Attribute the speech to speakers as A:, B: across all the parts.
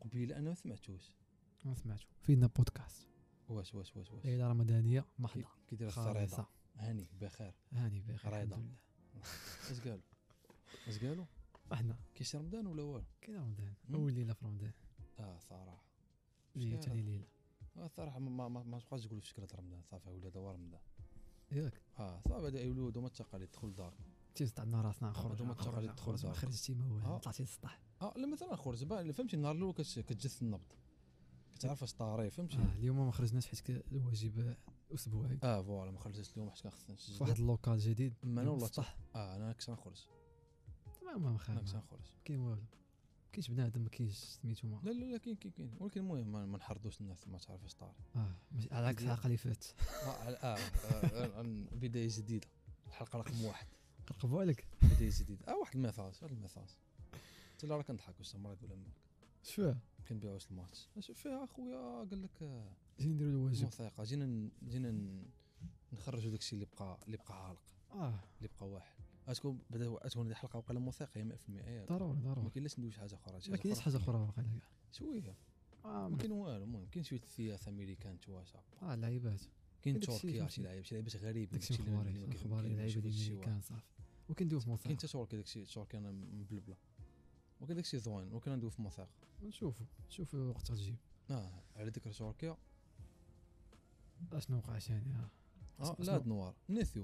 A: قبيله انا ما سمعتوش
B: ما سمعتو فينا بودكاست
A: واش واش واش واش
B: الاداره المدنيه محضه
A: كي- كي داير الخريطه
B: خالصه
A: هاني بخير
B: هاني بخير
A: ريضة.
B: الحمد لله
A: اش قالوا اش قالوا
B: احنا
A: كيش رمضان ولا والو
B: كاين رمضان
A: مم.
B: اول ليله في رمضان إيه،
A: اه صراحه
B: هي
A: شكرا.
B: ثاني ليله
A: آه، صراحه ما ما- ما ما تبقاش تقول في شكلة رمضان صافي ولا دوا رمضان
B: ياك
A: اه صافي هذا يولود هما التقاليد دخل دار
B: تيستعدنا راسنا نخرج
A: هادو هما
B: نخرج
A: التقاليد
B: نخرج ما
A: دخل
B: خرجتي ما والو
A: آه.
B: طلعتي للسطح
A: اه لا مثلا خرج با- فهمتي النهار الاول كتش- كتجس النبض كتعرف اش طاري فهمتي
B: آه اليوم ما خرجناش حيت كان الواجب اسبوعي
A: اه فوالا ما خرجتش اليوم حيت كان خصني نسجل
B: في واحد اللوكال جديد
A: أما أنا والله
B: السطح
A: اه انا كنت نخرج
B: تمام ما
A: انا كنت
B: خارج
A: نخرج
B: كاين والو كاينش بنادم ما كاينش سميتو ما
A: لا لا لا كاين كاين كاين ولكن المهم ما ما نحرضوش الناس ما تعرف اش طاري
B: اه مش- على عكس الحلقه اللي فاتت
A: آه، آه، آه، آه، بدايه جديده الحلقه رقم واحد
B: قرقبوا عليك
A: بدايه جديده اه واحد الميساج واحد الميساج قلت له راه كنضحك واش مريض ولا ما
B: شو
A: كنبيعوا واش الماتش شوف فيها اخويا قال لك آه،
B: جينا نديرو الواجب
A: موثقه جينا ن- جينا ن- نخرجوا داك الشيء اللي بقى اللي بقى عالق
B: اه
A: اللي بقى واحد غتكون بدا غتكون هذه الحلقه وقال موثقه 100% إيه.
B: ضروري
A: ما
B: ضروري
A: كاينلاش ندوي شي حاجه اخرى شي
B: ما كاينش حاجه اخرى واقيلا كاع
A: شويه
B: اه
A: ما
B: ما-
A: كاين والو المهم كاين شويه السياسه امريكان تواشا
B: اه اللعيبات
A: كاين
B: داكشي
A: تركيا
B: فهمتي.
A: شي لعيبه شي لعيبات غريبه
B: داكشي
A: داكشي اللي-
B: مخباري
A: اللي ما كاين- ما
B: مخباري
A: كاين- ما
B: اللعيبه
A: كاينش شي
B: ديال
A: واحد.
B: كان صافي وكندويو في
A: كاين
B: موسيقى
A: حتى تركيا داكشي تركيا انا مبلبله ولكن داكشي زوين ولكن ندوي في موثق
B: نشوفو نشوفو وقت تجيب
A: اه على ذكر تركيا
B: اشنو وقع ثاني اه
A: آه
B: أسمع-
A: لا
B: أسمع.
A: نوار نيثيو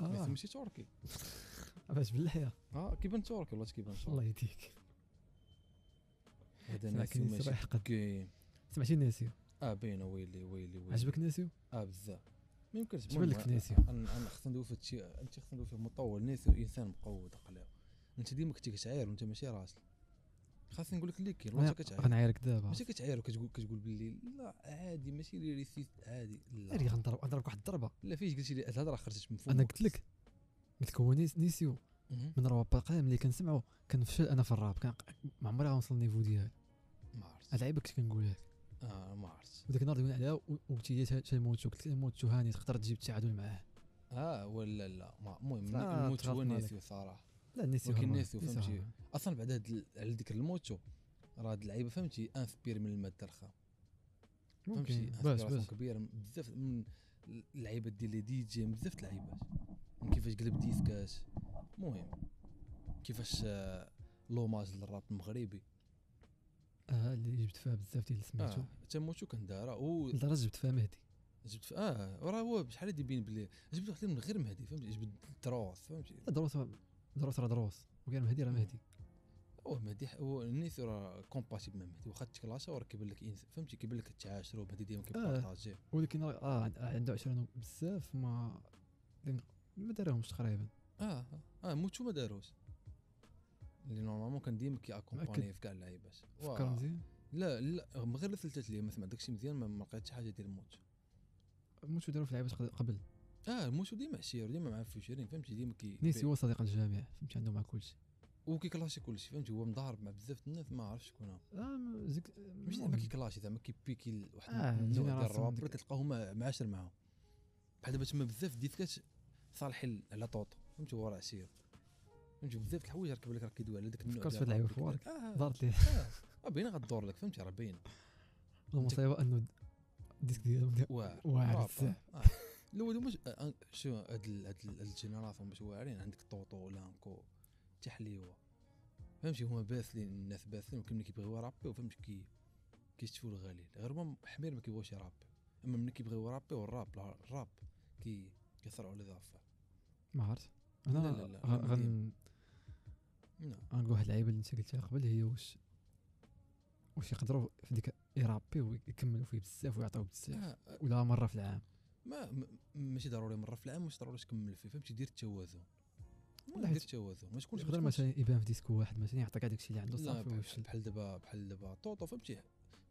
A: نيثيو
B: اه
A: ماشي تركي
B: باش بالله
A: اه كيبان تركي والله كيبان تركي
B: الله يهديك
A: هذا
B: سمعتني
A: نيثيو ماشي
B: صباح يحقد
A: كاين
B: سمعتي ناسيو
A: اه باينه ويلي ويلي ويلي
B: عجبك ناسيو
A: اه بزاف ما يمكنش
B: جبل لك ناسي.
A: انا انا خصنا ندوي في هادشي انت خصنا ندوي فيه مطول ناسي انسان مقود اقلاو انت ديما كنتي كتعاير وانت ماشي راسل خاصني نقول لك اللي كاين وانت كتعاير
B: غنعايرك دابا
A: ماشي كتعاير وكتقول كتقول باللي لا عادي ماشي لي ريسيت عادي
B: ناري
A: لا
B: غنضرب غنضربك واحد الضربه
A: لا فيش قلتي لي هاد الهضره خرجت من فمك
B: انا قلت لك قلت لك هو نيس- نيسيو
A: مهم.
B: من رواب القلم اللي كنسمعو كنفشل انا في الراب كان ما عمري غنوصل النيفو ديالو
A: ما عرفت
B: اللعيبه كنت كنقولها لك
A: اه ما عرفت
B: وديك النهار دوينا عليها وبتي تموتو قلت لك موتو هاني تقدر تجيب التعادل معاه
A: اه ولا لا ما- المهم
B: آه،
A: الموت هو
B: تغلطنا عليك.
A: ناسيو صراحه
B: لا نيسيو
A: ولكن
B: هما-
A: نيسيو فهمتي.
B: هما.
A: اصلا بعد هاد ال- على ذكر الموتو راه هاد اللعيبه فهمتي انسبير من الماده الخام فهمتي
B: ممكن باش
A: انسبيراسيون
B: باش
A: كبيره من بزاف من اللعيبات ديال لي دي جي من بزاف د اللعيبات من كيفاش قلب ديسكات المهم كيفاش آه، لوماج للراب المغربي
B: اه اللي جبت فيها بزاف ديال سميتو
A: اه حتى موتو كان دارا و
B: لدرجه جبت فيها مهدي
A: جبت ف- اه راه هو شحال هادي بين بلي جبت واحد من غير مهدي فهمتي جبت دروس فهمتي
B: لا دروس دروس راه دروس وكان مهدي راه مهدي
A: هو مهدي ح- هو النيس راه كومباتيبل مع مهدي واخا تكلاشا راه كيبان لك إنس- فهمتي كيبان لك تعاشروا مهدي ديما
B: آه.
A: كيبارطاجي
B: ولكن راه آه عند- عنده 20 بزاف ما لأن ما داراهمش تقريبا
A: اه اه موتو ما داروش اللي نورمالمون كان ديما كي اكومباني في كاع اللعيبات
B: فكر مزيان
A: لا لا من غير ثلاثة ايام ما سمع داكشي مزيان ما ما لقيت شي حاجه ديال موتو
B: موتو داروا في لعيبات قد- قبل
A: اه موتو ديما عشير ديما مع فيشرين فهمتي ديما كي
B: نيسي هو صديق الجامع فهمتي عنده مع كلشي
A: وكيكلاشي كلشي فهمتي هو مضارب مع بزاف د الناس ما عرفتش شكون هو
B: اه م- زيك
A: ماشي زعما كيكلاشي زعما كيبيكي ال- واحد
B: آه،
A: النوع ديال
B: الجينيراسيون
A: الروابط
B: ديك-
A: اللي كتلقاهم مع- معاشر معاهم بحال دابا تما بزاف ديسكات صالحين على طوطو فهمتي هو راه عشير فهمتي بزاف د الحوايج راه كيبان لك راه كيدوي على داك النوع
B: فكرت
A: ديال
B: في اللعيبة
A: الروابط اللي
B: فوارك.
A: كت- آه،
B: دارت لي
A: اه باينه غدور لك فهمتي راه باينه
B: المصيبه انه الديسك ديالهم دي-
A: واعر
B: واعر
A: رابع.
B: بزاف
A: آه. الاول مش آه، آه، شو هاد ال- هاد ال- هاد الجينيراسيون باش واعرين عندك طوطو لانكو تحليوه فهمتي هما باسلين الناس باسلين ولكن ملي كيبغيو يرابيو فهمتي كي كيشتفوا الغليل غير هما حمير ما كيبغوش يرابيو اما ملي كيبغيو يرابيو الراب لا- الراب كي كيصرعوا على ضعفه
B: ما عرفت
A: لا،
B: انا
A: لا، لا،
B: غن-
A: لا،
B: غن
A: نعم
B: غنقول واحد اللعيبه اللي انت قلتها قبل هي واش واش يقدروا في ديك يرابي ويكملوا فيه بزاف ويعطيو بزاف
A: آه، آه،
B: ولا مره في العام
A: ما م- ماشي ضروري مره في العام واش ضروري تكمل فيه فهمتي دير التوازن
B: لا،
A: دير
B: حيت-
A: التوازن ما تكونش ما
B: يقدر
A: تكونش-
B: مثلا يبان في ديسكو واحد مثلا يعطيك هذاك الشيء اللي عنده
A: لا
B: صافي
A: بحال
B: ويفشل
A: بحال دابا بحال دابا طوطو فهمتي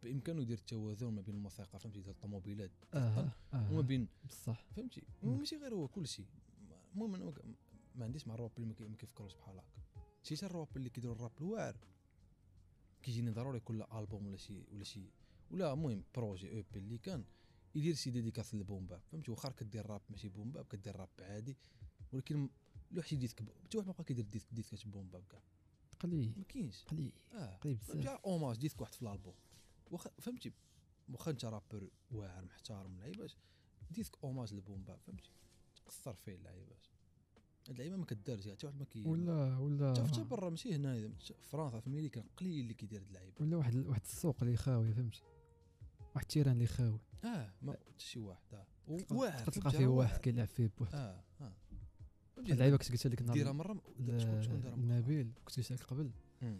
A: بامكانه يدير التوازن ما بين الموسيقى فهمتي ديال الطوموبيلات
B: اه
A: وما
B: اه
A: بين
B: بصح
A: فهمتي
B: مم.
A: ماشي غير هو كلشي المهم انا ما- ما عنديش مع الرواب اللي ما كي- ما كيفكروش بحال هكا شي حتى الرواب اللي كيديروا الراب الواعر كيجيني ضروري كل البوم ولا شي ولا شي ولا المهم بروجي او بي اللي كان يدير شي ديديكاس للبوم باب فهمتي واخا راك كدير راب ماشي بوم باب كدير راب عادي ولكن لوح شي ديسك ب- حتى واحد ما بقى كيدير ديسك ديسكات بوم باب كاع
B: قليل
A: ما كاينش
B: قليل
A: اه
B: قليل بزاف
A: بلا اوماج ديسك واحد في الالبوم واخا فهمتي واخا انت رابر واعر محترم لعيباش ديسك اوماج لبومبا فهمتي تقصر فيه اللعيبات هاد اللعيبه ما كدارش يعني حتى واحد ما كي
B: ولا ولا
A: حتى في برا ماشي هنا إذا مش- في فرنسا في امريكا قليل اللي كيدير هاد اللعيبه
B: ولا واحد واحد السوق اللي خاوي فهمتي واحد التيران اللي خاوي
A: اه ما حتى شي واحد اه و- واعر
B: تلقى تلقى
A: فهمتي،
B: فيه
A: راه
B: واحد
A: واعر.
B: كيلعب فيه بواحد
A: اه اه فهمتي،
B: اللعيبه كنت قلت لك
A: ديرها
B: النهار
A: مره
B: ل-
A: شكون شكون دارها مرة؟
B: نبيل كنت قلت لك قبل
A: مم.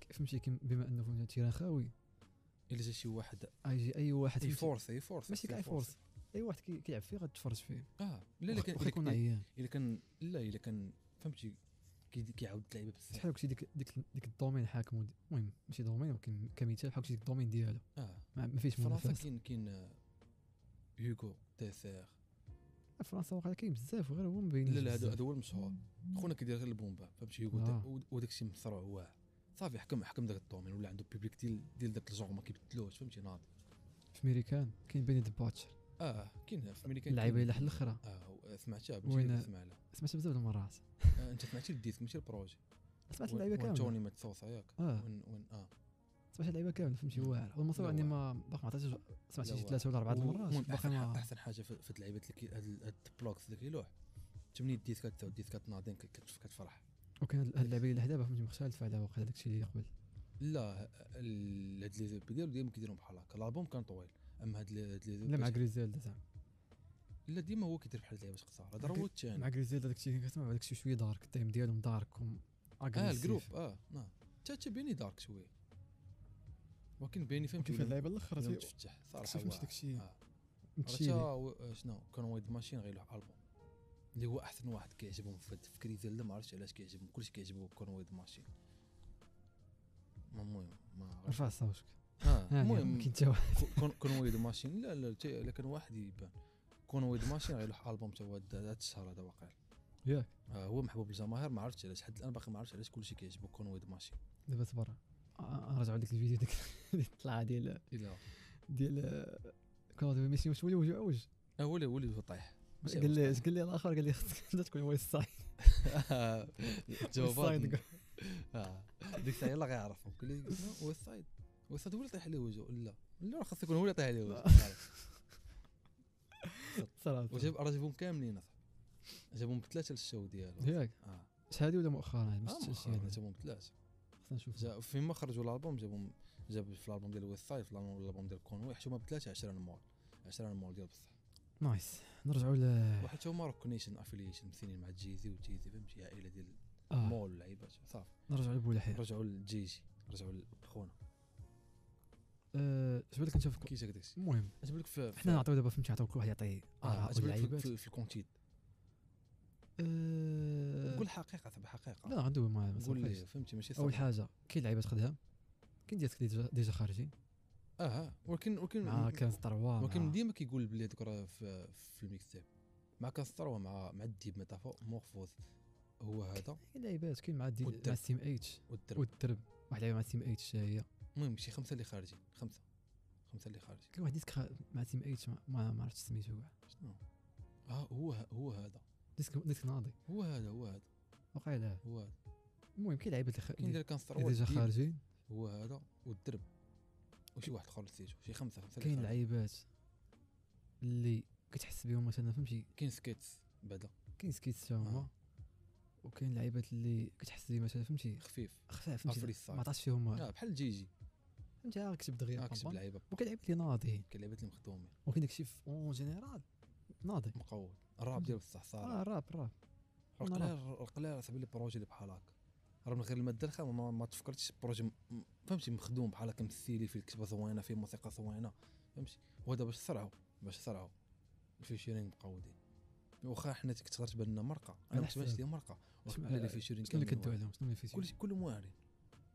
B: كيف فهمتي كيم- بما انه فهمتي تيران خاوي
A: الا جا شي واحد
B: اجي اي واحد فهمتي-
A: يفورس يفورس
B: ماشي كاع فورس اي واحد كي- كيلعب فيه غتفرج فيه
A: اه لا لا
B: واخا
A: كان
B: واخا يكون عيان
A: الا كان لا الا كان فهمتي كي- كيعاود اللعيبه بزاف
B: شحال كنتي ديك ديك ديك الدومين حاكم ود- المهم ماشي دومين ولكن كمثال بحال كنتي ديك الدومين ديالو
A: اه
B: ما ما فيهش
A: فرنسا
B: منافسه
A: كاين كاين آه، هيغو تيسير
B: فرنسا واقع كاين بزاف غير هو ما بينش
A: لا لا هذا
B: بزاف.
A: هذا هو المشهور خونا كيدير غير البومبا فهمتي هيغو
B: آه.
A: تا- و- وداك الشيء مصروع واه صافي حكم حكم داك الدومين ولا عنده بيبليك ديال ديال داك الجونغ ما كيبدلوش فهمتي ناضي
B: في ميريكان كاين بيني دباتشر
A: اه كاين في امريكا
B: اللعيبه
A: كاين-
B: الى حل الاخرى
A: اه و- سمعتها
B: وين-
A: بنتي تسمع لها
B: سمعت بزاف د المرات
A: آه، انت سمعتي الديسك ماشي البروجي وين-
B: سمعت اللعيبه
A: وين
B: كامله
A: توني ما تصوص ياك
B: اه
A: وين وين اه
B: سمعت اللعيبه كامله فهمتي واعر والمصيبه
A: لا
B: اني
A: واعر.
B: ما باقي ما عطيتش سمعت
A: لا
B: شي
A: واعر.
B: ثلاثه ولا اربعه د
A: المهم
B: المرات يعني باقي
A: احسن,
B: ما
A: احسن حاجه في في اللعيبات اللي كي- هاد ال- هاد البلوكس اللي كيلوح تمني الديسكات تاع الديسكات ناضين كت- كت- كتفرح
B: وكان هاد اللعيبه اللي حدا فهمتي مختلف على واقع داكشي اللي قبل
A: لا ال- هاد لي زيبي ديالو ديما كيديرهم بحال هكا الالبوم كان طويل اما هاد لي هاد لي
B: لا مع
A: زيبي-
B: غريزيلدا زعما
A: لا ديما هو كيدير بحال اللعيبات قصار هذا
B: مع
A: هو
B: غري-
A: الثاني
B: مع غريزيلدا داكشي اللي كتسمع داكشي شويه دارك التيم ديالهم دارك وم-
A: اه
B: aggressive.
A: الجروب اه نعم حتى حتى بيني دارك شويه ولكن بيني فهمتي
B: فهمتي في
A: ولا-
B: اللعيبه الاخرى
A: ولا
B: تي-
A: متفتح صراحه
B: تفهمش
A: واعر.
B: داكشي
A: آه.
B: متشيلي.
A: راه تا شنو كان وايد ماشين غير له البوم اللي هو احسن واحد كيعجبهم في هاد الفكري ديال ما عرفتش علاش كيعجبهم كلشي كيعجبو كون وايد ماشين المهم ما عرفتش
B: رفع صوتك
A: آه،
B: ها،
A: المهم
B: يمكن تا واحد
A: كو- كون كون وايد ماشين لا لا تا- الا كان واحد يبان كون وايد ماشين غير له البوم تا هو هاد هاد الشهر هذا واقع
B: ياك
A: آه، هو محبوب الجماهير ما عرفتش علاش حد الان باقي ما عرفتش علاش كلشي كيعجبو كون وايد ماشين
B: دابا تبرع نرجعوا لديك الفيديو ديك اللي طلع ديال
A: الى
B: ديال آه، كلاود ميسي واش ولي وجه عوج
A: آه، ولا ولا طايح ماشي
B: قال لي
A: عوج.
B: قال لي الاخر قال لي خصك انت تكون وايد صايد
A: جواب اه ديك الساعه يلاه غيعرفهم قال لي ويست سايد ويست سايد هو اللي طيح عليه وجهه لا لا راه خاص يكون هو اللي طيح عليه وجهه
B: صراحه
A: وجاب راه جابهم كاملين اصاحبي جابهم بثلاثه للشو ديالو
B: ياك
A: اه
B: شحال هادي ولا مؤخرا ما
A: آه،
B: شفتش
A: مؤخراً
B: يعني
A: جابهم بثلاثه
B: خصنا نشوف
A: جا فيما خرجوا الالبوم جابهم جاب في الالبوم ديال ويست سايد في الالبوم الألبوم ديال كونوي حشومه بثلاثه 20 مول 20 مول ديال بصح
B: نايس نرجعوا ل
A: وحتى هما راه كونيشن افيليشن مثلين مع جيزي وجيزي فهمتي عائله ديال
B: آه.
A: مول لعيبات صافي
B: نرجعوا لبولحيه
A: رجعوا لجيجي رجعوا لخونا
B: آه، اش بالك انت في
A: كي جاك داكشي
B: المهم
A: اش بالك في
B: حنا نعطيو دابا فهمتي نعطيو كل واحد يعطي آه، اراء
A: اجبرك في,
B: اللعيبات
A: في, في الكونتيت
B: آه،
A: قول حقيقه تبع حقيقه
B: لا غندوي ما ما
A: أه، قول لي
B: صافيش.
A: فهمتي ماشي
B: اول
A: صح
B: حاجه كاين لعيبه تخدم كاين ديالك اللي ديجا- ديجا خارجين
A: اه ولكن ولكن
B: مع كان ستاروا
A: ولكن ديما كيقول بلي هذوك راه في, في الميكس تاب مع كاستر ومع مع الديب ميتافور مورفوز هو هذا
B: كاين لعيبات كاين مع دي
A: والدرب.
B: مع سيم اتش
A: والدرب
B: والدرب واحد لعيبه مع سيم اتش هي
A: المهم شي خمسه اللي خارجين خمسه خمسه اللي خارجين
B: كاين واحد ديسك خا- مع سيم اتش ما- ما ما عرفتش سميتو كاع
A: شنو اه هو ه- هو هذا
B: ديسك ديسك ناضي
A: هو هذا هو هذا
B: واقع لا
A: هو هذا
B: المهم كاين لعيبه اللي خا-
A: كاين
B: اللي
A: ديال كاستر
B: اللي ديجا
A: والديب
B: خارجين
A: هو هذا والدرب وشي واحد اخر نسيتو شي خمسه خمسه اللي خارجين.
B: كاين لعيبات اللي كتحس بهم مثلا فهمتي
A: كاين سكيتس بعدا
B: كاين سكيتس تا هما
A: آه.
B: وكاين لعيبات اللي كتحس بهم مثلا فهمتي
A: خفيف
B: خفاف
A: أفري
B: فهمتي
A: الصاج.
B: ما عطاتش فيهم
A: اه بحال جيجي
B: فهمتي راه كتب دغيا
A: آه، كتب
B: بابا.
A: لعيبه
B: وكاين لعيبات اللي ناضيين
A: كاين لعيبات اللي مخدومين
B: وكاين داكشي في اون جينيرال ناضي
A: مقود الراب ديال بصح
B: اه
A: صار
B: الراب الراب نعم.
A: القلاع القلاع راه لي بروجي اللي بحال هكا راه من غير الماده الخام ما, ما تفكرتش بروجي م- م- فهمتي مخدوم بحال هكا مثيلي فيه الكتابه زوينه فيه موسيقى زوينه فهمتي وهذا باش صرعوا باش صرعوا الفيشيرين مقودين واخا حنا كتقدر تبان لنا مرقه انا
B: على
A: ما كتبانش
B: حسب.
A: ليا مرقه
B: شنو-
A: ولكن حنا لي فيشيرين
B: شنو اللي
A: كاملين
B: كدو
A: واعرين.
B: عليهم شنو اللي فيتي
A: كلشي كلهم واعرين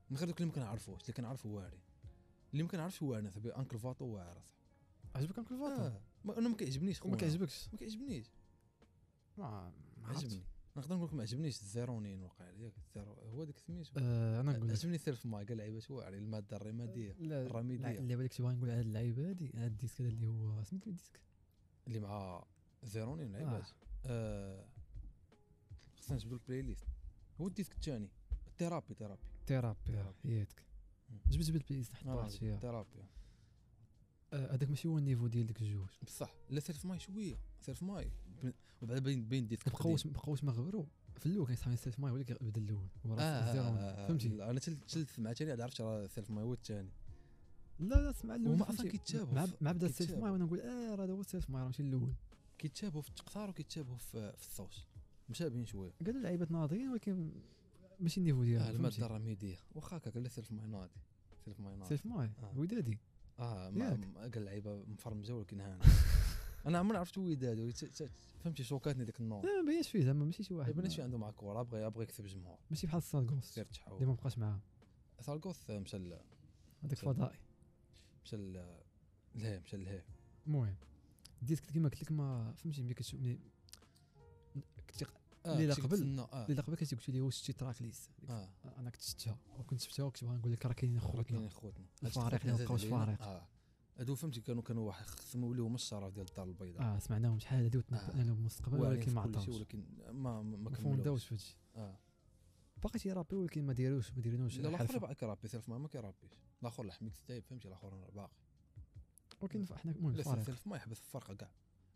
A: من غير دوك اللي ما كنعرفوش اللي كنعرفو واعرين اللي ما كنعرفش واعرين صاحبي انكل فاطو واعر أصاحبي.
B: عجبك انكل فاطمه
A: آه. ما- انا ما كيعجبنيش
B: وما
A: خونا.
B: كيعجبكش
A: ما كيعجبنيش
B: ما ما عرفتش
A: عجبني نقدر نقول لكم ما عجبنيش الزيرونين وقع لي ياك الزيرو هو داك سميتو
B: آه، انا نقول لك
A: عجبني سيلف مايك لعيبه شوارع الماده الرماديه
B: لا
A: الرميدية.
B: الع- اللعبه اللي كنت باغي نقول على اللعيبه هادي هاد الديسك هذا اللي هو سميتو الديسك
A: اللي مع زيرونين آه، لعيبات آه. خصنا نجبدو البلاي ليست هو الديسك الثاني تيرابي تيرابي
B: تيرابي
A: تيرابي.
B: حياتك
A: مم.
B: جبت بالبيس
A: آه،
B: حطيت فيها
A: تيرابي
B: آه، هذاك ماشي هو النيفو ديال ديك الجوج
A: بصح لا سيرف ماي شويه سيرف ماي وبعد بين بين ديت
B: بقاوش بقاوش ما غبروا في الاول كان صحابي سيلف ماي ولكن بدا الاول وراه
A: آه،
B: الزيرو فهمتي
A: انا تل- تل سمعت ثاني عرفت راه سيلف ماي هو الثاني
B: لا لا سمع الاول
A: هما
B: فهمتي.
A: أصلاً كيتشابهوا
B: مع
A: في-
B: مع بدا السيلف
A: كيتشابهوا.
B: ماي وانا نقول اه راه هذا هو السيلف ماي راه ماشي الاول
A: كيتشابهوا في التقطار وكيتشابهوا في في الصوت مشابهين شويه
B: قالوا لعيبه ناضيين ولكن ماشي النيفو
A: اه
B: ديالهم
A: الماده
B: فهمتي.
A: الرميديه واخا هكاك لا سيلف ماي ناضي سيلف ماي ناضي
B: سيلف ماي
A: آه.
B: ودادي
A: اه ما
B: ياك.
A: ما- قال لعيبه مفرمجه ولكن هاني انا عمري عرفت وداد وي- ت- ت- فهمتي شوكاتني ديك النوض
B: لا آه، ما بينش فيه زعما ماشي شي واحد
A: البنات
B: ما-
A: شي عندهم مع الكره بغى بغى يكسب جمهور
B: ماشي بحال سارغوس
A: سير
B: اللي
A: تشحو
B: ما بقاش معاه
A: سالكوث مشى ل-
B: هذاك
A: سير.
B: فضائي
A: مشى ل- لهيه مشى لهيه
B: المهم ديت كنت كيما قلت لك ما فهمتي ملي كتشوف ملي كنت قلت
A: آه،
B: ليلة
A: كنت
B: قبل.
A: كنتسنى- اه
B: لك قبل كنت قلت لي واش شتي تراكليس ديك
A: اه
B: انا آه، كنت شفتها وكنت شفتها وكنت بغا نقول لك راه كاينين
A: راه كاينين
B: خوتنا
A: يعني خوتنا
B: الفريق اللي ما بقاوش فريق.
A: اه هادو فهمتي كانوا كانوا واحد خصموا ليهم الشرف ديال الدار البيضاء
B: اه سمعناهم شحال هادي وتنبأنا
A: آه.
B: لهم المستقبل
A: واعرين في
B: ولكن ما
A: كل شيء
B: عطاوش
A: ولكن ما ما ما
B: ما فونداوش
A: كملوش
B: في هادشي
A: اه
B: باقي تيرابي ولكن ما داروش ما ديرينوش
A: لا
B: الحرفة.
A: الاخر باقي كيرابي سيلف ما ما كيرابيش الاخر لحميك تايب فهمتي الاخر باقي
B: ولكن احنا المهم
A: لا
B: فريق
A: سيلف ما يحبس الفرقه كاع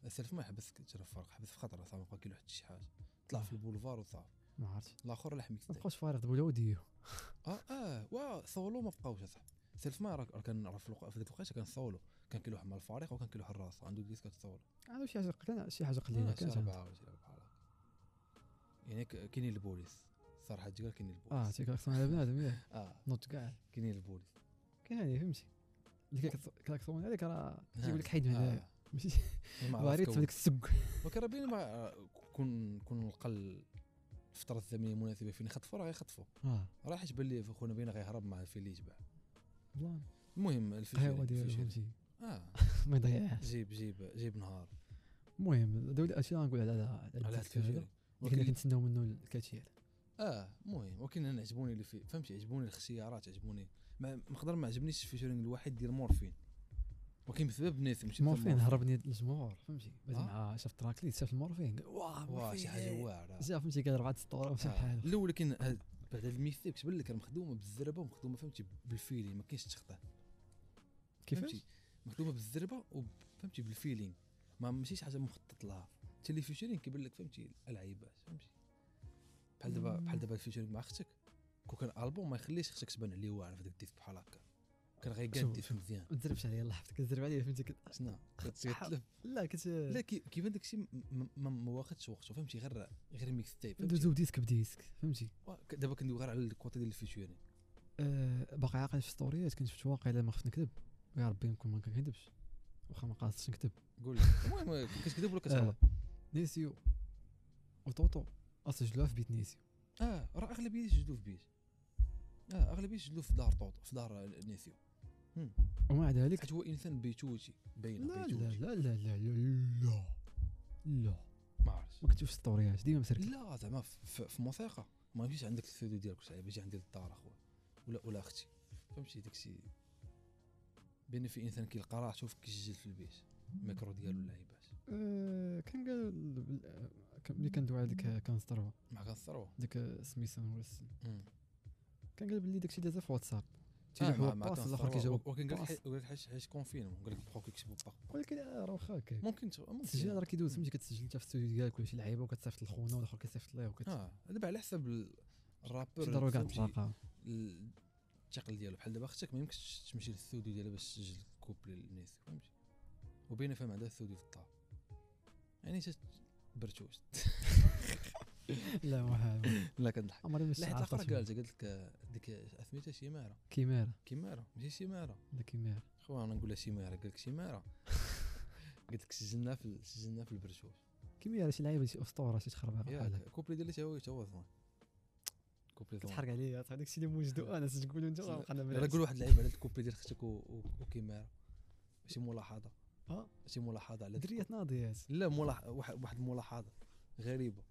A: سيلف ما يحبس كثر الفرقه حبس في خطره صافي ما بقى كيلو حتى شي حاجه طلع في البولفار وصافي
B: ما عرفتش
A: الاخر لحميك
B: ما
A: تايب
B: بقاوش فريق دبليو وديو
A: اه اه وا سولو ما بقاوش اصاحبي سيلف ما راه راه كان راه في الوق- في ذاك الوقت كان سولو كان كيلوح مع الفريق وكان كيلوح الراس عنده ديسك كتسولو
B: عندو شي حاجه كان شي حاجه
A: آه،
B: قليله
A: شي
B: كانت عندو.
A: أربعة ولا شي بحال هكا. يعني ك- كاينين البوليس صراحه تقول كاينين
B: اه
A: البوليس
B: تيك اكثر على بنادم ياك
A: اه
B: نوض كاع
A: كاينين البوليس
B: كاين يعني فهمتي اللي كلاكسون هذاك راه تيقول لك حيد من هنايا
A: آه.
B: ماشي
A: ما عرفت
B: باريت
A: كون.
B: في ديك السوق
A: ولكن راه باين ما كون كون لقى الفتره الزمنيه المناسبه فين يخطفوا راه غيخطفوا
B: اه
A: راه حيت بان لي خونا باين غيهرب مع الفيل اللي يتباع
B: والله
A: المهم
B: القهوه
A: الفيل
B: ديالو
A: الفيل-
B: فهمتي
A: اه
B: ما يضيعهاش
A: جيب جيب جيب نهار
B: المهم هادو الاشياء اللي غنقول على على
A: على
B: على
A: هاد
B: الديسك هذا
A: الفيل
B: اللي كنا
A: ولكن
B: كنتسناو منه الكثير
A: اه المهم ولكن انا عجبوني اللي في فهمتي عجبوني الخسيارات عجبوني ما ما نقدر ما عجبنيش الفيشرينغ الواحد ديال مورفين ولكن بسبب ناس ماشي بسبب
B: مورفين هربني الجمهور فهمتي بعد
A: آه.
B: مع شاف تراكليت شاف المورفين قال واه
A: واه شي آه. حاجه
B: مورفين.
A: واعره
B: جا فهمتي قال ربعه السطور ومشى بحال
A: الاول كان هاد- بعد هاد الميثاق تبان لك راه مخدومه بالزربه ومخدومه فهمتي بالفيلين ما كاينش تخطيط
B: كيفاش
A: فهمتي مكتوبه بالزربه وفهمتي بالفيلينغ ما ماشي شي حاجه مخطط لها حتى اللي فيوتشرينغ كيبان لك فهمتي العيبات فهمتي بحال دابا
B: مم.
A: بحال دابا الفيوتشرينغ مع اختك كون كان البوم ما يخليش اختك تبان عليه واعره في داك الديسك بحال هكا كان غيقاد
B: شوف-
A: الديسك مزيان
B: ما تزربش عليا الله يحفظك تزرب عليا فهمتي كت...
A: شنو
B: صح.
A: كتلف
B: لا كنت
A: لا كي- كيبان داك الشيء م- م- ما ما واخدش وقته فهمتي غير غير ميكس تايب
B: دوزو
A: فهمتي
B: ديسك بديسك فهمتي
A: وا- ك- دابا كندوي غير على الكوتي ديال الفيوتشرينغ
B: آه، باقي عاقل في ستوريات كنت شفت واقيلا ما خفت نكذب يا ربي نكون ما كنكذبش واخا ما قاصدش نكذب أه،
A: قول لي. المهم كتكذب ولا كتغلط
B: نيسيو وطوطو اسجلوها في بيت نيسيو
A: اه راه اغلبيه يسجلوا في بيت اه اغلبيه يسجلوا في دار طوط في دار نيسيو
B: ومع ذلك
A: حيت هو انسان بيتوتي باينه
B: لا
A: بيتوتي
B: لا لا لا لا لا لا
A: ما عرفتش
B: ما كنتوش ستوريات ديما مسركل
A: لا زعما في- في في موسيقى ما يمشيش عندك الاستوديو ديالك وشي يجي عندي للدار اخويا ولا ولا اختي فهمتي داكشي بان في انسان كيلقى راه شوف كيسجل في البيت الميكرو ديالو اللعيبات
B: آه، كان قال بال- آه، كان- ملي كندوي على ديك آه، كانستروا
A: مع كنصرو
B: ديك آه، سميتها ولا السم- كان قال بلي داكشي دازا في واتساب
A: آه
B: تيلوح هو
A: مع- مع
B: باس الاخر
A: كنصرو.
B: كيجاوب
A: ولكن قال
B: باس.
A: لك قال لك حيت حيت كونفينمون قال لك بقاو كيكتبوا باق
B: ولكن آه، راه واخا هكاك
A: ممكن تغ-
B: التسجيل
A: ممكن
B: راه كيدوز فهمتي كتسجل انت في الاستوديو ديالك ولا شي لعيبه وكتصيفط لخونا والاخر كيصيفط ليه وكت
A: اه دابا على حسب ال- الرابر
B: شي ضروري كاع
A: فهمتي.
B: تلاقاو
A: الثقل ديالو بحال دابا اختك ما يمكنش تمشي للثوديو ديالها باش تسجل كوبلي للناس فهمتي وبين فهم عندها الثوديو في الطاب يعني تت- برتوش
B: لا واحد
A: لا كنضحك
B: عمري ما
A: لا
B: شفت
A: حيت الاخرى
B: عارفة
A: قالت قالت لك آه، ديك آه، سميتها شماره
B: كيميرا
A: كيماره ماشي شماره
B: لا كيميرا
A: خويا انا نقولها شماره قالت لك شماره قالت لك سجلنا في ال- سجلنا في البرتوش
B: كيميرا شي لعيبه شي اسطوره شي تخربيق بحال
A: ياك
B: هكا
A: الكوبلي ديالها تا هو تا هو زوين كوبلي زوين
B: كتحرق عليا هذاك الشيء اللي
A: آه.
B: موجدو انا تقول انت
A: لا،
B: وقعنا
A: انا
B: بالعكس
A: نقول واحد اللعيب على الكوبلي ديال اختك و- و- وكيماره شي ملاحظه
B: آه.
A: شي ملاحظه على
B: دريات ناضيات
A: لا ملاح... واحد واحد الملاحظه غريبه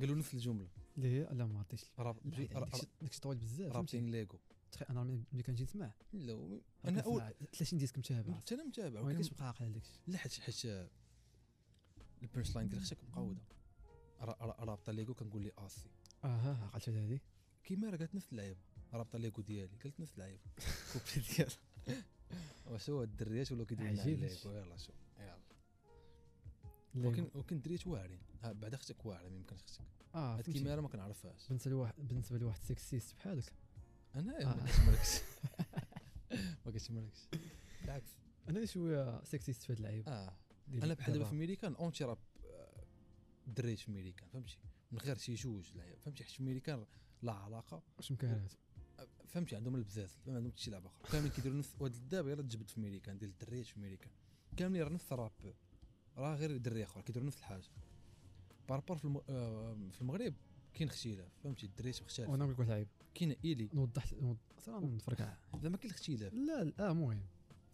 A: قالوا نفس الجمله
B: اللي هي لا ما عرفتش
A: راب-
B: لا،
A: راب-
B: داكشي داكشي طويل بزاف فهمتي
A: رابطين ليغو
B: تخيل انا ملي ملي كنجي نسمع
A: لا و-
B: انا
A: انا اول
B: 30 ديسك متابع
A: حتى انا متابع
B: ما
A: ولكن-
B: كنتش بقى عاقل على داكشي
A: لا حيت حيت آه، البنش لاين ديال اختك مقوده را- را- رابطه ليغو كنقول لي اسي
B: اها عقلت على هادي
A: كيما راه قالت نفس اللعيبه رابطه ليكو ديالي قالت نفس اللعيبه كوبلي ديالها واش هو الدريات ولاو كيديروا لنا
B: عجيب
A: الليكو
B: هادشي.
A: يلاه شوف يلاه
B: ليغو.
A: ولكن ولكن الدريات واعرين ها، بعد اختك واعره ما يمكنش اختك
B: اه
A: هاد
B: فهمتي.
A: الكيميرا ما كنعرفهاش
B: بالنسبه لواحد بالنسبه لواحد سكسيست بحالك
A: انا ما
B: آه.
A: كنتش مركز ما كنتش مركز بالعكس
B: انا اللي شويه سكسيست في هاد اللعيبه
A: اه
B: ديال
A: انا بحال دابا
B: دابا.
A: في ميريكان اونتي راب آه، دريت في ميريكان فهمتي من غير شي جوج لعيبه فهمتي حيت في ميريكان لا علاقه
B: واش مكانات
A: آه، فهمتي عندهم البزاز ما عندهم حتى لعبه اخرى كاملين كيديروا نفس وهاد الدابه راه تجبد في ميريكان ديال الدريات في ميريكان كاملين راه نفس الراب راه غير دري اخر كيديروا نفس الحاجه باربور في, الم... آه، في المغرب كاين اختلاف فهمتي الدريات
B: وانا
A: مختلف
B: نقول لك واحد اللعيب
A: كاين ايلي
B: نوضح نوضح- صراحه نفرك عليه.
A: زعما كاين الاختلاف
B: لا لا المهم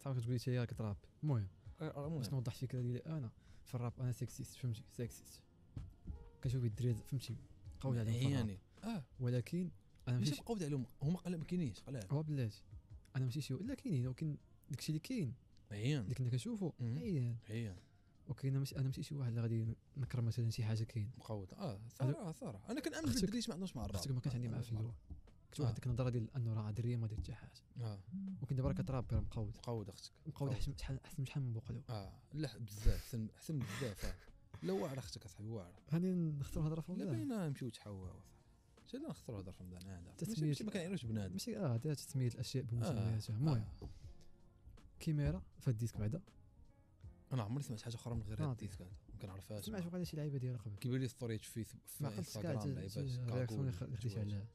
B: صافي كتقول لي انت ياك تراب المهم
A: آه، راه
B: باش
A: المهم.
B: نوضح الفكره ديالي انا في الراب انا سكسيست فهمتي سكسيست كنشوف الدراري فهمتي قوي عليهم في الراب
A: يعني اه
B: ولكن انا
A: ماشي
B: ماشي
A: بقاو عليهم هما قلال ما كاينينش قلال
B: هو بلاتي انا ماشي شي لا كاينين ولكن داكشي اللي كاين
A: عيان
B: اللي كنا كنشوفو
A: مم.
B: عيان
A: عيان
B: وكاين ماشي انا ماشي شي واحد اللي غادي نكر مثلا شي حاجه كاين
A: مقود اه صراحه صراحه انا كنامن
B: أختك-
A: بالدريش ما عندهمش مع الراب
B: اختك ما كانش عندي معاه في الاول كنت
A: آه.
B: واحد ديك النظره ديال انه راه دريه ما دير حتى حاجه
A: اه
B: ولكن دابا راه كتراب راه مقود
A: مقود اختك
B: مقود أحسن- شحال احسن من شحال من بوقلو
A: اه لا بزاف احسن احسن بزاف آه. لا واعره اختك اصاحبي واعره
B: غادي نختار هضره في
A: لا
B: الله
A: باينه نمشيو تحوا شي لا نخسروا هضر في رمضان هذا
B: تسمية-
A: ماشي ما كنعيروش بنادم
B: ماشي اه دايره تسميه الاشياء بمسمياتها
A: آه،
B: المهم
A: آه.
B: كيميرا في الديسك بعدا
A: انا عمري سمعت حاجه اخرى من غير هاد
B: آه.
A: الديسك هذا ما كنعرفهاش
B: سمعت وقيلا شي لعيبه ديالها قبل
A: كيبان لي ستوريات في فيسبوك في
B: ما عقلتش كاع
A: انستغرام لعيبات
B: الرياكسيون اللي خ-
A: كاكو
B: اللي خديت
A: والجواز.
B: عليها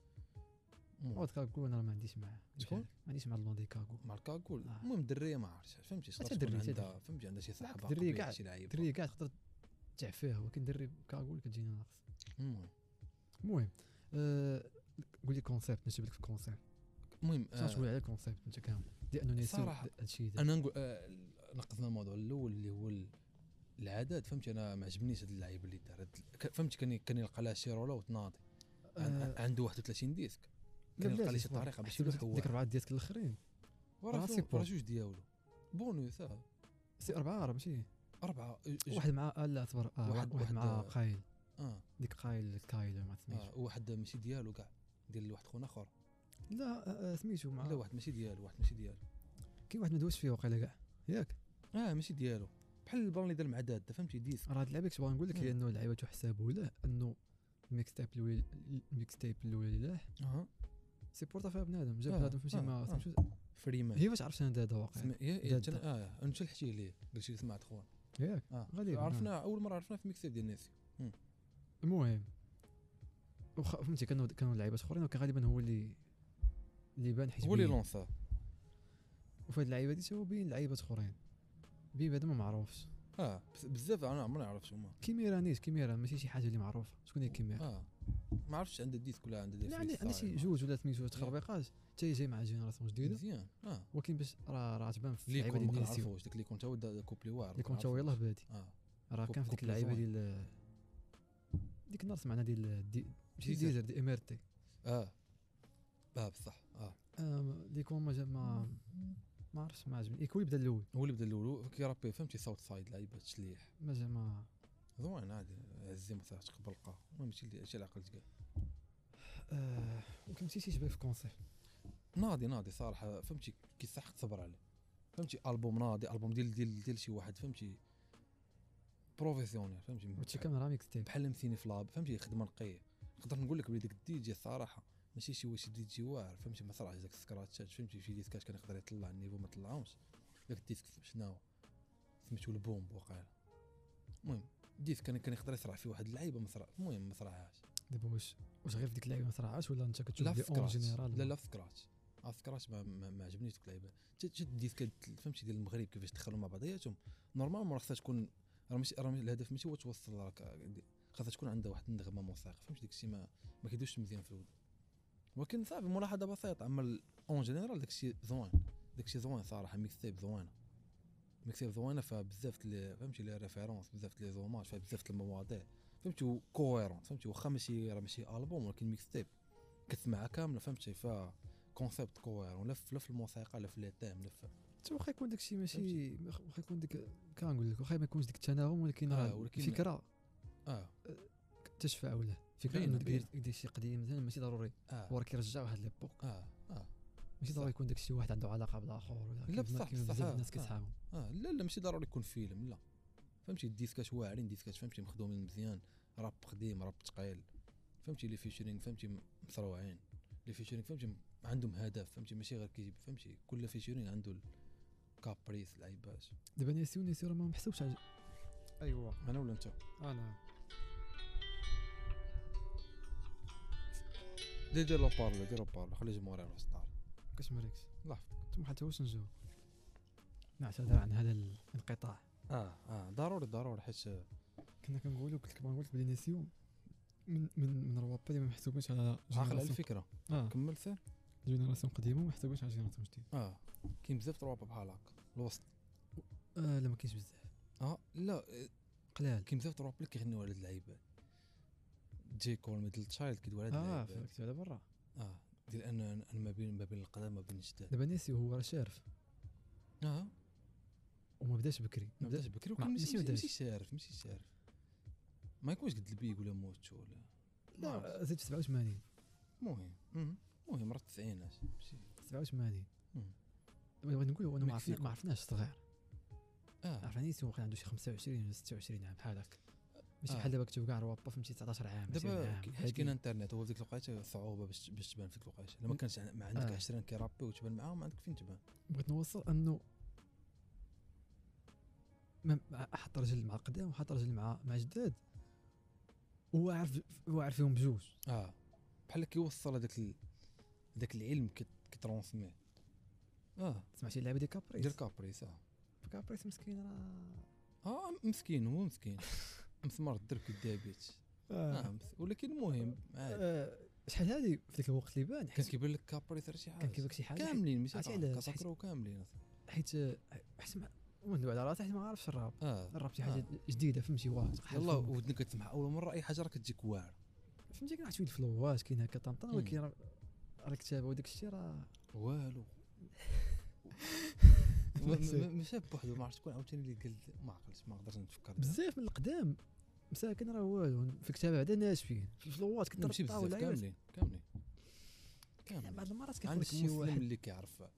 A: المهم.
B: عاد كاكو انا راه ما عنديش معاه
A: شكون؟
B: ما عنديش مع الماضي كاكو
A: مع الكاكول
B: آه.
A: المهم الدريه ما عرفتش فهمتي
B: حتى
A: شغل تكون
B: الدرية، حتى
A: عندها فهمتي عندها شي صحابه
B: الدرية
A: قبلية،
B: كاع-
A: شي لعيبه
B: الدريه كاع تقدر تجع فيها ولكن دري كاكو اللي كتجيني ناقص
A: المهم
B: المهم آه، قول لي كونسيبت نجيب لك الكونسيبت
A: المهم
B: شنو
A: آه،
B: تقول على الكونسيبت انت كامل ديال انه نسيو
A: صراحة،
B: هادشي هذا
A: انا نقول آه، نقصنا الموضوع الاول اللي هو ال- العدد فهمتي انا ما عجبنيش هاد اللعيبه اللي دار هاد ال- ك- فهمتي كان كان يلقى لها شي روله وتناضي عن-
B: آه،
A: عنده 31 ديسك كان
B: لا
A: يلقى
B: بلاتي،
A: لي شي
B: صراحة.
A: طريقه باش
B: حسب
A: يلوح
B: ديك اربعه ديالك الاخرين راه
A: وراه
B: سي بون.
A: راه جوج ديالو بونوس آه،
B: سي اربعه راه ماشي
A: اربعه ج- ج-
B: واحد مع آه، لا صبر آه،
A: واحد-
B: واحد واحد
A: واحد،
B: مع
A: آه،
B: قايل
A: اه
B: ديك قايل كايل ما سميتش
A: آه، واحد ماشي ديالو كاع ديال واحد خونا اخر
B: لا آه، آه، سميتو
A: لا
B: مع
A: واحد ماشي ديالو واحد ماشي ديالو
B: كاين واحد ما دوزش فيه وقيلا كاع ياك
A: اه ماشي ديالو بحال البلان اللي دار مع داد فهمتي ديسك
B: راه هاد اللعبه كنت باغي نقول لك هي
A: مم.
B: انه اللعيبه تحسبوا له انه الميكس تايب الاول الميكس تايب الاول له
A: اه
B: سي بورتا فيها بنادم جاب
A: آه،
B: بنادم فهمتي
A: آه،
B: ما
A: آه.
B: سميتو
A: فريمان
B: هي فاش عرفت انا هذا واقع
A: سمع- يا- يا-
B: داد.
A: تن- اه انت اللي حكيتي ليه قلتي لي سمعت خونا
B: ياك
A: اه
B: غالباً، آه.
A: عرفنا اول مره عرفنا في ميكسيب ديال ناسي
B: المهم وخ... فهمتي كانوا كانوا لعيبات اخرين ولكن غالبا هو اللي اللي بان حيت
A: هو اللي
B: بين.
A: لونسا
B: وفي هاد اللعيبه دي هو بين لعيبات اخرين بين بعدا ما معروفش
A: اه بس- بزاف انا عمري ما عرفت هما
B: كيميرا نيت كيميرا ماشي شي حاجه اللي معروفه شكون هي كيميرا
A: اه ما عرفتش عندها ديسك ولا عندها
B: إيه. لا عندي
A: ديال
B: عندي شي جوج ولا ثمانية تخربيقات حتى هي جاي مع جينيراسيون جديده
A: مزيان اه
B: ولكن باش راه راه تبان في
A: ليكون
B: اللعيبه
A: ما
B: ديال نيسيو
A: كنعرفوش داك ليكون تا هو دا- كوبلي واعر
B: اللي
A: ما
B: كنت هو يلاه
A: كنعرفوش.
B: بادي
A: اه
B: راه
A: كوب-
B: كان في ديك
A: كوب
B: اللعيبه
A: لوزون.
B: ديال ديك النهار سمعنا ديال دي ماشي
A: ديزل.
B: ديزر دي ام ار تي
A: اه اه بصح اه
B: اللي كون ما جا ما ما عرفتش ما عجبني ايكو بدا الاول
A: هو اللي بدا الاول كيرابي فهمتي صوت سايد لعيبه تشليح
B: ما جا ما
A: زوين عادي عزي مثلا تقبل القا المهم ماشي اللي شي العقل تقال
B: آه، ولكن ماشي شي شبه في كونسيبت
A: ناضي ناضي صراحه فهمتي كيصح تصبر عليه فهمتي البوم ناضي البوم ديال ديال ديال شي واحد فهمتي بروفيسيونيل فهمتي آه،
B: هادشي كامل راه ميكس تيب
A: بحال مثيني في لاب فهمتي خدمه نقيه نقدر نقول لك بلي ديك الدي جي الصراحه ماشي شي واش دي جي واعر فهمتي ما طلعش داك السكراتشات فهمتي شي ديسكات كان يقدر يطلع النيفو ما طلعهمش داك الديسك شناهو سميتو البومب وقال المهم الديسك كان كان يقدر يصرع فيه واحد اللعيبه ما صرع المهم ما صرعهاش
B: دابا واش واش غير في ديك اللعيبه ما صرعاش ولا انت كتشوف
A: لا في
B: دي اون
A: سكراتش
B: جينيرال
A: لا لا في سكراتش آه، في سكراتش ما, ما, ما عجبنيش ديك اللعيبه شد شد الديسكات فهمتي ديال المغرب كيفاش دخلوا مع بعضياتهم نورمالمون راه خصها تكون راه ماشي راه ماشي- الهدف ماشي هو توصل راك خاصها تكون عندها واحد النغمه موسيقى فهمتي داك الشيء ما ما كيدوش مزيان في الود ولكن صافي ملاحظه بسيطه اما اون جينيرال داك الشيء زوين داك الشيء زوين صراحه ميكس تيب زوينه ميكس تيب زوينه فيها بزاف ديال- فهمتي لي ريفيرونس بزاف ديال لي زوماج فيها بزاف ديال المواضيع فهمتي كويرون فهمتي واخا ماشي راه ماشي البوم ولكن ميكس تيب كتسمعها كامله فهمتي فيها كونسيبت كويرون لا في لا في يعني، الموسيقى لا في لي تيم لا في
B: حتى واخا يكون داكشي ماشي واخا يكون ديك كنقول لك واخا ما يكونش ديك التناغم ولكن
A: آه،
B: راه
A: ولكن-
B: الفكره
A: اه
B: تشفع ولا فكره
A: باينة،
B: انه ديك-
A: باينة.
B: ديك شي قديم مثلا ماشي ضروري هو
A: اه
B: راه كيرجع واحد ليبوك
A: اه اه
B: ماشي
A: صح.
B: ضروري يكون داكشي واحد عنده علاقه بالاخر ولا كيما-
A: بصح،
B: كيما
A: بصح،
B: بزاف
A: آه،
B: الناس
A: آه.
B: كيسحابهم
A: اه لا لا ماشي ضروري يكون فيلم لا فهمتي الديسكات واعرين ديسكات فهمتي مخدومين مزيان راب قديم راب ثقيل فهمتي لي فيشرينغ فهمتي م- مصروعين لي فيشرينغ فهمتي م- عندهم هدف فهمتي ماشي غير كيجيب فهمتي كل فيشرينغ عنده الكابريس العيبات
B: دابا ناسيو ناسيو راه ما محسوبش على ايوا
A: انا ولا انت
B: انا
A: دير دير لوبارلو دير لوبارلو خلي الجمهور يعرف السطار
B: كاش مريكش
A: الله
B: انتم حتى واش نجاوب نعتذر عن هذا الانقطاع
A: اه اه ضروري ضروري حيت آه،
B: كنا كنقولوا قلت لك قلت بلي ناسيو من من من الروابط اللي ما محسوبينش على
A: عاقل على
B: جينيراسيون-
A: الفكره
B: اه
A: كمل سير
B: جينيراسيون قديمه وما حسبوش على جينيراسيون جديد
A: اه كاين بزاف تروابط بحال هكا الوسط
B: آه لا ما كاينش بزاف
A: اه لا آه،
B: قلال
A: كاين بزاف تروابط اللي كيغنيو على هاد اللعيبات جي كول ميدل تشايلد كيدوي على هاد
B: اه
A: اللعيبات
B: فهمت على برا
A: اه ديال انا انا ما بين ما بين القدم ما بين الجداد
B: دابا ناسيو هو راه شارف
A: اه
B: وما بداش بكري
A: ما بداش
B: بدا
A: بكري
B: آه، ما-
A: وكان ماشي
B: ماشي
A: ماشي-
B: بداش.
A: ماشي شارف ماشي شارف ما يكونش قد البيك ولا موت ولا ما
B: لا
A: عرفتش.
B: زاد في 87
A: المهم مهم. المهم راه التسعينات ماشي
B: 87
A: مم.
B: دابا بغيت نقول هو انا ما عرفنا
A: مكسيكو.
B: ما عرفناش صغير
A: اه
B: عرفنا ناسيو واقيلا عنده شي 25 ولا 26 عام بحال هكا ماشي
A: آه.
B: بحال دابا كتب كاع روابا فهمتي 19 عام 20
A: دابا
B: عام
A: كي- حيت
B: هادي.
A: كاين انترنت هو في ديك الوقيته صعوبه باش باش تبان في ديك الوقيته لما
B: م.
A: كانش عن- ما عندك
B: آه.
A: 20 كيرابي وتبان معاهم ما عندك فين تبان
B: بغيت نوصل انه ما- ما حط رجل مع قدام وحط رجل مع مع جداد هو عارف هو عارف فيهم بجوج
A: اه بحال كيوصل هذاك ال... هذاك العلم كت- كترونسميه اه
B: سمع شي لعبه ديال كابريس
A: ديال كابريس اه
B: كابريس مسكين راه
A: اه مسكين هو مسكين مسمار الدرب كدابيت
B: آه.
A: اه مس- ولكن المهم عادي
B: آه، شحال هذه في ذاك الوقت اللي بان
A: كان
B: حيت
A: كيبان لك كابريس راه شي
B: كان
A: حاجه
B: كيبان شي حاجه حيت-
A: كاملين ماشي
B: عرفتي
A: طاح،
B: علاش؟
A: كساكرو كاملين
B: حيت آه، حيت ما- وندوي على راسي حيت ما عارفش الراب
A: اه
B: الراب شي حاجه جديده فهمتي واش
A: يلا ودنك كتسمع اول مره اي حاجه راه كتجيك واعره
B: فهمتي كنعرف شويه الفلوات كاين هكا طنطن
A: مم.
B: ولكن راه راه الكتابه وداك الشيء راه
A: والو ما- ما- ما شاف بوحدو ما عرفت شكون عاوتاني اللي قال ما عقلتش ما قدرتش نتفكر
B: بزاف من القدام مساكن راه والو في كتابه بعدا ناشفين في الفلوات كنت
A: ماشي بزاف كاملين كاملين كاملين
B: بعض المرات كيخرج
A: عندك
B: شي
A: مسلم
B: واحد
A: اللي كيعرف
B: مسلم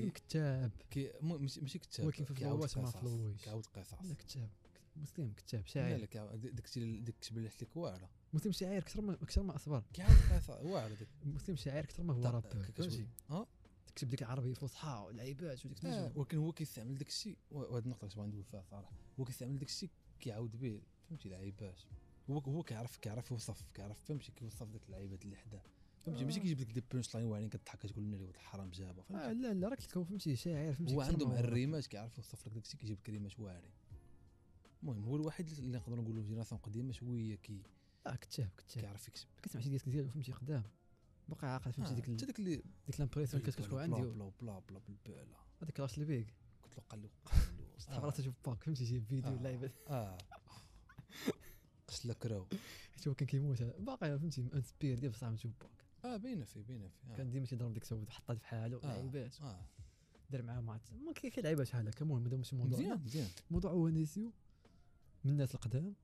A: اللي
B: كتاب
A: كي مو- ماشي ماشي كتاب
B: ولكن في
A: كيعاود
B: الفلوات ما
A: قصص،
B: فلويش.
A: كيعاود قصص
B: لا كتاب مسلم كتاب
A: لا
B: شاعر
A: لا كيعاود- داك الشيء اللي- داك الكتب اللي حت لك واعره
B: مسلم شاعر اكثر ما اكثر ما اصبر
A: كيعاود قصص واعره داك
B: مسلم شاعر اكثر ما هو
A: طب،
B: رابر
A: كيكتب-
B: فهمتي
A: آه.
B: تكتب ديك العربيه الفصحى والعيبات وديك
A: آه،
B: الترجمة.
A: ولكن هو كيستعمل داك الشيء وهاد النقطه اللي بغيت ندوي فيها صراحه هو كيستعمل داك الشيء كيعاود به فهمتي العيبات هو هو كيعرف كيعرف يوصف كيعرف فهمتي كيوصف ديك اللعيبات اللي حداه فهمتي ماشي
B: آه.
A: كيجيب لك دي بونش لاين واعرين كتضحك كتقول لنا ولد الحرام جابها
B: اه
A: فهمتي
B: لا لا راك تلقاو فهمتي شاعر فهمتي
A: هو
B: أكثر
A: عنده
B: ما
A: مع
B: رابر.
A: الريماج كيعرف يوصف لك داك الشيء كيجيب لك ريماج واعرين المهم هو الوحيد اللي نقدر نقولوا جينيراسيون قديمه شويه كي
B: اه كتاب كتاب
A: كيعرف يكتب
B: كتسمع شي ديسك ديالو فهمتي قدام باقي عاقل
A: آه،
B: فهمتي ديك
A: حتى
B: ال-
A: داك اللي
B: ديك الامبريسيون اللي كتكون عندي
A: بلا بلا بلا بالبالة
B: هذاك راس البيك
A: قلت له قال له قال له
B: صافي راسه شوف باك فهمتي شي فيديو
A: آه.
B: لعيبه
A: اه قص لك راو
B: حيت هو كان كيموت على- باقي فهمتي انسبير ديال بصح مشوف باك
A: اه باينه فيه باينه فيه آه.
B: كان ديما تيضرب ديك السود حطها في حاله
A: آه.
B: لعيبات
A: اه
B: دار معاه مع ما كي- كيلعبها شحال هكا المهم هذا ماشي موضوع
A: مزيان مزيان
B: الموضوع هو نيسيو من الناس القدام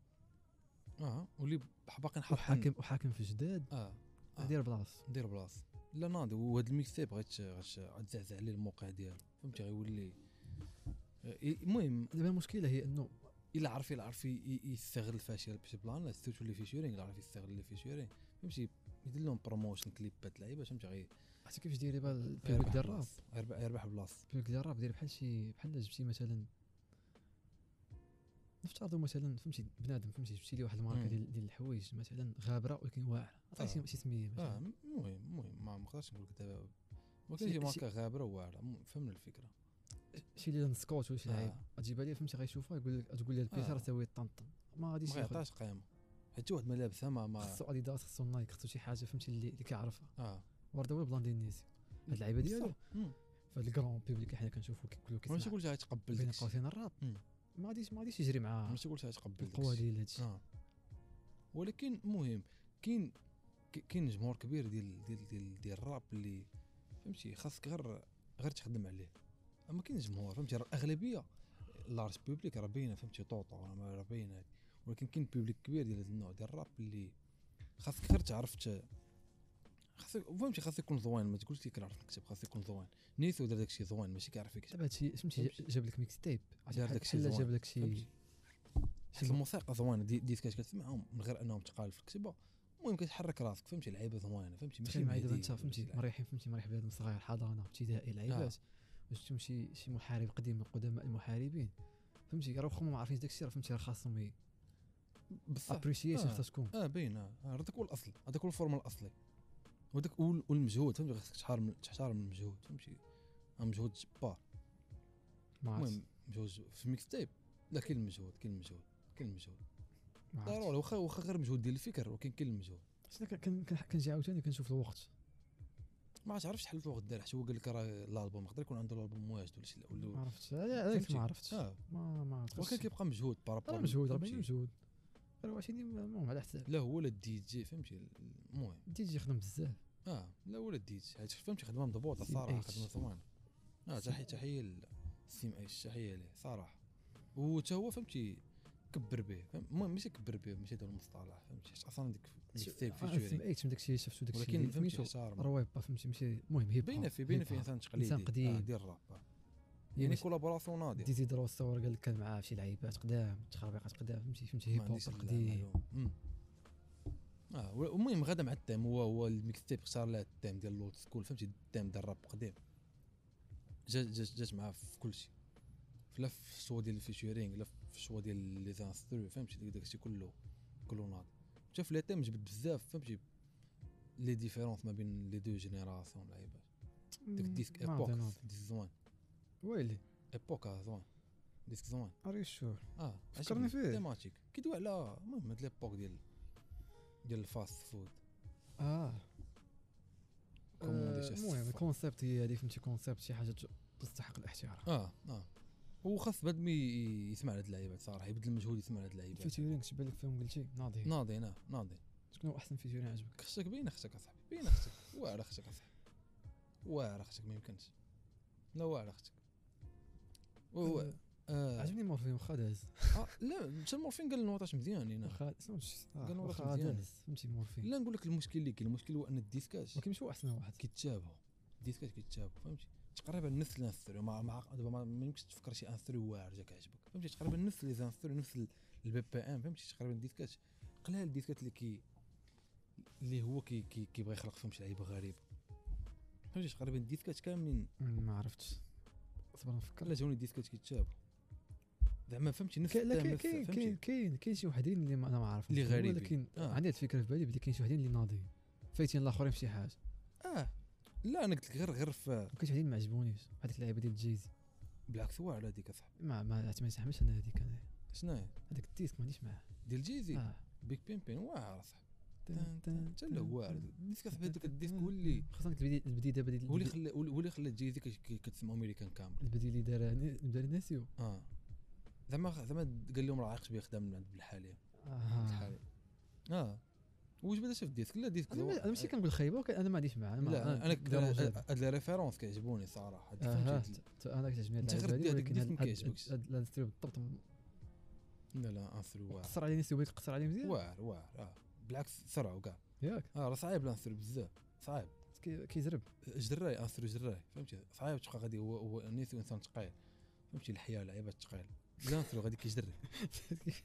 A: اه واللي بح- باقي نحط
B: وحاكم وحاكم في جداد
A: اه آه.
B: دير بلاص
A: دير بلاص لا ناضي وهاد الميكسيب غت غت- غتزعزع عليه الموقع ديالو فهمتي غيولي آه، المهم
B: دابا المشكله هي انه
A: الا عرف الا عرف ي- ي- يستغل الفاشل بشي بلان لا ستوتو اللي فيشورينغ الا عرف يستغل اللي فيشورينغ فهمتي يدير لهم بروموشن كليبات لعيبه فهمتي غي
B: عرفتي كيفاش داير دابا البيبيك
A: يربح
B: ديال الراب
A: بلاص يربح يربح بلاص
B: البيبيك ديال الراب داير بحال شي بحال جبتي مثلا نفترضوا مثلا فهمتي بنادم فهمتي جبتي لي واحد الماركه
A: مم.
B: ديال ديال الحوايج مثلا غابره ولكن واعره عطيه شي
A: آه.
B: شي سميه مثلا
A: اه م- المهم المهم ما ما نقدرش نقول لك دابا ولكن
B: شي-
A: شي
B: شي-
A: ماركه غابره واعره المهم، فهمنا الفكره
B: شي ليله سكوت ولا شي
A: آه.
B: لعيب تجيبها لي فهمتي غيشوفها يقول لك تقول لي البيسار
A: آه.
B: تسوي طنطن ما غاديش
A: ما
B: ياخذ
A: يعطاش قيمه حيت واحد ما لابسها ما ما
B: خصو اديداس خصو نايك خصو شي حاجه فهمتي اللي اللي كيعرفها
A: اه
B: ورده هو البلان ديال نيسيو هاد اللعيبه ديالو فهاد الكرون بيبليك حنا كنشوفو كيقولو
A: ماشي
B: كيسمع
A: قلت غيتقبل
B: بين
A: داكشي
B: قوسين الراب
A: مم.
B: ما غاديش ما غاديش يجري مع
A: ماشي قلت غيتقبل
B: القوه
A: داكشي
B: ديال هادشي
A: اه ولكن المهم كاين ك- كاين جمهور كبير ديال ديال ديال ديال الراب اللي فهمتي خاصك غير غير تخدم عليه اما كاين جمهور فهمتي راه الاغلبيه لارج بوبليك راه باينه فهمتي طوطو راه ما- راه باينه ولكن كاين بوبليك كبير ديال هاد النوع ديال الراب اللي خاصك غير تعرف ت- خاصك فهمتي خاص يكون زوين ما تقولش كنعرف نكتب خاص يكون زوين نيسو دار داكشي زوين ماشي كيعرف يكتب
B: دابا هادشي فهمتي
A: فهمتي.
B: جاب لك ميكس تيب
A: دار داكشي
B: بحال
A: زوين.
B: جاب لك شي
A: فهمتي حيت الموسيقى زوينه دي ديسكات كتسمعهم من غير انهم تقال في الكتبه المهم كتحرك راسك فهمتي لعيبه زوينه فهمتي ماشي آه.
B: تخيل معايا دابا
A: مهدي
B: انت
A: ولا شي
B: فهمتي
A: لعيب.
B: مريحين فهمتي مريح بهاد الصغير حضانه ابتدائي لعيبات باش تمشي شي محارب قديم من قدماء المحاربين فهمتي راه واخا ما عارفينش داكشي راه فهمتي راه خاصهم ي-
A: بصح
B: ابريسيشن
A: آه.
B: خاصها تكون
A: اه باين اه آه، هذاك هو الاصل هذاك هو الفورمال الاصلي وداك وال- والمجهود فهمتي خاصك تحترم تحترم المجهود فهمتي آه، مجهود جبار
B: ما عرفتش
A: المهم مجهود في الميكس تايب لا كاين المجهود كاين المجهود كاين المجهود
B: ما عرفتش.
A: ضروري واخا واخا غير مجهود ديال الفكر ولكن كاين المجهود
B: حسنا كن- كن- كن- كنجي عاوتاني كنشوف الوقت
A: ما عرفتش شحال الوقت دار حتى هو قال لك راه الالبوم يقدر يكون عنده الالبوم واجد ولا شي لا-
B: ما
A: ولا
B: عرفتش هذاك
A: فهمتي.
B: إيه، ما عرفتش
A: اه
B: ما ما
A: ولكن
B: عرفتش
A: كيبقى مجهود بارابور
B: راه مجهود راه
A: فهمتي.
B: باين مجهود راه عشان المهم يعني على حساب
A: لا هو لا الدي جي فهمتي المهم
B: دي جي يخدم بزاف
A: اه لا ولا ديت هاد فهمتي خدمه مضبوطه
B: سيم
A: صراحه
B: إيش.
A: خدمه زوينه اه تحيه تحيه لسيم ايش تحيه ليه صراحه وتا هو فهمتي كبر به فهم- المهم ماشي كبر به ماشي هذا المصطلح فهمتي حيت اصلا ديك السيب
B: آه،
A: في جوري
B: ايت داك الشيء شفتو داك الشيء
A: ولكن
B: اللي
A: فهمتي
B: سميتو راه
A: احترم
B: وايبا فهمتي ماشي المهم هيب
A: باينه
B: هوب،
A: فيه باينه
B: هيب
A: فيه
B: هوب.
A: انسان تقليدي
B: إنسان قديم.
A: آه ديال الراب آه.
B: يعني
A: يعني كولابوراسيون ناضيه
B: ديزي درو الصور قال لك كان معاه شي لعيبات قدام تخربيقات قدام فهمتي فهمتي هيب
A: ما
B: هوب
A: عنديش
B: قديم
A: المعلومة. مم. اه و- المهم غدا مع التيم هو هو الميكس تيب اختار لها التيم ديال لولد سكول فهمتي التيم ديال الراب قديم جات جات جات معاه في كلشي لا في الشوا ديال الفيشورينغ لا في الشوا ديال لي زانسترو فهمتي داك- داكشي كله كله ناضي حتى في لي تيم جبد بزاف فهمتي لي ديفيرونس ما بين لي دو جينيراسيون لعيبات داك الديسك
B: ما عرفت أنا.
A: ايبوك ديسك زوين
B: ويلي
A: ايبوك آه، زوين ديسك زوين
B: اري شور
A: اه
B: فكرني
A: عجبني.
B: فيه.
A: تيماتيك كيدوي على المهم هاد ليبوك ديال ديال الفاست فود
B: اه
A: كوموندي
B: آه،
A: شي
B: المهم
A: صفة.
B: الكونسيبت هي هذه فهمتي كونسيبت شي حاجه ت- تستحق الاحترام
A: اه اه هو خاص بنادم ي- يسمع لهاد اللعيبات صراحه يبدل المجهود يسمع لهاد اللعيبات
B: الفيتورينغ شبان لك فيهم قلتي ناضي
A: ناضي ناه ناضي
B: شكون هو احسن فيتورينغ عجبك
A: خصك باين خصك اصاحبي باين خصك واعر خصك اصاحبي واعر خصك ما يمكنش لا واعر خصك و- و-
B: آه،
A: آه
B: عجبني مورفين واخا داز
A: آه، لا حتى المورفين قال نوطاش مزيان هنا
B: واخا شنو شي- آه،
A: قالوا راه
B: واخا
A: مزيان.
B: داز فهمتي مورفين
A: لا نقول لك المشكل اللي كاين المشكل هو ان الديسكاش
B: ولكن مش هو احسن واحد
A: كيتشابهوا الديسكات كيتشابهوا فهمتي تقريبا نفس الانثرو ما ما دابا ما- ما يمكنش تفكر شي انثرو واعر جاك عجبك فهمتي تقريبا نفس لي انثرو نفس البي بي ام فهمتي تقريبا الديسكات قلال الديسكات اللي كي اللي هو كي كي كيبغى يخلق فيهم شي لعيبه غريبه فهمتي تقريبا الديسكات كاملين
B: مم، ما عرفتش صبر
A: لا
B: نفكر
A: جاوني الديسكات كيتشابهوا زعما فهمتي نفس
B: كاين- لا
A: التام،
B: كاين
A: نفس-
B: كاين
A: فهمتي
B: كاين كاين كاين شي وحدين اللي ما انا ما عارف
A: اللي غريبين.
B: ولكن
A: آه.
B: عندي هاد الفكره في بالي بلي كاين شي وحدين اللي ناضيين فايتين الاخرين بشي حاجه
A: اه لا انا قلت لك غير غير في
B: وكاين شي وحدين ما عجبونيش هذيك اللعيبه ديال جيزي
A: بالعكس واعر هذيك اصاحبي
B: ما ما تمسحمش انا هذيك انا
A: شنو هي؟
B: هذاك الديسك ما عنديش معاه
A: ديال جيزي
B: آه.
A: بيك بين بين واعر اصاحبي
B: تن- تن-
A: حتى لا هو واعر
B: تن-
A: الديسك
B: تن-
A: اصاحبي هذاك
B: تن-
A: الديسك
B: تن-
A: هو اللي
B: خاصة ديك البديل البديل دابا ديال-
A: هو اللي
B: البديل-
A: خلى هو اللي خلى جاي ديك كي- كتسمى امريكان كامل
B: البديل اللي دار دار ناسيو
A: اه زعما زعما قال لهم راه عايق شبيه خدام من عند بالحاليه
B: آه.
A: بالحاليه اه وجبد هذا في الديسك لا ديسك
B: انا ما- أنا ماشي كنقول خايبه ولكن انا ما عنديش معاه ما-
A: لا انا
B: دار وجهي.
A: هاد لي ريفيرونس كيعجبوني صراحه هاد
B: آه،
A: فهمتي
B: ت- انا كتعجبني
A: أنت
B: اللعيبة
A: غير
B: هادي
A: دير
B: ولكن
A: ديك
B: هاد-
A: ما
B: هاد-
A: كيعجبكش.
B: هاد- هاد الانسترو بالضبط م-
A: لا لا انثر واعر
B: قصر عليه ناسيو بغيت تقصر عليه مزيان
A: واعر واعر اه بالعكس سرعوا كاع
B: ياك
A: اه راه صعيب الانثر بزاف صعيب
B: كي- كيزرب
A: جراي انثر جراي فهمتي صعيب تبقى غادي هو هو نيت انسان ثقيل فهمتي الحياه لعيبات ثقيل الانثر غادي كيجري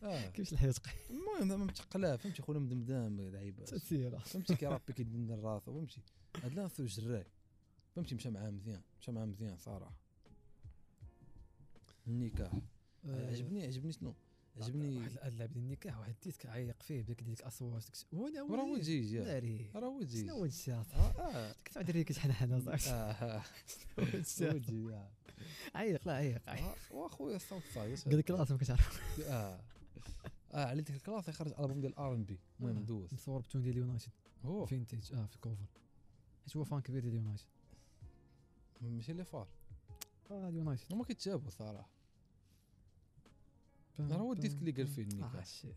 A: اه
B: كيفاش الحياه تقيل
A: المهم زعما متقلاه فهمتي خونا مدمدام لعيبه
B: تاثير
A: فهمتي كيرابي كيدندن راسو فهمتي هاد لانسو جراي فهمتي مشى معاه مزيان مشى معاه مزيان صراحه النكاح آه، عجبني عجبني شنو عجبني
B: آه. واحد هاد اللعب ديال النكاح واحد الديسك عايق فيه بداك ديك الاصوات داك الشيء. هو
A: راه هو
B: هو
A: جيج ياك.
B: داري
A: راه هو جيج
B: شنو طيب. هو هادشي
A: آه،
B: اصاحبي
A: آه.
B: ديك الساعه دري كتحنحن اصاحبي
A: آه،
B: شنو هو هادشي
A: هو
B: أصاحبي؟
A: جيج آه.
B: عايق لا عايق عايق
A: آه، واخويا الصوت صايص
B: طيب. قال لك راسه ما كتعرف
A: اه اه على ديك الكلاس خرج البوم ديال ار ان بي المهم
B: آه،
A: دوز
B: مصور بتون ديال اليونايتد
A: هو
B: فينتيج اه في الكوفر حيت هو فان كبير ديال اليونايتد
A: ماشي اللي فار
B: اه اليونايتد
A: هما كيتشابهوا صراحه راه هو الديسك اللي قال فيه النكاح.
B: آه، شي.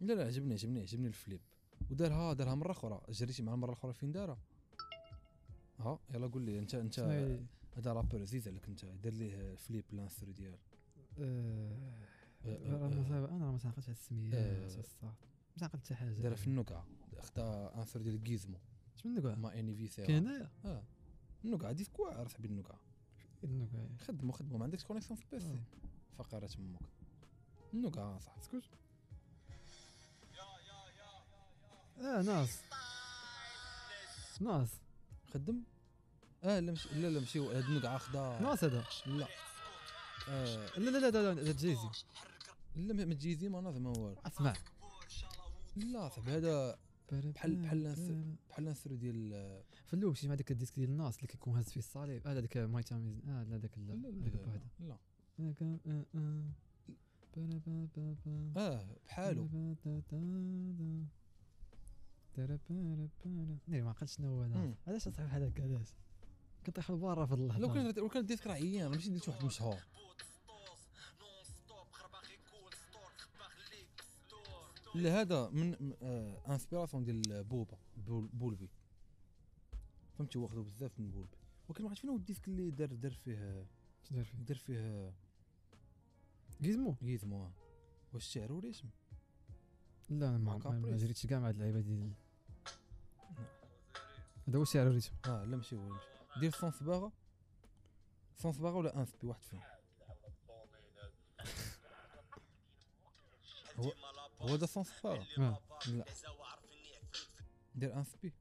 A: لا لا عجبني عجبني عجبني الفليب ودارها دارها مره اخرى جريتي مع المره الاخرى فين دارها ها يلا قول لي انت انت
B: شنو هي-
A: هذا رابر عزيز عليك انت دار ليه فليب لانسر ديالو
B: آه،
A: آه، آه،
B: راه ما صعب- انا راه ما تعرفتش على السميه
A: آه.
B: على الصوت. ما عقلت حتى حاجه
A: دارها في النكعه خدا انسر ديال جيزمو
B: اش من نكعه
A: ما اني في سي
B: كاين هنايا
A: اه النكعه ديسك واعر صاحبي النكعه
B: النكعه
A: خدمو خدمو ما عندكش كونيكسيون في البيسي
B: آه.
A: فقره امك النكعه صح
B: اسكت اه ناس ناس
A: خدم اه لا مش لا لا مشي هاد النكعه خدا
B: ناس هذا
A: لا آه
B: لا لا لا لا لا تجيزي
A: لا ما- ما تجيزي ما نظم والو
B: اسمع
A: لا صاحبي هذا بحال- بحال ناس- بحال نسرو ديال آه،
B: في الاول مشيت مع داك الديسك ديال الناس اللي كيكون هاز فيه الصليب اه داك ماي تايم إز- اه لا داك
A: لا لا
B: داك
A: لا,
B: بوحده
A: لا, لا
B: داك- آه، آه. برا- برا- برا- برا.
A: اه بحالو
B: برا- برا- برا. برا- برا- برا. ناري ما عقلتش شنو هو هذا
A: مم.
B: علاش اصاحبي بحال هكا علاش كطيح البارة في الله
A: لو كان لو كان ديسك راه ايام ماشي درت واحد مشهور لا هذا من م- آه انسبيراسيون ديال بوبا بول- بولبي فهمتي واخذو بزاف من بولبي ولكن ما عرفت فين هو الديسك اللي دار دار فيه
B: شنو داير فيه
A: دار فيه
B: جيزمو
A: غيزمو واش الشعر ولا اسم
B: لا أنا ما
A: مع
B: ما- ما
A: كابريس.
B: جريتش كاع مع هاد اللعيبه ديال هذا هو السعر الريتم
A: اه لا ماشي هو لا ماشي دير صون صباغه صون صباغه ولا انسبي واحد فيهم هو هو ده صون صباغه
B: اه
A: لا دير انسبي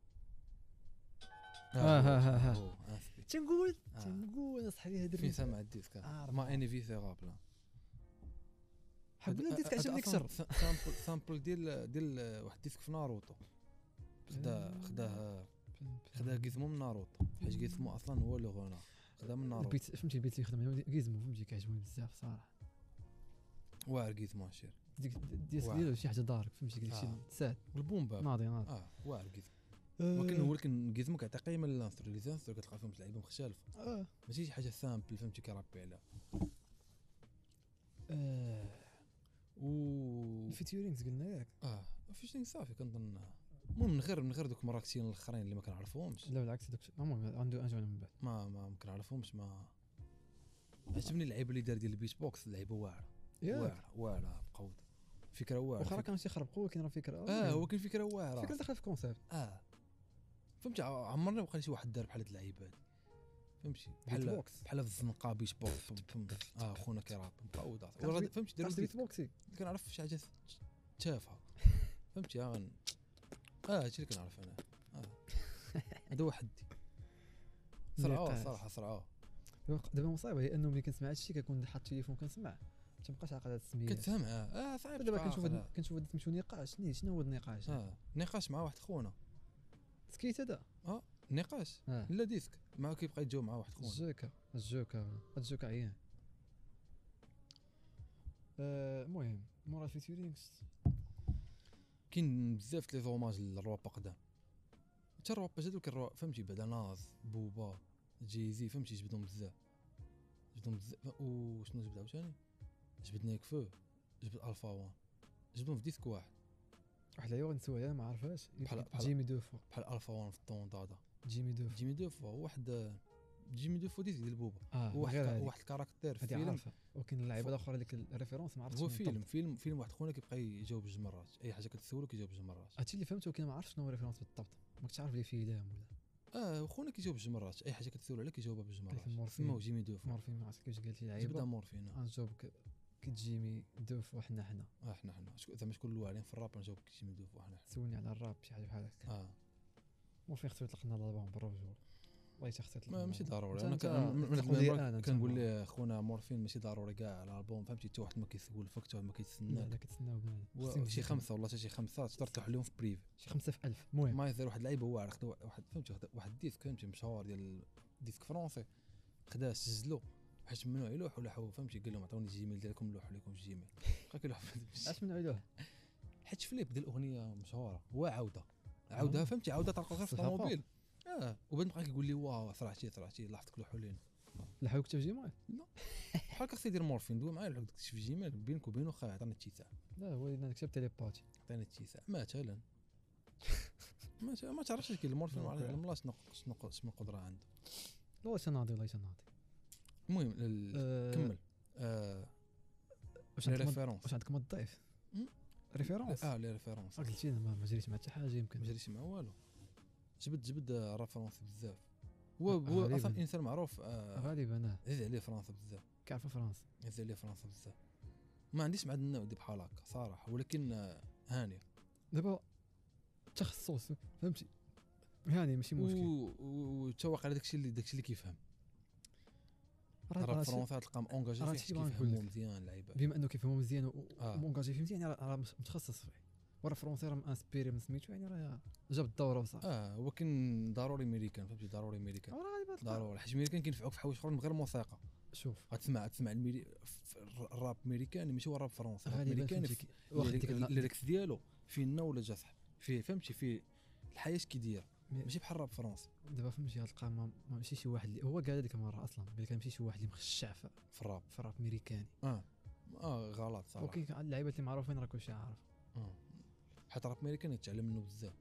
B: آه، آه، آه، آه.
A: انسبي
B: تنقول
A: آه.
B: تنقول اصاحبي هاد
A: فين
B: الريتم
A: سامع الديسك
B: آه،
A: ما اني في غابلا
B: حبنا الديسك عجبني اكثر
A: سامبل سامبل ديال ديال واحد الديسك في ناروتو خداه خداه خداه جيزمو من ناروتو حيت جيزمو اصلا هو لو غونا خداه من ناروتو
B: البيت فهمتي البيت اللي خدم كيزمو فهمتي كيعجبني بزاف صراحه
A: واعر جيزمو شير
B: ديك الديسك
A: واعر.
B: ديالو شي حاجه دارك فهمتي ديك الشيء
A: آه.
B: ساد
A: والبومبا
B: ناضي ناضي
A: اه واعر جيزمو
B: آه،
A: ولكن هو لكن جيزمو كيعطي قيمه للانثر ليزانثر كتلقى فيهم لعيبه مختلفه
B: آه.
A: ماشي شي حاجه سامبل فهمتي كيرابي عليها
B: آه.
A: و
B: الفيتيورينغز قلنا ياك
A: اه فيشتين صافي كنظن المهم من غير من غير دوك مراكشيين الاخرين اللي ما كنعرفهمش
B: لا بالعكس دوك نعم، المهم عنده عنده من بعد
A: ما ما ما كنعرفهمش ما عجبني اللعيبه اللي دار ديال البيت بوكس اللعيبه واعره
B: ياك
A: واعره واعره بقود فكره واعره
B: واخا راه
A: فك-
B: كانوا تيخربقوا ولكن راه فكره
A: اه هو كان فكره واعره
B: فكره داخله في كونسيبت
A: اه فهمت ع- عمرني ما لقيت شي واحد دار بحال هاد اللعيبه هادي فهمتي بحال
B: بوكس
A: بحال في الزنقه بيش بوكس فم- فم- اه خونا كيراب مقود
B: كان
A: وراه-
B: بي-
A: فهمتي داروا
B: درت
A: ديك
B: بيت بوكسي
A: كنعرف شي حاجه تافهه فهمتي ها غن اه هادشي اللي كنعرف انا اه هذا هو حدي صرعوه
B: نقاش.
A: صراحه صرعوه
B: دابا دابا المصيبه هي انه ملي كنسمع هادشي كنكون حاط التليفون كنسمع ما تبقاش عاقل هاد السميه
A: كتفهمها اه صعيب
B: دابا
A: تبقى
B: كنشوف
A: عاقل،
B: هاد- كنشوف هاد تمشيو نقاش ني شنو هو النقاش
A: اه آه. نقاش مع واحد خونا
B: سكيت هذا
A: نقاش
B: آه.
A: لا ديسك ما كيبقى يتجاوب مع واحد خونا
B: الجوكا الجوكا الجوكا عيان آه، المهم مورا الفيتورينغز
A: كاين بزاف لي زوماج للروابا قدام حتى الروابا هذوك الرو... فهمتي بعدا ناز بوبا جيزي فهمتي جبدهم بزاف جبدهم بزاف وشنو جبد عاوتاني جبد نيك فو جبد الفا وان جبدهم في ديسك واحد
B: واحد العيوغ نسويها ما عرفهاش
A: بحال- بحال-
B: جيمي دوفو
A: بحال الفا وان في الطوندادا
B: جيمي دوفو
A: جيمي دوفو هو واحد جيمي دوفو ديسك ديال بوبا
B: اه
A: هو آه، واحد
B: غير
A: كا-
B: هذيك
A: واحد الكاركتير في
B: هذه
A: فيلم
B: عارفها ولكن اللعيبه
A: فوق.
B: الاخرى ديك الريفيرونس ما عرفتش
A: هو
B: من
A: فيلم
B: بالضبط.
A: فيلم فيلم واحد خونا كيبقى يجاوب جوج مرات اي حاجه كتسولو كيجاوب جوج مرات
B: هادشي اللي فهمته ولكن ما عرفتش شنو هو الريفيرونس بالضبط ما كنتش عارف لي فيلم ولا
A: اه خونا كيجاوب جوج مرات اي حاجه كتسولو عليه كيجاوبها بجوج
B: قالت
A: مرات
B: المورفين.
A: سماو جيمي دوفو
B: مورفين ما عرفت كيفاش قالت لي
A: جبدها
B: لعيبه
A: مورفين آه.
B: غنجاوبك كتجيمي دوفو حنا حنا
A: اه حنا حنا شكون- زعما شكون الواعرين يعني في الراب نجاوبك شي مدوف وحنا حنا
B: سولني على الراب شي حاجه بحال هكا
A: اه
B: مورفين خصو يطلقنا الالبوم بالرجوع والله حتى خصو
A: ما
B: يطلقنا
A: ماشي ضروري
B: أنت-
A: انا
B: أنت-
A: كان- من- من
B: أنت
A: قبل
B: قولي
A: المباراة
B: أنا، أنت
A: كنقول
B: قولي.
A: ليه خونا مورفين ماشي ضروري كاع الالبوم فهمتي حتى واحد ما كيسولفك حتى واحد ما
B: لا
A: كيتسناك
B: لا كتسناو بنادم.
A: نعم. و-
B: خصني
A: شي
B: نجي.
A: خمسه والله حتى شي خمسه تقدر تروح لهم في بريف
B: شي خمسه في الف المهم
A: ما يزال واحد اللعيبه واعر خدا واحد فهمتي خدا واحد ديسك فهمتي مشهور ديال ديسك فرونسي خداه سجلو حيت ممنوع يلوح ولا حو فهمتي قال لهم عطوني الجيميل ديالكم لوحوا لكم في الجيميل بقى كيلوح في الجيميل.
B: اش من علوه
A: حيت فليب ديال الاغنيه مشهوره هو عاوده عاودها
B: آه.
A: فهمتي عاوده تلقى غير في
B: صفحة
A: الطوموبيل اه وبعد بقى كيقول لي واه صرعتي صرعتي لاحظتك لوحو لينا
B: لحقوك في جيماي
A: بحال كخصني يدير مورفين دوي معايا لوحدك في جيميل بينك وبينه خا عطاني التيساع
B: لا هو انا كتبت لي باتي
A: عطاني التيساع مثلا مثلا ما تعرفش كي المورفين ما
B: واقع.
A: عرفش شنو شنو شنو القدره عنده
B: والله تناضي والله تناضي
A: المهم ال-
B: أه،
A: كمل آه،
B: واش
A: لي
B: عندك مد-
A: ريفيرونس
B: واش عندك ما تضيف
A: مم.
B: ريفيرونس آه،
A: اه لي ريفيرونس
B: قلتي انا ما ما جريت مع حتى حاجه
A: ما
B: يمكن
A: جريتش مع والو جبد جبد آه، ريفيرونس بزاف هو
B: آه،
A: هو
B: غريبة.
A: اصلا انسان معروف آه،
B: غالبا انا
A: عزيز عليه فرنسا بزاف
B: كعرف فرنسا
A: عزيز عليه فرنسا بزاف ما عنديش مع هاد النوع دي بحال هكا صراحه ولكن آه، هاني
B: دابا تخصص فهمتي يعني ماشي مشكل
A: وتشوق على داكشي اللي داكشي اللي كيفهم
B: راه-
A: راه
B: راه شي-
A: الفرنسا تلقاهم اونجاجي
B: راه
A: فيه
B: شي بغا نقول
A: كيفهموا
B: لك.
A: مزيان اللعيبه
B: بما انه كيفهمو مزيان
A: آه.
B: ومونجاجي فيه مزيان يعني راه راه مت- متخصص فيه وراه فرونسي راه مانسبيري من سميتو يعني راه جاب الدوره وصافي
A: اه ولكن ضروري ميريكان فهمتي ضروري ميريكان
B: راه غالبا تلقى-
A: ضروري حيت ميريكان كينفعوك في حوايج اخرين من غير الموسيقى
B: شوف
A: غتسمع تسمع الميري... ف- الراب ميريكاني ماشي هو الراب فرنسي الراب
B: غالبا
A: ميريكاني
B: فهمتي
A: في-
B: كي- واخد ديك النا-
A: الليركس ديالو فيه النولة جا صح فيه فهمتي فيه الحياة كيدير
B: مي-
A: ماشي بحال الراب فرنسي
B: دابا فهمتي غتلقى ما ما- ماشي شي واحد اللي هو قال هذيك المره اصلا قال لك ماشي شي واحد اللي مخشع في
A: في الراب
B: في الراب امريكاني
A: اه اه غلط صراحة
B: وكاين كاع اللعيبه اللي معروفين راه كلشي عارف
A: آه. حيت الراب ميريكاني تعلم منه بزاف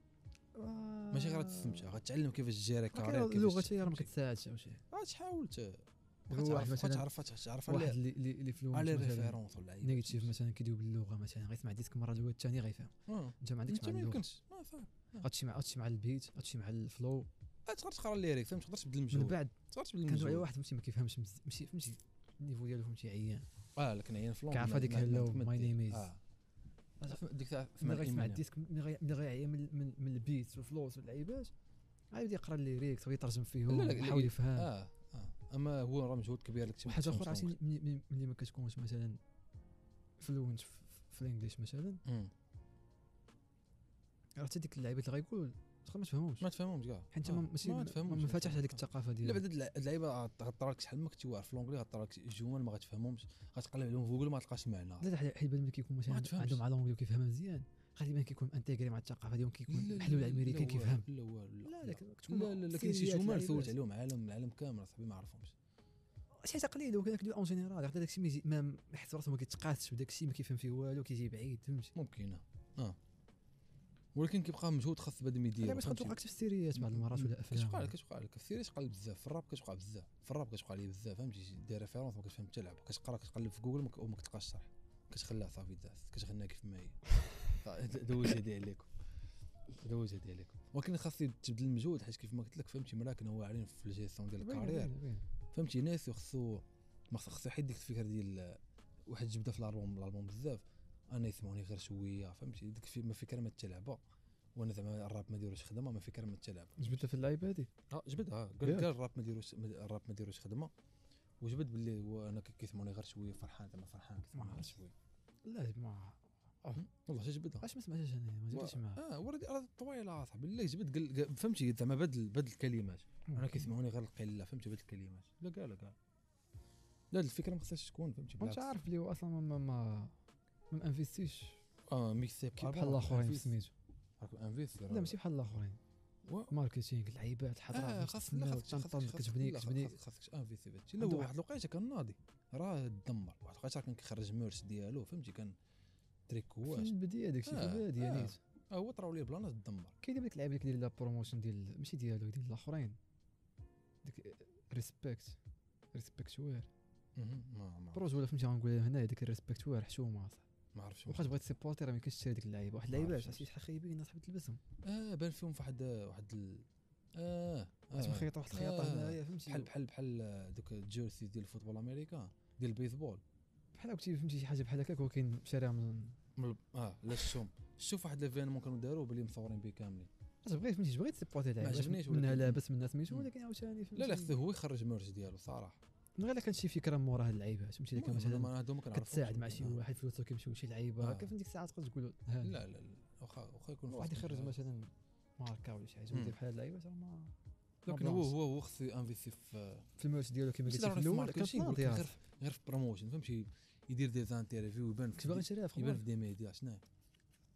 A: ماشي
B: ماشي
A: غير تستمتع غتعلم كيفاش تجيري كارير
B: اللغه
A: كيفاش
B: حتى هي راه ما
A: تمشي.
B: كتساعدش او شي
A: غتحاول ت-
B: واحد
A: غتعرف
B: مثلا
A: غتعرف غتعرف
B: واحد
A: على
B: اللي اللي اللي في الوقت
A: على
B: مثلا
A: ريفيرونس ولا عيب.
B: نيجاتيف مثلا كيدوي باللغه مثلا غير سمع ديسك مره الواد الثاني غيفهم
A: آه.
B: انت ما عندكش
A: انت
B: مع
A: ما
B: اللغه
A: يمكنش ما صعب
B: غتمشي مع غتمشي مع البيت غتمشي مع الفلو
A: آه، تقدر تقرا الليريك فهمت تقدر تبدل
B: من
A: المجهود
B: بعد
A: تقدر تبدل
B: كان على
A: المجهود
B: واحد فهمتي ما كيفهمش مز- ماشي فهمتي النيفو ديالو فهمتي عيان
A: اه لكن عيان في لندن
B: كعرف
A: ما-
B: هذيك
A: ما- ما
B: hello,
A: تمد
B: my
A: دير.
B: name is.
A: آه.
B: أصح-
A: ديك تاع
B: ملي
A: ثمان
B: غيسمع
A: ايمانيا
B: الديسك ملي غي- ملي غيعيا من من من البيت والفلوس واللعيبات عاد يبدا يقرا الليريكس ويترجم فيهم
A: لا، لا،
B: ويحاول يفهم
A: اه اه اما هو راه مجهود كبير لك
B: وحاجه اخرى عرفتي ملي- ملي ملي ما كتكونش مثلا فلونت في في الانجليش مثلا راه حتى ديك اللعيبات اللي غيقولوا تقدر ما تفهمهمش
A: ما تفهمهمش كاع
B: حيت
A: آه.
B: انت ماشي
A: ما
B: ما
A: تفهمهمش
B: ما فتحش عليك
A: آه.
B: الثقافه
A: لا
B: ديالك
A: بعد هاد آه، اللعيبه غطرا لك شحال ما كنتي واعر في لونجلي غطرا لك جمل ما غتفهمهمش غتقلب عليهم في جوجل ما تلقاش معنى
B: لا حيت حيت بان ملي كيكون مثلا
A: ما
B: عند-
A: تفهمش.
B: عندهم على لونجلي وكيفهمها مزيان غالبا كيكون انتيغري مع الثقافه ديالهم كيكون محلول على الامريكان
A: لا والو،
B: كيفهم
A: لا والو
B: لا
A: لا
B: لك كتكون
A: لا لا لا كاين شي
B: سيريات
A: جمل
B: لعيبات.
A: سولت عليهم عالم العالم كامل اصاحبي ما عرفهمش
B: شي تقليد وكذاك ديال اون جينيرال حتى داكشي ما يجي- ما يحس راسو ما كيتقاسش وداكشي ما كيفهم فيه والو كيجي بعيد فهمتي
A: ممكن اه ولكن كيبقى مجهود خاص بنادم يدير
B: غالبا تبقى توقعك في السيريات بعض المرات ولا افلام
A: كتبقى كتبقى لك في السيريس قلب بزاف في الراب كتبقى بزاف في الراب كتبقى لي بزاف فهمتي شي داير ريفيرونس ما كتفهم حتى لعبه كتقرا كتقلب في جوجل وما- وما كتلقاش الشرح كتخليها صافي دازت كتغنى كيف ما هي دوز هادي عليكم دوز هادي عليكم ولكن خاص تبدل المجهود حيت كيف ما قلت لك فهمتي مراكن هو عارين في الجيستيون ديال
B: باينة-
A: الكارير
B: باينة- باينة.
A: فهمتي ناس خصو ما خصو خصو يحيد ديك الفكره ديال واحد جبده في الالبوم الالبوم بزاف انا يسمعوني غير شويه فهمتي ديك في- ما فكره ما تلعبه وانا زعما الراب ما ديروش خدمه ما فكره ما تلعب
B: جبدها في اللعيبه هذه
A: اه جبد اه قال
B: ياك.
A: قال الراب ما ديروش ما- الراب ما ديروش خدمه وجبد باللي هو انا كي- كيسمعوني غير شويه فرحان زعما فرحان كيسمعوني غير
B: عرفتش.
A: شويه
B: لا ما
A: والله شي جبد آه.
B: علاش ما سمعتهاش انا ما جبتش معاه
A: اه ورد راه طويله اصاحبي لا جبد قال قال- فهمتي زعما بدل بدل الكلمات انا كيسمعوني غير القله فهمتي بدل الكلمات لا قال قال لا الفكره ما خصهاش تكون فهمتي
B: وانت
A: بالعكس.
B: عارف اللي هو اصلا ما ما ما ما مانفيستيش
A: اه ميكس تيب
B: كي بحال الاخرين في سميتو
A: انفيس
B: لا ماشي بحال الاخرين ماركتينغ اللعيبات الحضاره
A: اه خاص لا خاص
B: تنطلق كتبني كتبني
A: خاصك انفيسي بهادشي لا
B: عنده
A: هو
B: واحد-
A: واحد الوقيته كان ناضي راه دمر واحد الوقيته راه كان كيخرج ميرش ديالو فهمتي كان
B: في
A: تريكواش
B: البدايه داكشي في
A: آه،
B: البدايه
A: آه.
B: نيت
A: اه هو طراو ليه بلانات دمر
B: كاين دابا ديك اللعيبه اللي كيدير لها بروموشن ديال ماشي ديالو ديال الاخرين ديك ريسبكت ريسبكتوار
A: مهم. ما ما عرف-
B: بروج ولا فهمتي غنقولها هنا ديك الريسبكتوار حشومه صح
A: ما عرفتش
B: واخا تبغي تسيبورتي راه ما يمكنش تشري ديك اللعيبه واحد
A: ما
B: اللعيبه
A: عرفتش.
B: عرفتي شحال خايبين اصاحبي تلبسهم
A: اه بان فيهم واحد واحد ال... اه
B: عرفتي
A: آه.
B: مخيط واحد الخياطه
A: آه.
B: هنايا فهمتي
A: بحال بحال بحال دوك الجيرسي ديال الفوتبول الامريكان ديال البيسبول
B: بحال هكا فهمتي شي حاجه بحال هكاك ولكن شاريها من
A: من ال- اه لا الشوم شوف واحد ليفينمون كانوا داروه بلي مصورين به كاملين
B: تبغي فهمتي تبغي تسيبورتي اللعيبه
A: عجبنيش
B: منها
A: ولكن-
B: لاباس منها سميتو
A: مم.
B: ولكن عاوتاني
A: لا لا
B: فهمتي،
A: خصو هو يخرج ميرش ديالو صراحه
B: من غير لا كان شي فكره من ورا هاد اللعيبه فهمتي لك
A: المهم، أنا
B: مثلا
A: ما- هادو ما كنعرفهمش.
B: كتساعد مع شي
A: آه.
B: واحد فلوسو كيمشيو لشي لعيبه
A: آه.
B: هكا فين ديك الساعه تقدر تقول ها،
A: لا لا لا واخا واخا يكون
B: واحد
A: فوق
B: يخرج
A: الجهاز.
B: مثلا ماركه ولا شي حاجه
A: مم.
B: ويدير بحال هاد اللعيبه راه ما
A: لكن هو هو هو خصو انفيستي في
B: في الماتش ديالو كما
A: ماشي
B: قلت في
A: ضروري في
B: الاول كانت
A: ماركتينغ، ولكن
B: ناضيه
A: غير غير في بروموشن فهمتي يدير دي زانتيرفيو يبان
B: كنت باغي
A: في
B: نشريها في
A: يبان
B: خبر
A: في دي ميديا شنو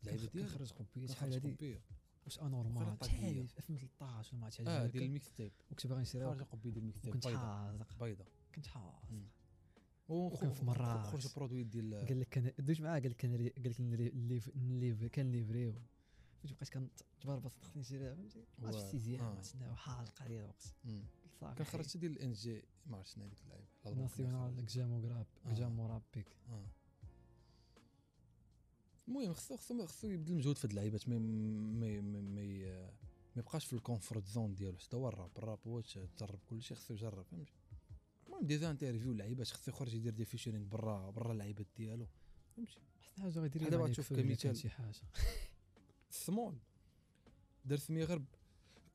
A: اللعيبه ديالو
B: كنخرج قبيه شحال
A: كنخرج
B: هادي
A: قبيه
B: واش انورمال
A: وخرج قبية.
B: شحال في 2013 ولا ما عرفتش
A: اه
B: حاجه
A: ديال
B: هكا.
A: الميكس تيب
B: وكنت باغي نشريها
A: خرج قبيه ديال الميكس تيب
B: وكنت
A: بيضاء
B: حازق
A: بيضاء
B: كنت حازق
A: مم. وخ-
B: وكان في
A: وخ-
B: مراكش.
A: خرج برودوي ديال
B: قال لك كان دوش معاه قال لك كان ري- قال لك نري- نليف نليف كان ليفريو فهمتي بقيت كنتبربط تخني نشريها فهمتي ما عرفتش
A: واه،
B: التيزيان
A: آه.
B: ما عرفتش شنو حالقه ديال الوقت
A: مم.
B: صافي
A: كان خرج حتى ديال الان جي ما عرفتش شنو هذيك اللعيبه
B: آه.
A: الألبوم كان
B: ناسيونال
A: خرج.
B: كجامو غراب
A: آه.
B: كجامو رابيك
A: آه. المهم خصو خصو خصو يبذل مجهود في هاد اللعيبات ما ما ما ما ما يبقاش في الكونفورت زون ديالو حتى هو الراب الراب هو تجرب كلشي خصو يجرب فهمتي المهم ديزا انترفيو اللعيبات خصو يخرج يدير دي فيشرين برا برا اللعيبات ديالو فهمتي
B: حتى حاجه
A: بحال
B: غيدير لهم
A: دابا
B: عليك
A: تشوف
B: فول إلا كان
A: كمثال.
B: شي حاجه
A: سمول دار سميه غير ب-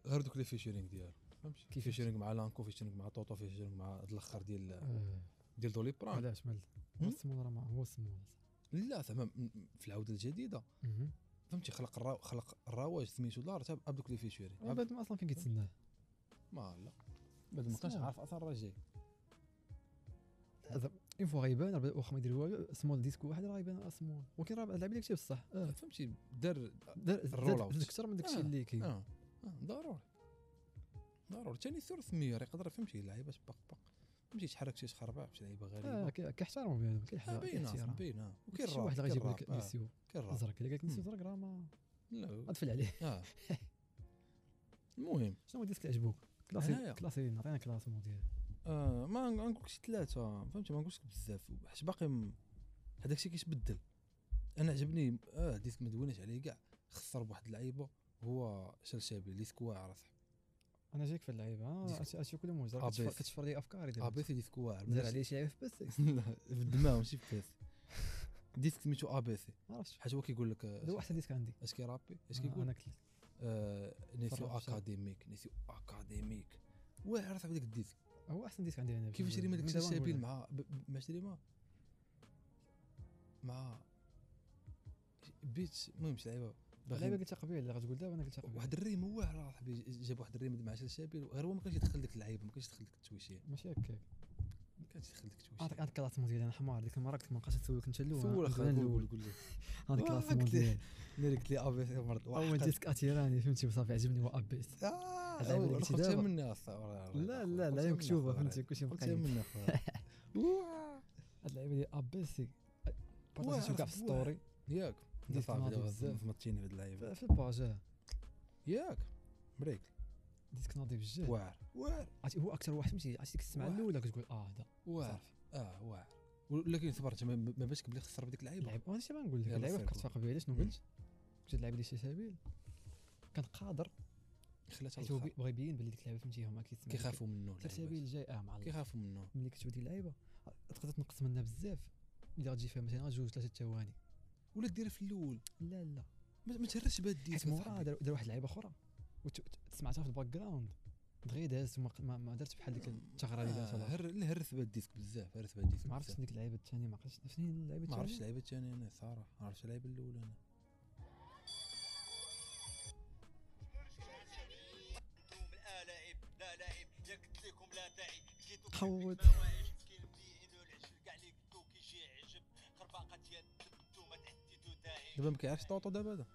A: غير دوك لي فيشرينغ ديالو فهمتي
B: كيفاش؟
A: فيشرينغ مع لانكو فيشرينغ مع طوطو فيشرينغ مع هاد الاخر ديال
B: آه،
A: ديال دولي برام
B: علاش مال
A: هم؟
B: هو السمول راه ما- هو السمول
A: لا زعما م- م- في العوده الجديده
B: مهم.
A: فهمتي خلق الرا... خلق الرواج سميتو دار تاب بدوك لي فيشرينغ
B: آه، بعد ما اصلا فين كيتسناه
A: ما لا بعد ما كانش
B: سمول.
A: عارف اصلا راه جاي
B: اون فوا غيبان راه واخا ما يدير والو سمول ديسكو واحد راه غيبان آه، سمول ولكن راه اللعيبه اللي كتب بصح اه
A: فهمتي دار
B: دار
A: الرول أوت.
B: زاد اكثر من داكشي
A: آه،
B: اللي كاين
A: اه آه، ضروري ضروري ثاني ثور سميه راه يقدر فهمتي لعيبات باق باق فهمتي تحرك شي تخربع شي لعيبه
B: اه
A: غريبه
B: كي- كيحترموا بينهم
A: آه،
B: كيحترموا
A: باينه باينه وكاين
B: شي واحد غيجيب لك
A: آه.
B: ميسيو
A: كراب
B: الزرق الا قالك ميسيو
A: مم.
B: الزرق راه ما
A: لا
B: غادفل عليه
A: اه المهم
B: شنو هو الديسك اللي عجبوك
A: هنايا.
B: كلاسي كلاسي نعطينا كلاس مون ديال
A: آه ما نق- ما نقولكش ثلاثه فهمتي ما نقولش لك بزاف حيت باقي م- هذاك الشيء كيتبدل انا عجبني اه ديسك ما دويناش عليه كاع خسر بواحد اللعيبه هو شلشابي ديسك واعر اصاحبي
B: انا جايك في اللعيبه آه،
A: ديسك.
B: هادشي هادشي كله موجود
A: آه،
B: راه كتشفر-
A: بيس.
B: كتشفر لي افكاري
A: اه
B: دابا
A: بي سي ديسك واعر
B: دار
A: ماشي-
B: عليه شي عيب في بس
A: لا، في الدماغ ماشي في الكاس ديسك سميتو ا بي سي
B: ما عرفتش
A: حيت هو كيقول لك آه،
B: هذا احسن ديسك عندي
A: اش كيرابي اش
B: آه،
A: كيقول
B: انا كل
A: آه، نسيو
B: فرق في شنو؟
A: اكاديميك نسيو اكاديميك واعر صاحبي ديك الديسك
B: هو احسن ديسك عندي انا
A: كيف شري
B: من
A: مالك
B: دابا نقول
A: شابين
B: لك.
A: مع ب- ب- مع شري ما مع بيتش المهم شي لعيبه
B: اللعيبه
A: باغي
B: قلتها قبيل اللي غتقول دابا انا قلتها قبيل
A: واحد الريم هو راه صاحبي جاب واحد الريم مع شرشابيل غير هو ما كانش يدخل ديك اللعيبه ما كانش يدخل ديك التويشيه
B: ماشي هكاك
A: ما كانش يدخل ديك
B: عندك
A: التويشيه
B: عندك كلاس مون ديال انا حمار ديك المره كنت ما بقاش نسولك انت الاول
A: سول
B: أنا-
A: اخويا
B: انا
A: قول
B: الاول
A: قول لي
B: عندك
A: آه،
B: كلاس مون
A: قلت لي.
B: ديال
A: ملي قلت لي ابي مرض
B: اول ديسك اتيراني فهمتي وصافي عجبني هو ابيس اللعيبة اللي قلتي
A: قلتها
B: دابا.
A: آه، مني أصاحبي.
B: لا لا لا هي مكتوبه فهمتي كلشي
A: قلتها
B: مقيد
A: مني اخويا واه.
B: هاد اللعيبه ديال ابيس
A: واعر
B: بارطاجيتو كاع في
A: في
B: ستوري
A: ياك
B: ديك
A: صافي
B: ناضي
A: دابا
B: بزاف.
A: زمطتيني في هاد اللعيبه
B: في الباج آه.
A: ياك مريك
B: ديسك ناضي بجاه
A: واعر واعر
B: عرفتي هو اكثر واحد فهمتي عرفتي ديك السمعه
A: واعر.
B: الاولى كتقول اه هذا
A: واعر
B: صافي.
A: اه واعر ولكن صبرت ما ما باش قبل خسر بديك اللعيبه
B: اللعيب هذا الشيء ما نقول لك
A: يلا
B: اللعيبه
A: سير
B: فكرت فيها قبيله شنو
A: مم.
B: قلت قلت اللعيبه ديال شيشابيل كان قادر
A: خلاتها
B: حيت هو
A: للخر.
B: بي- بغى يبين باللي ديك اللعيبه فهمتي هما كيتسمعوا
A: كيخافوا منه
B: شيشابيل
A: اللعيبات.
B: جاي اه مع الله
A: كيخافوا منه
B: ملي كتشوف ديك اللعيبه تقدر تنقص منها بزاف الا غتجي فيها مثلا جوج ثلاثه ثواني
A: ولا دير في الاول
B: لا لا
A: ما ما تهرش بهاد الديس
B: حيت مورا دار دار واحد اللعيبه اخرى وت- ت- سمعتها في الباك جراوند دغيا دازت وما- ما ما درت بحال ديك
A: آه،
B: الثغره اللي دارتها الأخرى.
A: هر لا هرس بهاد الديسك بزاف هرس بهاد الديسك
B: ما عرفتش
A: بزاف.
B: ديك اللعيبه الثانيه ما عرفتش شنو هي اللعيبه
A: ما عرفتش
B: الثانيه
A: اللعيبه الثانيه انا صراحه ما عرفتش اللعيبه الاولى انا
C: انتم الالاعب لا لاعب يا قلت لكم لا تعي لقيتو
B: خوت.
C: كاع اللي قلتو كيجي عجب خربقه ديال الدب انتوما تعديتو داعي
A: دابا ما كيعرفش طوطو دابا هذا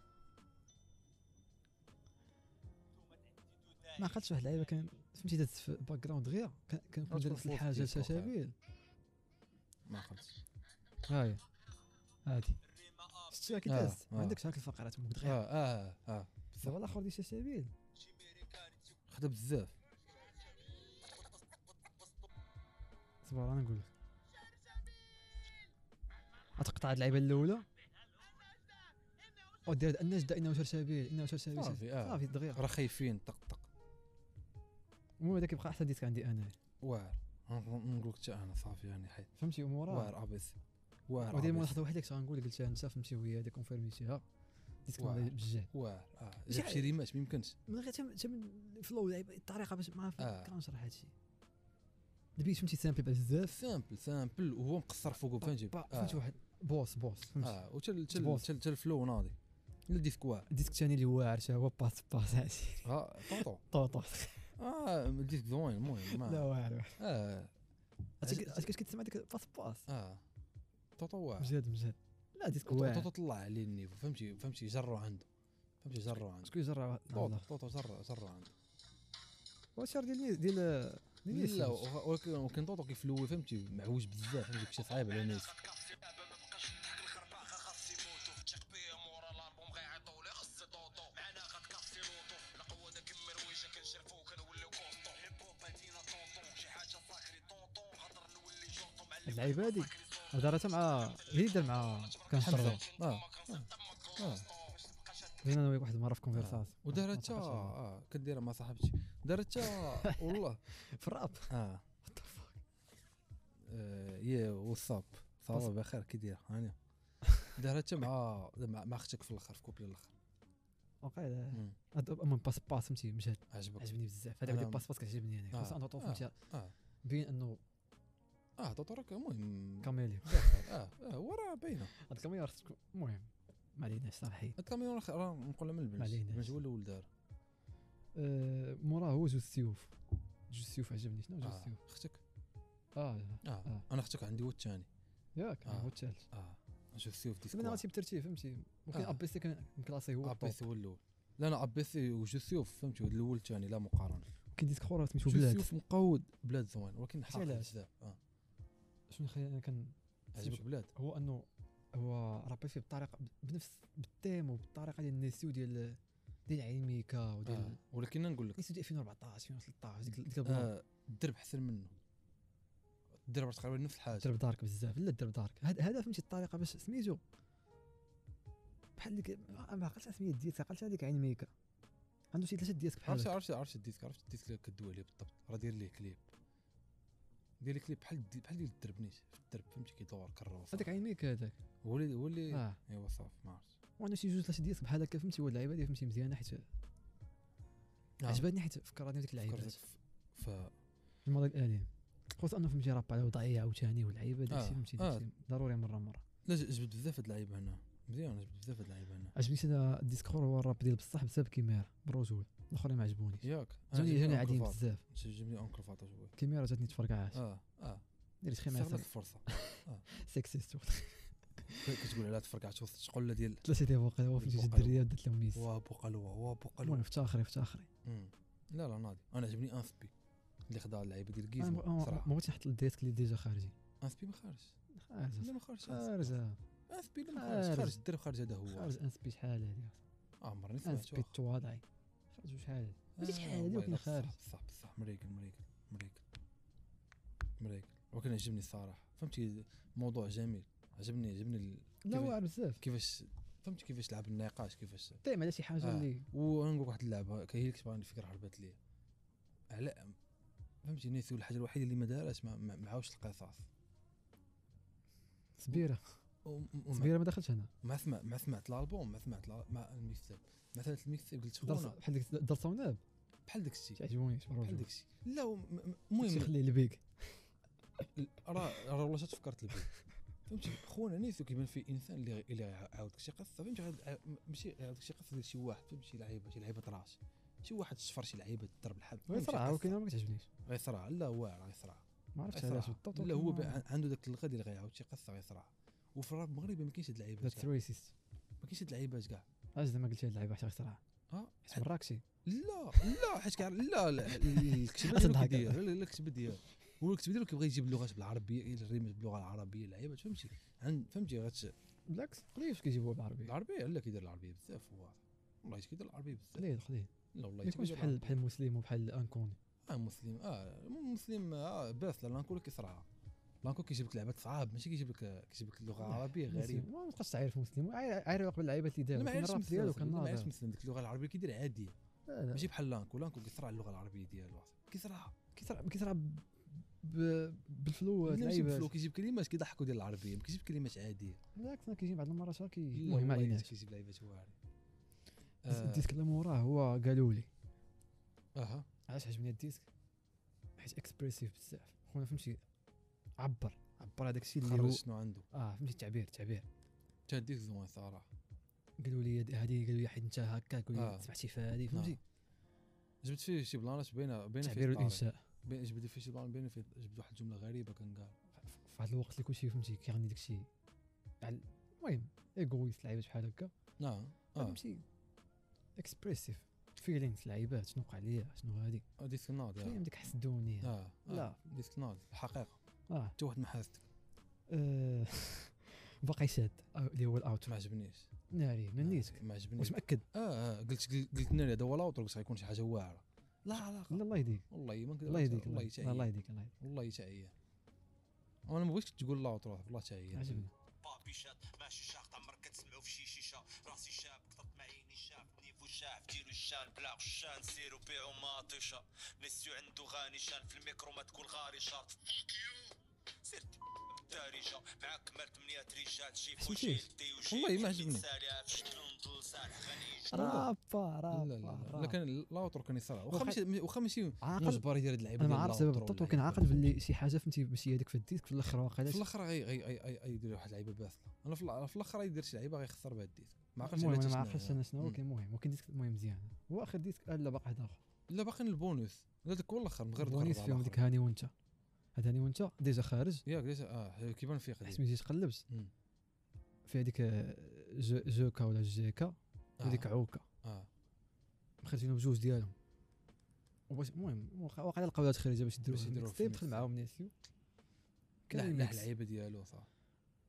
B: ما عقلتش واحد اللعيبه كان فهمتي دازت في الباك جراوند غير كان- كان كنت
A: تكون
B: دارت
A: فوق
B: الحاجه
A: ديسك واخا.
B: شاشابيل
A: ما عرفتش
B: هاي هادي
C: الريمة اب
B: شتيها كي
A: آه،
B: دازت
A: آه.
B: ما عندكش هاك الفقرات مك
A: اه
B: دغيا
A: اه اه بصح.
B: دابا الاخر ديال شاشابيل
C: شي ميريكاني تسوق
A: خدا بزاف
B: صبر انا نقول لك غتقطع هاد اللعيبه الاولى ودير النجدة انه شرشابيل انه شرشابيل
A: صافي، آه.
B: صافي دغيا
A: راه خايفين طق طق
B: المهم هذاك يبقى احسن ديسك عندي انا
A: واعر نقول لك انا صافي يعني حيت آه،
B: فهمتي امورها
A: واعر ابيس واعر
B: ودير
A: أبيض.
B: ملاحظه واحده كنت غنقول قلتها انت فهمتي وهي هذيك كونفيرميتيها ديسك
A: واعر.
B: ناضي بجاه
A: واعر اه
B: ماشي
A: جاب شي
B: عيب.
A: ريمات ما يمكنش
B: من غير تم تم فلو لعيبه الطريقه باش ما
A: آه.
B: كنشرح هادشي البيت فهمتي سامبل بزاف
A: سامبل سامبل وهو مقصر فوقه فهمتي
B: با- فهمتي
A: اه
B: واحد بوس بوس فهمتي
A: اه وتل تل
B: تبوظ.
A: تل تل الفلو ناضي لا ديسك واعر
B: الديسك الثاني اللي واعر تا هو باس باس هادشي
A: ها طوطو
B: طوطو
A: اه آه، الديسك زوين المهم
B: لا
A: ما
B: واعر واعر
A: اه عجب-
B: عرفتي كنت كتسمع ديك باس باس
A: اه طوطو واعر
B: مجهد مجهد لا ديسك
A: طوطو
B: واعر
A: طوطو طلع عليه النيفو فهمتي فهمتي جرو عنده فهمتي جرو عنده
B: شكون يجرع
A: طوطو طوطو جرو جرو عنده
B: واش ديال ني- ديال ديال
A: لا
B: نيس.
A: وخ- ولكن ولكن طوطو كيفلوي فهمتي معوج بزاف فهمتي كشي صعيب على الناس
B: اللعيبه هادي ودارتها مع هي مع كان
A: حمزه
B: حمزه
A: اه اه
B: بينا انا وياك واحد المره في
A: آه.
B: كونفرسات
A: ودارتها اه كديرها مع صاحبتي دارتها والله
B: في الراب
A: اه آه، يا وصاب صافا
B: بس-
A: بخير كي داير هاني دارتها مع مع مع اختك في الاخر في كوبي الاخر
B: وقيلا
A: مم.
B: هاد من باس باس فهمتي مشات
A: عجبك
B: عجبني بزاف هذا
A: أنا-
B: عاودي باس باس كيعجبني انا
A: آه،
B: خصوصا انه يعني. طوف
A: آه،
B: فهمتي
A: آه.
B: بين انه
A: اه دوتورك المهم
B: كاميليو
A: بخير. اه اه هو راه باينه
B: هاد الكاميرا خص تكون المهم ما عليناش صراحه
A: الكاميرون راه- راه نقولها من البنج
B: عليناش.
A: البنج هو الاول دار
B: آه، موراه هو جوج السيوف جوج السيوف عجبني شنو جوج
A: آه،
B: السيوف
A: اختك
B: اه
A: اه
B: آه.
A: انا اختك عندي هو الثاني
B: ياك
A: آه.
B: هو الثالث
A: اه نشوف سيوف ديسكو
B: سمعنا غاتي بالترتيب فهمتي ممكن
A: آه.
B: ابيسي كان مكلاسي هو الطوب
A: ابيسي هو الاول لا انا ابيسي وجو سيوف فهمتي هو الاول الثاني لا مقارنه
B: كاين ديسك اخر سميتو
A: جو
B: بلاد
A: سيوف مقود بلاد زوين ولكن حاقد
B: علاش؟
A: بزاف اه
B: شنو خلي انا كان
A: عجبك بلاد
B: هو انه هو رابي فيه بطريقه بنفس بالتيم وبالطريقه ديال نيسيو ديال ديال عيميكا وديال
A: آه. ولكن نقول لك
B: نيسيو ديال 2014 2013 ديك ديك البلان
A: آه، الدرب احسن منه الدرب راه تقريبا نفس الحاجه
B: درب دارك بزاف لا درب دارك هاد- هذا فهمتي الطريقه باش سميتو بحال ديك ما عقلتش على سميه ديالك عقلتش على ديك عيميكا عنده شي ثلاثه ديالك بحال
A: عرفت
B: هكا.
A: عرفت عرفت الديسك عرفت الديسك اللي كدوي عليه بالضبط راه داير ليه كليب داير ليه كليب بحال دي- بحال ديال الدرب نيت في الدرب فهمتي كيدور كروسه
B: هذاك عيميكا هذاك
A: هو اللي هو اللي
B: اه
A: ايوا صافي ما عرفتش
B: وانا شي جوج ثلاثه ديالك بحال هكا فهمتي هو اللعيبه اللي فهمتي مزيانه حيت
A: آه.
B: عجبتني حيت فكرتني بديك
A: فكرتك
B: اللعيبات
A: في- ف
B: المرض الالي خصوصا انه فهمتي راه على وضعيه عاوتاني واللعيبه
A: آه،
B: داكشي فهمتي
A: آه.
B: داكشي ضروري مره مره
A: لا ج- جبت بزاف هاد اللعيبه هنا مزيان جبت بزاف هاد اللعيبه هنا
B: عجبني هذا الديسكور هو الراب ديال بصح بسبب كيميرا بالرجوله الاخرين ما عجبونيش
A: ياك أنا
B: جوني
A: جبت
B: جوني
A: لي
B: عاديين
A: أنكل فاط.
B: بزاف
A: جبني اونكل فاطا شويه
B: كيميرا جاتني تفرقعات
A: اه اه
B: درت خيمه
A: استغلت
B: على
A: الفرصه
B: سكسيست
A: ك- كتقول على تفرقعت وسط الشقله ديال
B: ثلاثه ديال فوق هو فهمتي جات الدريه بدات لهم ميس
A: وابو قلوه وابو
B: المهم
A: قلوه
B: افتخري افتخري
A: مم. لا لا ناضي انا عجبني انسبي اللي خدا اللعيبه ديال
B: أنا
A: جيزمو
B: ما- ما
A: صراحه
B: ما بغيتش نحط الديسك اللي ديجا خارجي
A: انسبي ما خارج
B: خارج
A: لا ما خارج
B: خارج
A: انسبي أنسبي لا ما خارج
B: خارج.
A: خارج الدرب خارج هذا هو
B: خارج انسبي شحال هادي
A: اه مرني سمعت
B: انسبي التواضعي خرجوا شحال ماشي شحال هادي ولكن خارج.
A: آه، صح صح مريكل مريكل مريكل مريكل ولكن عجبني الصراحه فهمتي موضوع جميل عجبني عجبني ال-
B: لا
A: كيف-
B: واعر بزاف
A: كيفاش فهمتي كيفاش لعب النقاش كيفاش
B: طيب على شي حاجه
A: آه.
B: اللي
A: ونقول لك واحد اللعبه كاين اللي كتبان الفكره هربت لي على فهمتي نيسي الحاجه الوحيده اللي ما دارهاش ما ما- معاوش القصاص
B: سبيره
A: وم- ومع
B: سبيره ما دخلتش هنا
A: مع سمع مع سمعت الالبوم مع سمعت الع- مع الميكسيب مع سمعت الميكسيب قلت
B: دار
A: خونا
B: بحال ديك دار صوناب
A: بحال داك الشيء
B: تعجبوني
A: بحال
B: بحال
A: داك الشيء لا و- م- م-
B: المهم
A: المهم
B: خليه البيك
A: راه راه والله شات فكرت لي فهمتي خونا نيسو كيبان فيه انسان اللي اللي عاودك شي قصه فهمتي غاد- ع- ماشي عاودك شي قصه ديال شي واحد فهمتي شي لعيبه شي لعيبه راس شي واحد شفر شي لعيبه ضرب الحب
B: وي
A: فهمتي
B: صراحه
A: قصة.
B: ولكن أنا ما كتعجبنيش
A: غيصرع لا واعر غيصرع
B: ما عرفتش علاش
A: غيصرع
B: بالضبط
A: لا هو بي- عن- عنده ذاك الغد اللي غيعاود شي قصه غيصرع وفي الراب المغربي ما كاينش هاد اللعيبات
B: ذات
A: كاع.
B: ريسيست
A: ما كاينش هاد اللعيبات كاع
B: علاش زعما قلت لي هاد اللعيبه حتى صراحه
A: اه
B: حيت مراكشي
A: لا لا حيت كاع لا لا، الكتبه ديالو
B: أصدق هكا.
A: كيدير لا لا، الكتبه ديالو هو الكتبه ديالو كيبغي يجيب اللغات بالعربيه إيه، الريمات باللغه العربيه اللعيبات فهمتي عن- فهمتي غات
B: بالعكس قليل كيجيبوها بالعربيه
A: العربيه لا كيدير العربيه بزاف هو والله حيت كيدير العربيه بزاف
B: قليل قليل
A: لا والله
B: ما يكونش بحال بحال مسلم وبحال انكوني
A: اه مسلم اه مسلم اه باس لا لانكو اللي كيصرعها لانكو كيجيب لك لعبات صعاب ماشي كيجيب لك كيجيب لك لغه عربيه غريبه
B: مسلم، ما تبقاش تعرف مسلم عارف عارف قبل اللعيبه اللي دار
A: لا ما عرفتش
B: الراب ديالو كان
A: ما عرفتش
B: ناضر
A: مثلا ديك اللغه العربيه كيدير عاديه
B: لا، لا.
A: ماشي بحال لانكو لانكو كيصرع اللغه العربيه ديالو كيصرعها
B: كيصرع كيصرع ب- ب- بالفلو هاد
A: ملي ماشي بفلو
B: اللعيبه
A: كيجيب كلمات كيضحكوا ديال العربيه ما كيجيب كلمات عاديه
B: بالعكس انا كيجي بعض المرات راه كي
A: لا
B: المهم ما
A: والله
B: عليناش
A: كيجيب لعيبات واعرين
B: بس
A: آه،
B: الديسك اللي موراه هو قالوا لي
A: اها
B: علاش عجبني الديسك حيت اكسبريسيف بزاف خونا فهمتي عبر عبر على داكشي اللي هو
A: خرج شنو عنده
B: اه فهمتي التعبير التعبير
A: تا ديك زوين صراحه
B: قالوا لي هاد- هادي قالوا لي حيت انت هكا قالوا لي
A: آه.
B: سمعتي في هادي فهمتي
A: جبت فيه شي بلانات باينه باينه فيه
B: التعبير
A: الطاري.
B: والانشاء
A: باين- جبت فيه شي بلان باينه فيه جبت واحد الجمله غريبه كان قال
B: في واحد الوقت اللي كلشي فهمتي كيغني داكشي على المهم ايغويست لعيبات بحال هكا
A: نعم اه
B: فهمتي اكسبريسيف فيلينغز لعيبات شنو وقع ليا شنو هادي
A: ديسك ناضي
B: فاهم
A: آه.
B: ديك حس الدونية
A: اه
B: لا.
A: آه، ديسك ناضي الحقيقه
B: اه
A: حتى واحد ما حازتك
B: آه، باقي شاد آه، اللي هو الاوت
A: ما عجبنيش آه،
B: ناري ما نيتك
A: ما عجبنيش
B: واش مأكد
A: اه آه، قلت قلت لنا هذا هو الاوتر قلت غيكون شي حاجه واعره لا علاقه
B: لا الله يهديك
A: والله ما نقدر
B: الله يهديك
A: والله
B: الله
A: تعيا
B: يهديك الله يهديك
A: والله تعيا انا ما بغيتش تقول لا وتروح والله حتى هي
B: عجبني
C: بابي شاد ماشي شاف عمرك كتسمعو في شي شيشه راسي شاب قطط معيني شاف نيفو شاف ديرو الشان بلاو الشان سيرو بيعو ماطيشة ميسيو عندو غاني شان في الميكرو ما تكون غاري شاط فوكيو سيرت الدارجة معاك مال 8 رجال شي فوشي
B: سمعتيه؟
C: لدي وشي
A: والله ما عجبني.
C: سالها في شكلون دول صالح غني
B: آه. رابا
A: لا
B: رابا
A: لا لا, لا
B: رابا.
A: كان لا وتر كان يصرع واخا
B: وخا-
A: ماشي واخا ماشي
B: عاقل
A: مجبر يدير هاد اللعيبه
B: انا ما
A: ديال
B: عارف
A: لا
B: السبب
A: وتر
B: بالضبط
A: واللعيبة
B: ولكن عاقل
A: هادي.
B: باللي شي حاجه فهمتي ماشي هذيك في الديسك في الاخر واقيلا
A: يعني. في الاخر غي غي غي غي- غي- يدير واحد اللعيبه باثله انا في الأ- في الاخر يدير شي لعيبه غيخسر بها الديسك ما عقلتش
B: المهم
A: على
B: انا
A: تيشناو
B: ما عرفتش
A: هذا.
B: انا شنو
A: مم.
B: ولكن المهم ولكن ديسك المهم مزيان هو اخر ديسك آه، لا باقي واحد اخر
A: لا باقيين البونوس لا داك هو الاخر مغير
B: بونيس فيهم ديك هاني وانت هاد هاني وانت ديجا خارج
A: ياك ديجا اه كيبان فيه قديم
B: حيت ملي جيت قلبت
A: مم.
B: في هذيك آه، جو جوكا ولا جيكا وديك
A: آه.
B: عوكا
A: اه
B: مخرجين بجوج ديالهم وباش المهم واقع- واقع لقاو لها خارجه باش يديروا
A: باش
B: شي
A: يديروا
B: ميكس
A: في
B: تيب دخل
A: ميكس.
B: معاهم ناسيو كان
A: كان
B: الميكس.
A: اللعيبه ديالو صح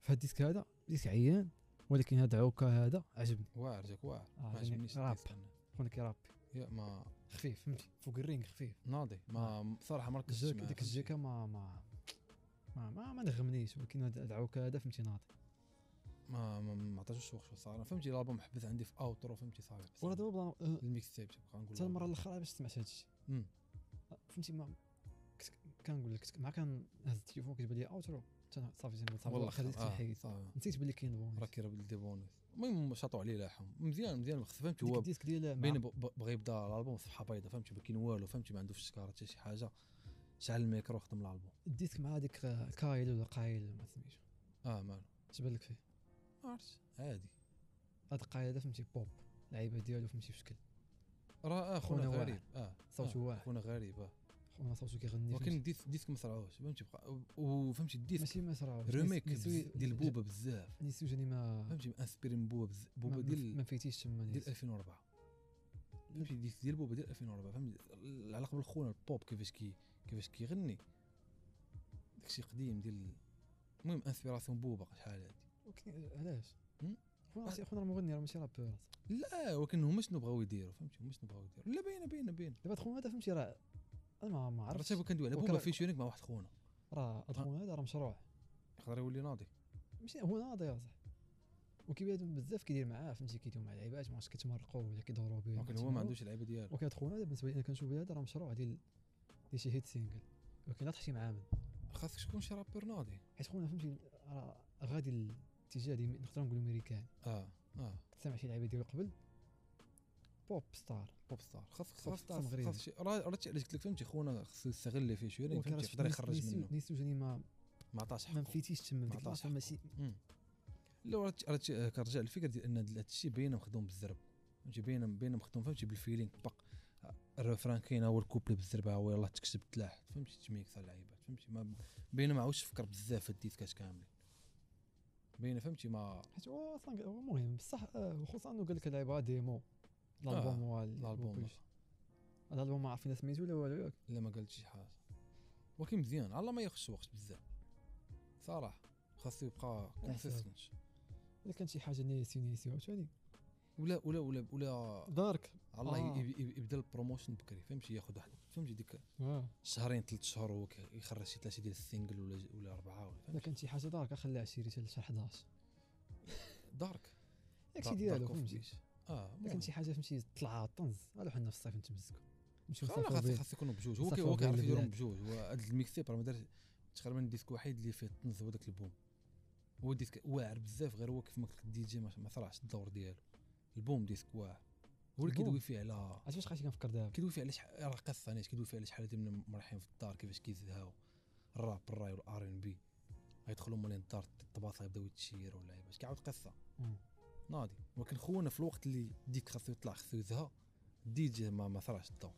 B: في هاد الديسك هذا ديسك عيان ولكن هاد عوكا هذا عجبني
A: واعر جاك واعر
B: آه،
A: ما
B: يعني
A: عجبنيش
B: راب.
A: الديسك أنا.
B: خونا كيرابي
A: يا ما
B: خفيف فهمتي فوق الرينغ خفيف
A: ناضي ما صراحه ما ركزتش
B: آه. الجاك
A: معاه،
B: ديك
A: فهمتي.
B: الجاكا ما ما ما ما, ما نغمنيش ولكن هاد هاد عوكا هذا فهمتي ناضي
A: ما ما- ما عطاتوش وقت صراحه فهمتي الالبوم حبس عندي في اوترو فهمتي صافي بس
B: ولا دابا بلا- أه،
A: الميكس تايب تبقى نقول
B: حتى المره
A: لهم.
B: الاخرى باش سمعت هادشي أه،
A: مم.
B: فهمتي ما كنت كنقول لك كنت- مع كان هز التليفون كتبان لي اوترو تن- صافي زين صافي
A: والله
B: واخا ديك
A: خ- آه،
B: الحيد
A: صافي.
B: نسيت بلي كاين بون
A: راه كيربل دي بونوس المهم شاطوا عليه لاحهم مزيان مزيان خص فهمتي
B: ديك نعم.
A: هو
B: الديسك ديال مع-
A: بين ب- ب- بغى يبدا الالبوم صفحه بيضاء فهمتي ما كاين والو فهمتي ما عندوش السكارة حتى شي حاجه شعل الميكرو خدم الالبوم
B: الديسك مع هذيك كايل ولا قايل ولا ما سميتو
A: اه مالو
B: اش بان لك فيه
A: ما عرفتش عادي
B: هاد قايل هذا فهمتي بوب اللعيبه ديالو فهمتي في شكل
A: راه آه،
B: خونا
A: خونا
B: واعر.
A: غريب اه
B: صوته
A: آه،
B: واعر.
A: خونا غريب اه
B: خونا صوتو كيغني
A: ولكن
B: فهمتي.
A: الديس- الديسك ما صرعوش فهمتي بقى وفهمتي الديسك
B: ماشي ما صراوش
A: ريميك
B: نس- نسوي-
A: بز- ديال بوبا بزاف
B: نسيو جاني ما
A: فهمتي مأنسبيري من بوبا بز-
B: ما-
A: بوبا
B: ما-
A: ديال
B: ما فيتيش تما
A: ديال
B: نيت.
A: 2004 فهمتي ديك ديال بوبا ديال 2004 فهمتي العلاقه بالخونه البوب كيفاش كي كيفاش كيغني داكشي قديم ديال المهم انسبيراسيون بوبا شحال هادي
B: ولكن علاش
A: هم؟
B: خونا راه- خونا راه مغني راه ماشي رابور
A: لا ولكن هما شنو بغاو يديروا فهمتي هما شنو بغاو يديروا لا باينه باينه باينه
B: دابا هاد خونا هذا فهمتي راه انا ما- ما
A: عرفت
B: عرفتش
A: شنو كندوي على
B: وكان-
A: بوبا فيشورينغ مع واحد خونا
B: راه هاد خونا هذا راه مشروع
A: يقدر يولي ناضي
B: ماشي هو ناضي صح وكيبان بزاف كيدير معاه فهمتي كيديروا مع لعيبات ما عرفتش كيتمرقوا ولا كيدوروا بهم
A: ولكن هو ما عندوش اللعيبه ديالو
B: ولكن هاد خونا هذا بالنسبه لي انا كنشوف هذا راه مشروع ديال ديال شي هيت سينجل ولكن لا تحشي معاه من
A: خاصك تكون شي رابور ناضي
B: حيت خونا فهمتي راه غادي الاتجاه ديال نقدر نقولوا ميريكان
A: اه اه
B: كنت سامع شي لعيبه ديالو قبل بوب ستار
A: بوب ستار خاصك
B: بوب
A: خاصك
B: ستار
A: خاصك
B: مغربي.
A: خاصك شي- راه راه تي- علاش قلت لك فهمتي خونا خصو يستغل اللي فيه شويه فهمتي يقدر يخرج منه
B: نيسو جاني ما
A: ما عطاش
B: ما
A: حقه
B: مفيتيش تما
A: ما
B: ديك
A: عطاش
B: اللحظه ماشي
A: مم. لا راه راه تي- آه، كنرجع للفكره ديال ان هاد الشيء باينه مخدوم بالزرب فهمتي باينه باينه مخدوم فهمتي بالفيلينغ طبق الرفران كاين هو الكوبل بالزربه هو يلاه تكتب تلاح فهمتي تميكس على اللعيبات فهمتي ما باينه ما عاودش فكر بزاف في الديسكات كاملين باينه فهمتي ما
B: حيت هو اصلا هو مهم بصح آه، خصوصا انه قال لك لعيبه
A: آه،
B: ديمو الالبوم هو ال-
A: الالبوم
B: وكلشي. الالبوم ما عارفين سميتو ولا والو ياك
A: لا ما قالت شي حاجه ولكن مزيان الله ما ياخذش وقت بزاف صراحه خاصو يبقى
B: أحسن.
A: كونسيستنت
B: الا كان شي حاجه نيسي نيسي عاوتاني
A: ولا ولا ولا ولا
B: دارك
A: الله
B: آه.
A: ي- يب- يب- يبدا البروموشن بكري فهمتي ياخذ واحد فهمتي ديك
B: اه
A: شهرين ثلاث شهور هو كي- يخرج شي ثلاثه ديال السينجل ولا ج- ولا اربعه ولا
B: الا
A: فهمتي
B: كان شي حاجه دارك خليها 20 حتى لشي 11
A: دارك
B: داكشي
A: دا-
B: ديالو
A: دارك أوف
B: فهمتي
A: بيش. اه
B: الا كان شي حاجه فهمتي طلعه طنز راه حنا في الصيف نتمسكو نمشيو
A: خاص
B: نسافرو به
A: خاص يكونوا بجوج هو كي-
B: نسافروا
A: هو
B: بيه
A: كيعرف
B: للبلاد.
A: يديرهم بجوج هو هاد الميكسيب راه ما دارش تقريبا ديسك واحد اللي فيه الطنز هو داك البوم هو ديسك واعر بزاف غير هو كيف ما قلت لك الدي جي ما ما صراحش الدور ديالو البوم ديسك واعر هو اللي
B: البوم؟
A: كيدوي فيه على
B: عرفتي واش كنفكر دابا
A: كيدوي فيه على شحال راه قصه نيت كيدوي فيه على شحال هادي من مرحين في الدار كيفاش كيزهاو الراب الراي والار ان بي غيدخلوا مولين الدار الطباطا يبداو يتشيروا اللعيبه كيعاود قصه
B: مم.
A: ناضي ولكن خونا في الوقت اللي ديك خاصو يطلع خاصو يزها دي جي ما ما صراش الدور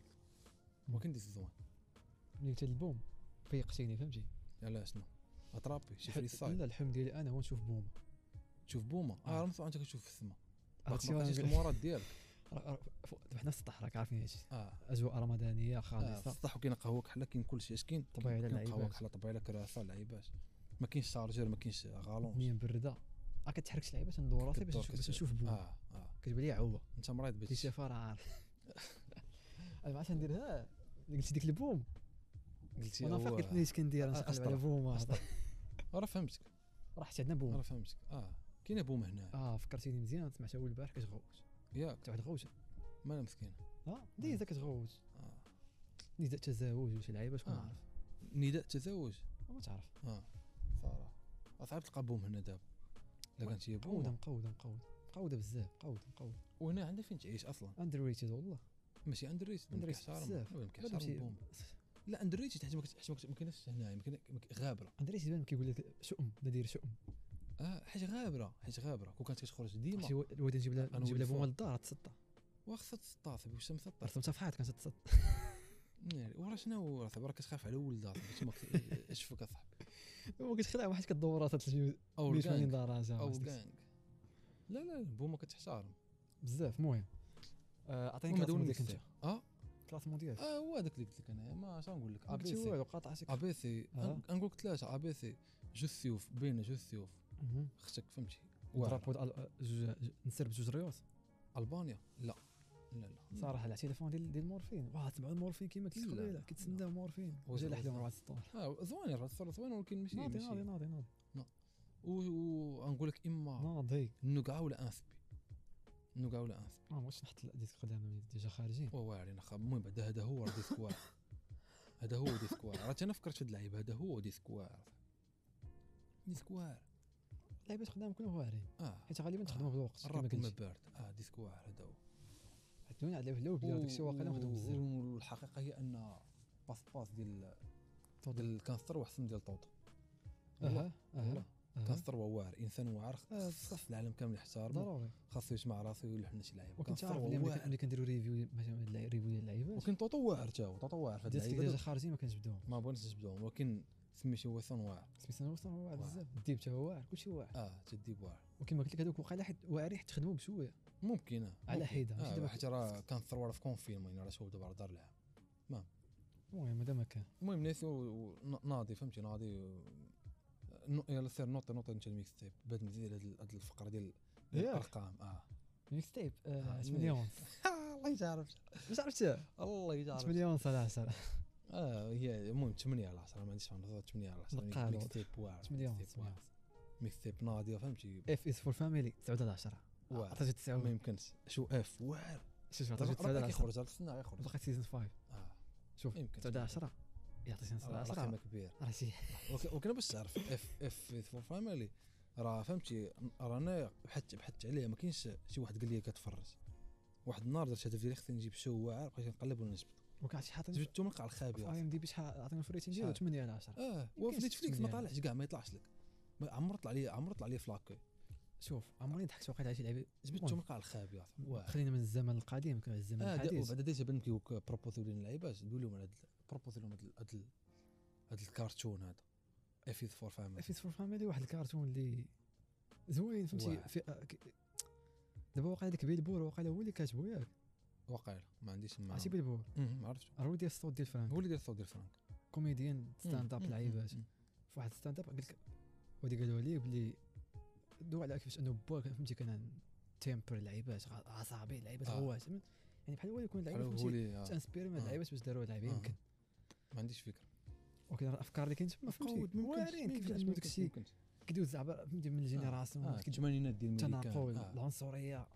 A: ولكن ديك زوين
B: ملي قلت البوم فيقتيني فهمتي
A: على شنو اطرابي شي فري
B: حيت-
A: سايد
B: لا الحلم ديالي انا هو نشوف بوم
A: تشوف بوما
B: آه.
A: اه رمزو انت كتشوف في السما باقي
B: عرفتي
A: ما
B: وانا
A: لقيتيش
B: نقول-
A: المورات ديالك
B: راه- راه- فوق- دابا حنا في السطح راك عارفين هادشي
A: اه
B: اجواء رمضانيه
A: آه،
B: خالصه
A: بصح وكاين قهوه كحله كاين كلشي اش كاين
B: طبيعي على
A: كاين
B: اللعيبات.
A: قهوه كحله طبيعي على كراسه اللعيبات ما كاينش شارجر ما كاينش غالون
B: مية برده راه كتحركش لعيبه تندور راسي باش نشوف باش نشوف بوم
A: اه اه
B: كتبان لي عوه
A: انت مريض بهذا
B: ديك
A: الشيء
B: الشفا راه عارف انا ما عرفتش نديرها قلت ديك البوم
A: قلتي
B: وانا
A: هو
B: فاق قلت ليش كندير
A: أ-
B: نشقلب على
A: أسطر.
B: بوم
A: أسطر. راه فهمتك
B: راه حتى عندنا بوم
A: راه فهمتك اه كاينه بوم هنا
B: اه فكرتيني مزيان سمعتها اول البارح كتغوت
A: ياك
B: حتى واحد غوت
A: ما انا مسكين
B: اه ديزا كتغوت
A: آه.
B: ديزا تزاوج وشي لعيبه شكون
A: آه.
B: عارف
A: نداء تزوج
B: ما تعرف
A: اه صراحه صعيب تلقى بوم هنا دابا الا كانت هي
B: مقوده
A: بوم
B: مقوده مقوده مقوده بزاف مقوده مقوده
A: وهنا عندها فين تعيش اصلا
B: اندر ريتد والله
A: ماشي اندريت
B: Underrated بزاف. بعد ماشي-
A: بوم لا اندريت حتى ما كت- حتى ما كت- ما كايناش هنا ما كاين- ما كاين- غابره
B: اندر ريتد بان كيقول لك شؤم دا داير شؤم
A: اه حاجه غابره حاجه غابره كون كانت كتخرج
B: عرفتي
A: ديما
B: هو- الواد نجيب لها
A: أنا
B: نجيب لها
A: ولد
B: بوما
A: فوق.
B: للدار تسطى
A: واخا تسطاف واش مسطر
B: رسمت صفحات كانت تسطى
A: ناري ورا شنو راه صاحبي راه كتخاف على ولدها صاحبي تما اشفك اصاحبي
B: هو كتخلع واحد كدور راسها 380
A: او الكانك
B: درجه
A: او
B: واش داك
A: الكانك لا لا بوما كتحترم
B: بزاف المهم آه، اعطيني
A: هما
B: كلاس
A: دول
B: مون ديالك انت
A: المفتاح اه
B: كلاس آه، مون ديالك
A: اه هو هذاك اللي قلت لك انا ما شنو نقول لك ا
B: ما
A: بي
B: قلتي
A: سي
B: والو قاطعتك
A: ا بي سي
B: آه.
A: نقول لك ثلاثه ا بي سي جوج السيوف بين جوج السيوف
B: مهم.
A: اختك فهمتي واعرة.
B: درابو ديال ال- جوج- جوج- آه، نسرب جوج ريوس
A: البانيا لا لا لا
B: صراحه على التليفون ديال ديال المورفين واه تبعوا المورفين كيما قلت
A: لا،
B: قبيله
A: لا.
B: كيتسنى مورفين
A: هو
B: وجا
A: زوين.
B: لحلهم ربعه السطور
A: اه زوين راه الصوره زوين ولكن ماشي
B: ناضي ناضي
A: ماشي
B: ناضي ناضي
A: ونقول لك اما
B: ناضي
A: النقعه ولا انسبي النقعه ولا انسبي
B: ما بغيتش نحط ديسك قدام ديجا خارجين
A: واه واعرين اخا المهم بعدا هذا هو راه ديسك واعر هذا هو ديسك واعر راه انا فكرت في هاد اللعيب هذا هو ديسك واعر ديسك واعر
B: اللعيبات قدام كلهم واعرين
A: اه
B: حيت غالبا تخدموا بالوقت كما
A: الراب ما
B: قلت
A: بارد اه ديسك واعر هذا هو
B: الدنيا على الهلا وبلا داكشي واقيلا نخدموا بزاف
A: والحقيقه هي ان باس باس ديال ديال الكانستر واحسن ديال طوطو والله
B: اها
A: والله.
B: اها اها
A: كانستر هو واعر انسان واعر
B: آه،
A: خص خص العالم كامل يحترمه
B: ضروري
A: خاصو يسمع راسو ويلحن شي لعيبه
B: وكنت
A: كانستر
B: عارف
A: هو
B: اللي ملي
A: واعر.
B: كن- ملي كنديروا ريفيو مثلا ديال الريفيو ديال اللعيبات
A: ولكن طوطو واعر تا هو طوطو واعر في هاد
B: ديسك
A: اللعيبه
B: ديجا
A: دابا.
B: خارجين ما كنجبدوهم
A: ما بغيناش نجبدهم ولكن سميتو هو ثون واعر
B: سميتو انا وصل واعر
A: واعر.
B: بزاف الديب تا هو واعر كلشي واعر
A: اه تديب واعر
B: وكما قلت لك هذوك وقيلا حيت واعرين حيت خدموا بشويه
A: ممكن آه.
B: على
A: ممكن.
B: حيدة، ماشي
A: اه
B: دابا
A: حيت راه كان ثروه في كونفيرم يعني راه شوف دابا راه دار العام
B: المهم هذا ما كان
A: المهم ناسي و- و- ناضي فهمتي ناضي و- نو- يلا سير نوطي نوطي انت الميكس تيب بعد مزيد هاد ال- هاد الفقره ديال ديال
B: ياك؟
A: الارقام اه
B: ميكس تيب
A: آه،
B: 8 مليون
A: الله يجارف
B: واش عرفتها
A: الله يجارف
B: 8 مليون صراحه صراحه
A: اه هي المهم 8 على 10 ما عنديش فهم 8 على 10
B: نقالو.
A: ميكس تيب واعر
B: 8 مليون
A: ميكس تيب واعر. ميكس تيب ناضيه فهمتي
B: اف از فور فاميلي 9 على 10
A: واعر.
B: عطيتها 9
A: ما يمكنش شو اف واعر
B: شوف
A: راه
B: عطيتها 9 على
A: راه
B: 10
A: كيخرج راه خصنا يخرج
B: بقى سيزون 5
A: اه
B: شوف
A: يمكن
B: 9 على 10 يعطيك 9 على
A: راه
B: 10
A: رقم كبير
B: راه شي
A: وك- وكنا باش تعرف اف اف فور فاميلي راه فهمتي رانا بحثت بحثت عليه ما كاينش شي واحد قال لي كتفرج واحد النهار درت هدف ديالي خصني نجيب شو واعر بقيت نقلب ونجبد
B: وكان شي حاطين
A: جبدته من القاع الخابيه
B: اي ام دي بي شحال عطينا في الريتين ديالو
A: شحال؟
B: 8 على 10
A: اه
B: يمكنش
A: وفي نتفليكس ما
B: تسميها.
A: طالعش كاع ما يطلعش لك ما عمر طلع لي عمر طلع لي فلاكي
B: شوف عمرني ضحكت وقيت على شي لعيبه
A: جبدته
B: المهم.
A: من القاع الخابيه واعر
B: خلينا من الزمن القديم كان الزمن
A: اه دا-
B: الحديث
A: وبعد ديجا بان كيو بروبوزيو لنا لعيبات قول لهم على هاد ال- بروبوزيو لهم هاد ال- هاد ال- هاد الكارتون هذا اف فور فاميلي
B: اف فور فاميلي واحد الكرتون اللي زوين فهمتي
A: واعر.
B: في آه، ك- دابا واقع داك بيلبور واقع هو اللي كاتبو ياك
A: واقيلا ما عنديش ما
B: عرفتي بيلبور
A: عرفت
B: راه هو ديال الصوت ديال فرانك
A: هو اللي داير الصوت ديال فرانك
B: كوميديان ستاند اب
A: مم، مم،
B: لعيبات
A: مم.
B: في واحد ستاند اب قال لك ودي قالوا لي بلي دو على كيفاش انه بوا كان- فهمتي كان تيمبر لعيبات غ- عصبي لعيبات
A: آه.
B: غواش يعني بحال هو يكون
A: بحال
B: لعيبه
A: هو
B: فهمتي
A: اللي آه،
B: تانسبيري من
A: آه.
B: اللعيبات باش داروا لعيبه
A: آه.
B: يمكن
A: ما عنديش فكره
B: ولكن راه الافكار اللي كاين تما
A: مفقود
B: فهمتي واعرين كيفاش عندهم داك الشيء كيدوز زعما فهمتي من الجينيراسيون
A: آه
B: آه.
A: الثمانينات ديال
B: التناقض
A: الميريكان
B: العنصريه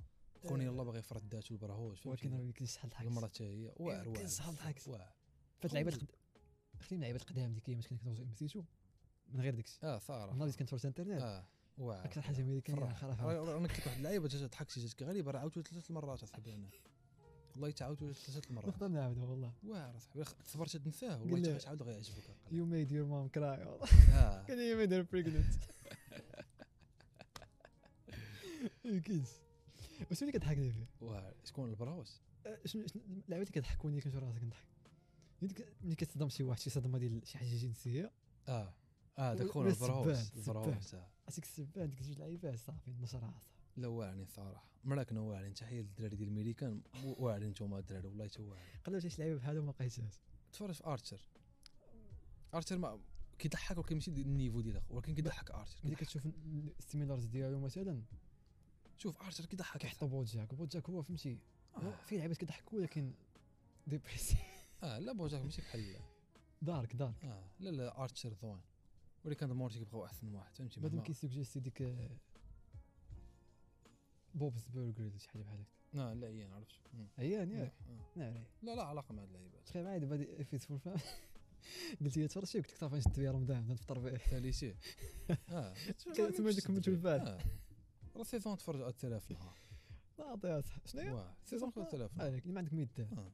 A: كون يلا باغي يفرض ذاته البراهوش
B: آه. ولكن راه يمكن شحال ضحكت
A: المراه حتى هي واعر
B: يمكن
A: واعر
B: شحال ضحكت.
A: واعر
B: فهاد اللعيبه القد... خلينا اللعيبه القدام ديك ايامات كنا كندوزو مسيتو من غير داكشي
A: اه صار
B: نهار اللي كنتفرج في الانترنت
A: اه واعر
B: اكثر حاجه امريكيه
A: فرح.
B: خرافه
A: راه انا كنت واحد اللعيبه جات ضحكتي جاتك غريبه راه عاودت ثلاث مرات اصاحبي انا والله تعاودت ثلاث مرات
B: نقدر نعاودها والله
A: واعر اصاحبي خ- صبرت تنساه
B: قال
A: والله
B: لها-
A: تعاود غيعجبك أقل.
B: يو ميد يور مام كراي والله
A: آه.
B: كان هي ميد هير بريغننت يمكنش وشنو اللي كضحكني فيه؟
A: واعر شكون البراوس
B: أه، شنو شنو اللعيبه اللي كضحكوني كنشوف راسي كنضحك ملي كت- ملي كتصدم شي واحد شي صدمه ديال شي حاجه جنسيه
A: اه اه داك خونا
B: ولا
A: البراوس
B: السبان،
A: البراوس آه.
B: عطيك السبان ديك جوج لعيبات صافي نشر راسها
A: لا واعرين صراحه مراكنا واعرين تحيه للدراري ديال الميريكان واعرين نتوما الدراري والله تا واعرين
B: قلت شي لعيبه بحال ما لقيتهاش
A: تفرج في ارشر ارشر ما كيضحك ولكن ماشي دي- النيفو ديالك ولكن كيضحك ارشر
B: ملي
A: كيضحك.
B: كتشوف الستيميلرز ديالو مثلا
A: شوف ارشر كيضحك
B: كيحطوا بوجاك بوجاك هو فهمتي هو
A: آه.
B: فيه لعيبات كيضحكوا ولكن ديبريسي
A: اه لا بوجاك ماشي بحال آه،
B: دارك دارك
A: اه لا لا ارشر زوين ولكن كان مورتي كيبقاو احسن واحد فهمتي
B: مادام
A: مهما
B: كيسوجيستي ديك آه، بوبز برجر ولا شي حاجه بحال هكا
A: آه،
B: أيوة،
A: لا لا هي عرفت مم.
B: عيان ياك
A: آه.
B: ناري
A: لا لا علاقه مع هاد اللعيبات
B: أيوة. تخيل معايا دابا هادي افيت فول فام قلت لي تفرشي قلت لك صافي نشد بيه رمضان نفطر بيه
A: ثالثيه اه
B: كنت ما عندك كملت البال.
A: آه. راه سيزون تفرج 3000 نهار
B: ناضي اصاحبي شنو هي؟
A: واه سيزون
B: آه.
A: 3000 نهار
B: هذاك اللي ما عندك ما يدار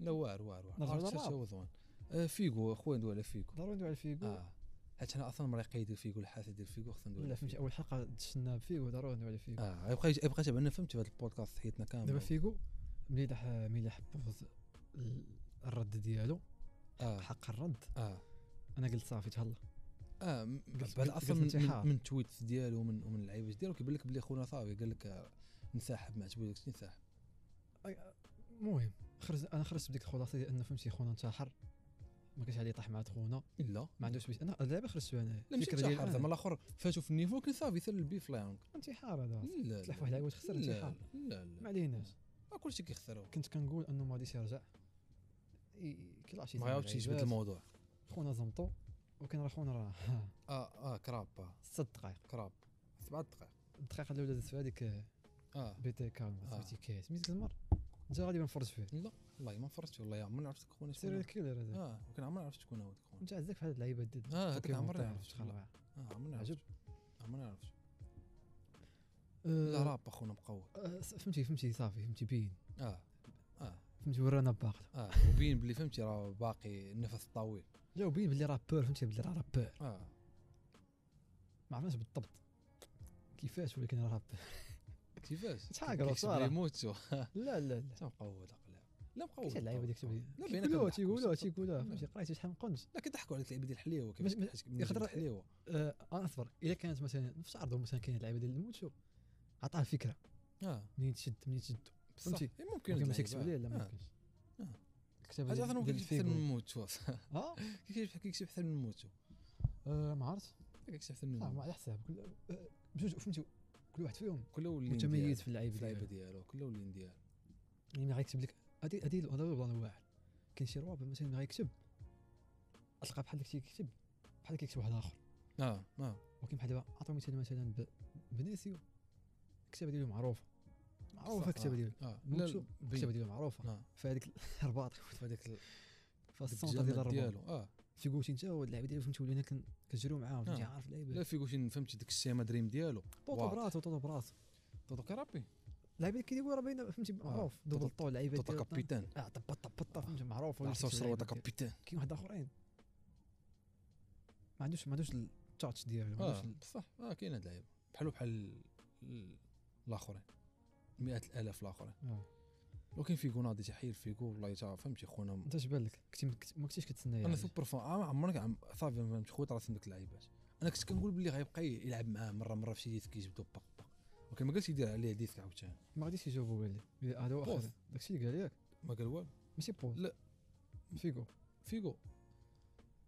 A: لا واعر واعر
B: نرجعو
A: واعر عرفت
B: للراب.
A: شنو زوين آه، فيغو اخويا ندوي على فيغو
B: ضروري ندوي على الفيغو
A: اه حيت انا اصلا مريقي يدير فيغو الحاسه ديال فيغو خصنا ندوي
B: لا
A: على
B: فهمتي
A: فيغو.
B: اول حلقه دشنا بفيغو ضروري ندوي على فيغو
A: اه يبقى يبقى تبعنا فهمت في هذا البودكاست حياتنا كامله
B: دابا فيغو مليح مليح بوز ال- الرد ديالو
A: اه
B: حق الرد
A: اه
B: انا قلت صافي تهلا
A: اه م-
B: قلت-
A: بعد
B: قلت-
A: اصلا
B: قلت انتحار.
A: من, من التويتس ديالو ومن ومن اللعيبات ديالو كيبان لك بلي خونا صافي قال لك آه، نسحب ما عجبوش نسحب
B: المهم خرج انا خرجت بديك الخلاصه ديال انه فهمتي خونا انتحر ما كانش عليه طاح مع خونا
A: لا
B: ما عندوش بيت انا اللعبه خرجت انا
A: لا ماشي انتحار زعما الاخر فاتوا في النيفو كان صافي سلبي في لا
B: انتحار هذا
A: لا
B: تلعب واحد العواد خسر
A: لا،
B: انتحار
A: لا آه،
B: ما
A: لا
B: عليناش
A: ما كلشي كيخسروا
B: كنت كنقول انه ما غاديش يرجع ي- كيلعب شي
A: ما
B: ثمانية
A: عاودش يجبد
B: لعيبات.
A: الموضوع
B: خونا زمطو وكان راه خونا راه
A: اه اه كراب آه،
B: ست دقائق
A: كراب سبع دقائق
B: الدقيقه الاولى دازت فيها هذيك
A: اه
B: بي تي كالما
A: آه.
B: سميتي كاس ميت كزمر جا غادي نفرج فيه
A: لا والله ما فرجت والله يا عمرني عرفت خونا شكون
B: سيريال
A: هو.
B: كيلر هذا
A: اه وكان عمرني عرفت شكون هو هذاك خونا
B: انت عزك في هاد اللعيبه ديال
A: اه هذاك
B: بوكيمون
A: عمرني
B: طيح
A: عرفت
B: شحال
A: شكون
B: رائع
A: اه عمرني
B: عجب.
A: عرفت عمرني عرفت
B: آه،
A: لا راب اخونا مقوي
B: آه، فهمتي فهمتي صافي فهمتي بين
A: اه اه
B: فهمتي ورانا باقله
A: اه وبين بلي فهمتي راه باقي النفس طويل
B: لا وبين بلي راه بور فهمتي بلي راه بور
A: اه
B: ما عرفناش بالضبط كيفاش ولكن راه بور
A: كيفاش
B: تحاكر
A: كيكتب
B: صراحة.
A: لي موتو
B: لا لا لا
A: حتى مقوي هذا قلاب لا مقوي
B: كيفاش اللعيبه ديك تبدي
A: لا بينا
B: تيقولوها
A: كنضحكوا
B: تيقولوها
A: صراحة.
B: تيقولوها
A: لا.
B: فهمتي قريتي شحال من قنت
A: لا كيضحكوا عليك اللعيبه ديال الحليوه كيفاش
B: مش-
A: كيفاش كيفاش
B: يقدر-
A: الحليوه
B: آه، انا اصبر الا كانت مثلا نفس عرضه مثلا كاين اللعيبه ديال الموتشو عطاه فكره
A: اه
B: منين تشد منين تشد فهمتي.
A: فهمتي ممكن
B: ولكن ما
A: اللعيبة،
B: تكتب ليه لا ما
A: آه.
B: يمكنش
A: آه.
B: الكتابه
A: حاجه اصلا
B: ديال-
A: ممكن
B: ديال
A: تكتب احسن من
B: فيغو.
A: موتو
B: اه
A: كيكتب كيكتب احسن من موتو
B: آه، ما عرفتش
A: كيكتب احسن من
B: صح، ما
A: موتو.
B: على حساب كل آه، بجوج فهمتي كل واحد فيهم
A: كله ولين
B: متميز
A: ديالو
B: في اللعيبه ديالو
A: اللعيبه ديالو كله ولين ديالو
B: يعني ملي غيكتب لك هادي هادي الانوار بلان واحد كاين شي رواب مثلا ملي غيكتب تلقى بحال داك الشيء كيكتب بحال كيكتب واحد اخر
A: اه اه
B: ولكن بحال دابا عطاو مثال مثلا ب- بنيسيو الكتابه ديالو معروفه معروفه
A: صح،
B: الكتابه
A: آه،
B: ديالو
A: اه لا
B: موتشو
A: بين.
B: الكتابه ديالو معروفه
A: اه
B: فهذيك الرباط
A: فهذاك ال-
B: فالسونطه ديال
A: الجامد
B: الرباط
A: ديالو اه
B: في قوتي انت هو اللعيبه ديالو فهمتي ولينا كن- كنجريو معاهم فهمتي
A: آه.
B: عارف
A: لا
B: اللعيبه
A: فيكو شي فهمتي ديك السيما دريم ديالو
B: طوطو
A: واضح.
B: براسو طوطو براسو
A: توتو كرابي
B: اللعيبه اللي كيديروا راه باينه فهمتي معروف دوبل
A: آه. طوطو- آه.
B: طو اللعيبه
A: توتو
B: ديالو طن-
A: كابيتان
B: اه طبا طبا طبا فهمتي معروف
A: عرفتو شنو هذا
B: اللعيبة ديالو.
A: كابيتان
B: كاين واحد اخرين ما عندوش ما عندوش التاتش ديالو ما
A: اه
B: عندوش ال-
A: بصح اه كاين هاد اللعيبه بحالو بحال ال- الاخرين مئات الالاف الاخرين
B: آه.
A: ولكن فيكو ناضي تحيل فيكو والله تا فهمتي خونا م-
B: انت اش بان لك كنتي ما كنت- ما كنتيش كتسنى
A: انا
B: يعني.
A: سوبر فان آه، عمرك عم- صافي ما فهمتش خويا راسي ديك اللعيبات انا كنت كنقول بلي غيبقى يلعب معاه مره مره في شي ديسك يجبدو باق باق ولكن ما قالش يدير عليه ديسك عاوتاني
B: ما غاديش يجاوبوا عليه إلا- هذا هو
A: بوز.
B: اخر داكشي اللي قال لك
A: ما قال والو
B: ماشي بوز
A: لا.
B: فيغو
A: فيغو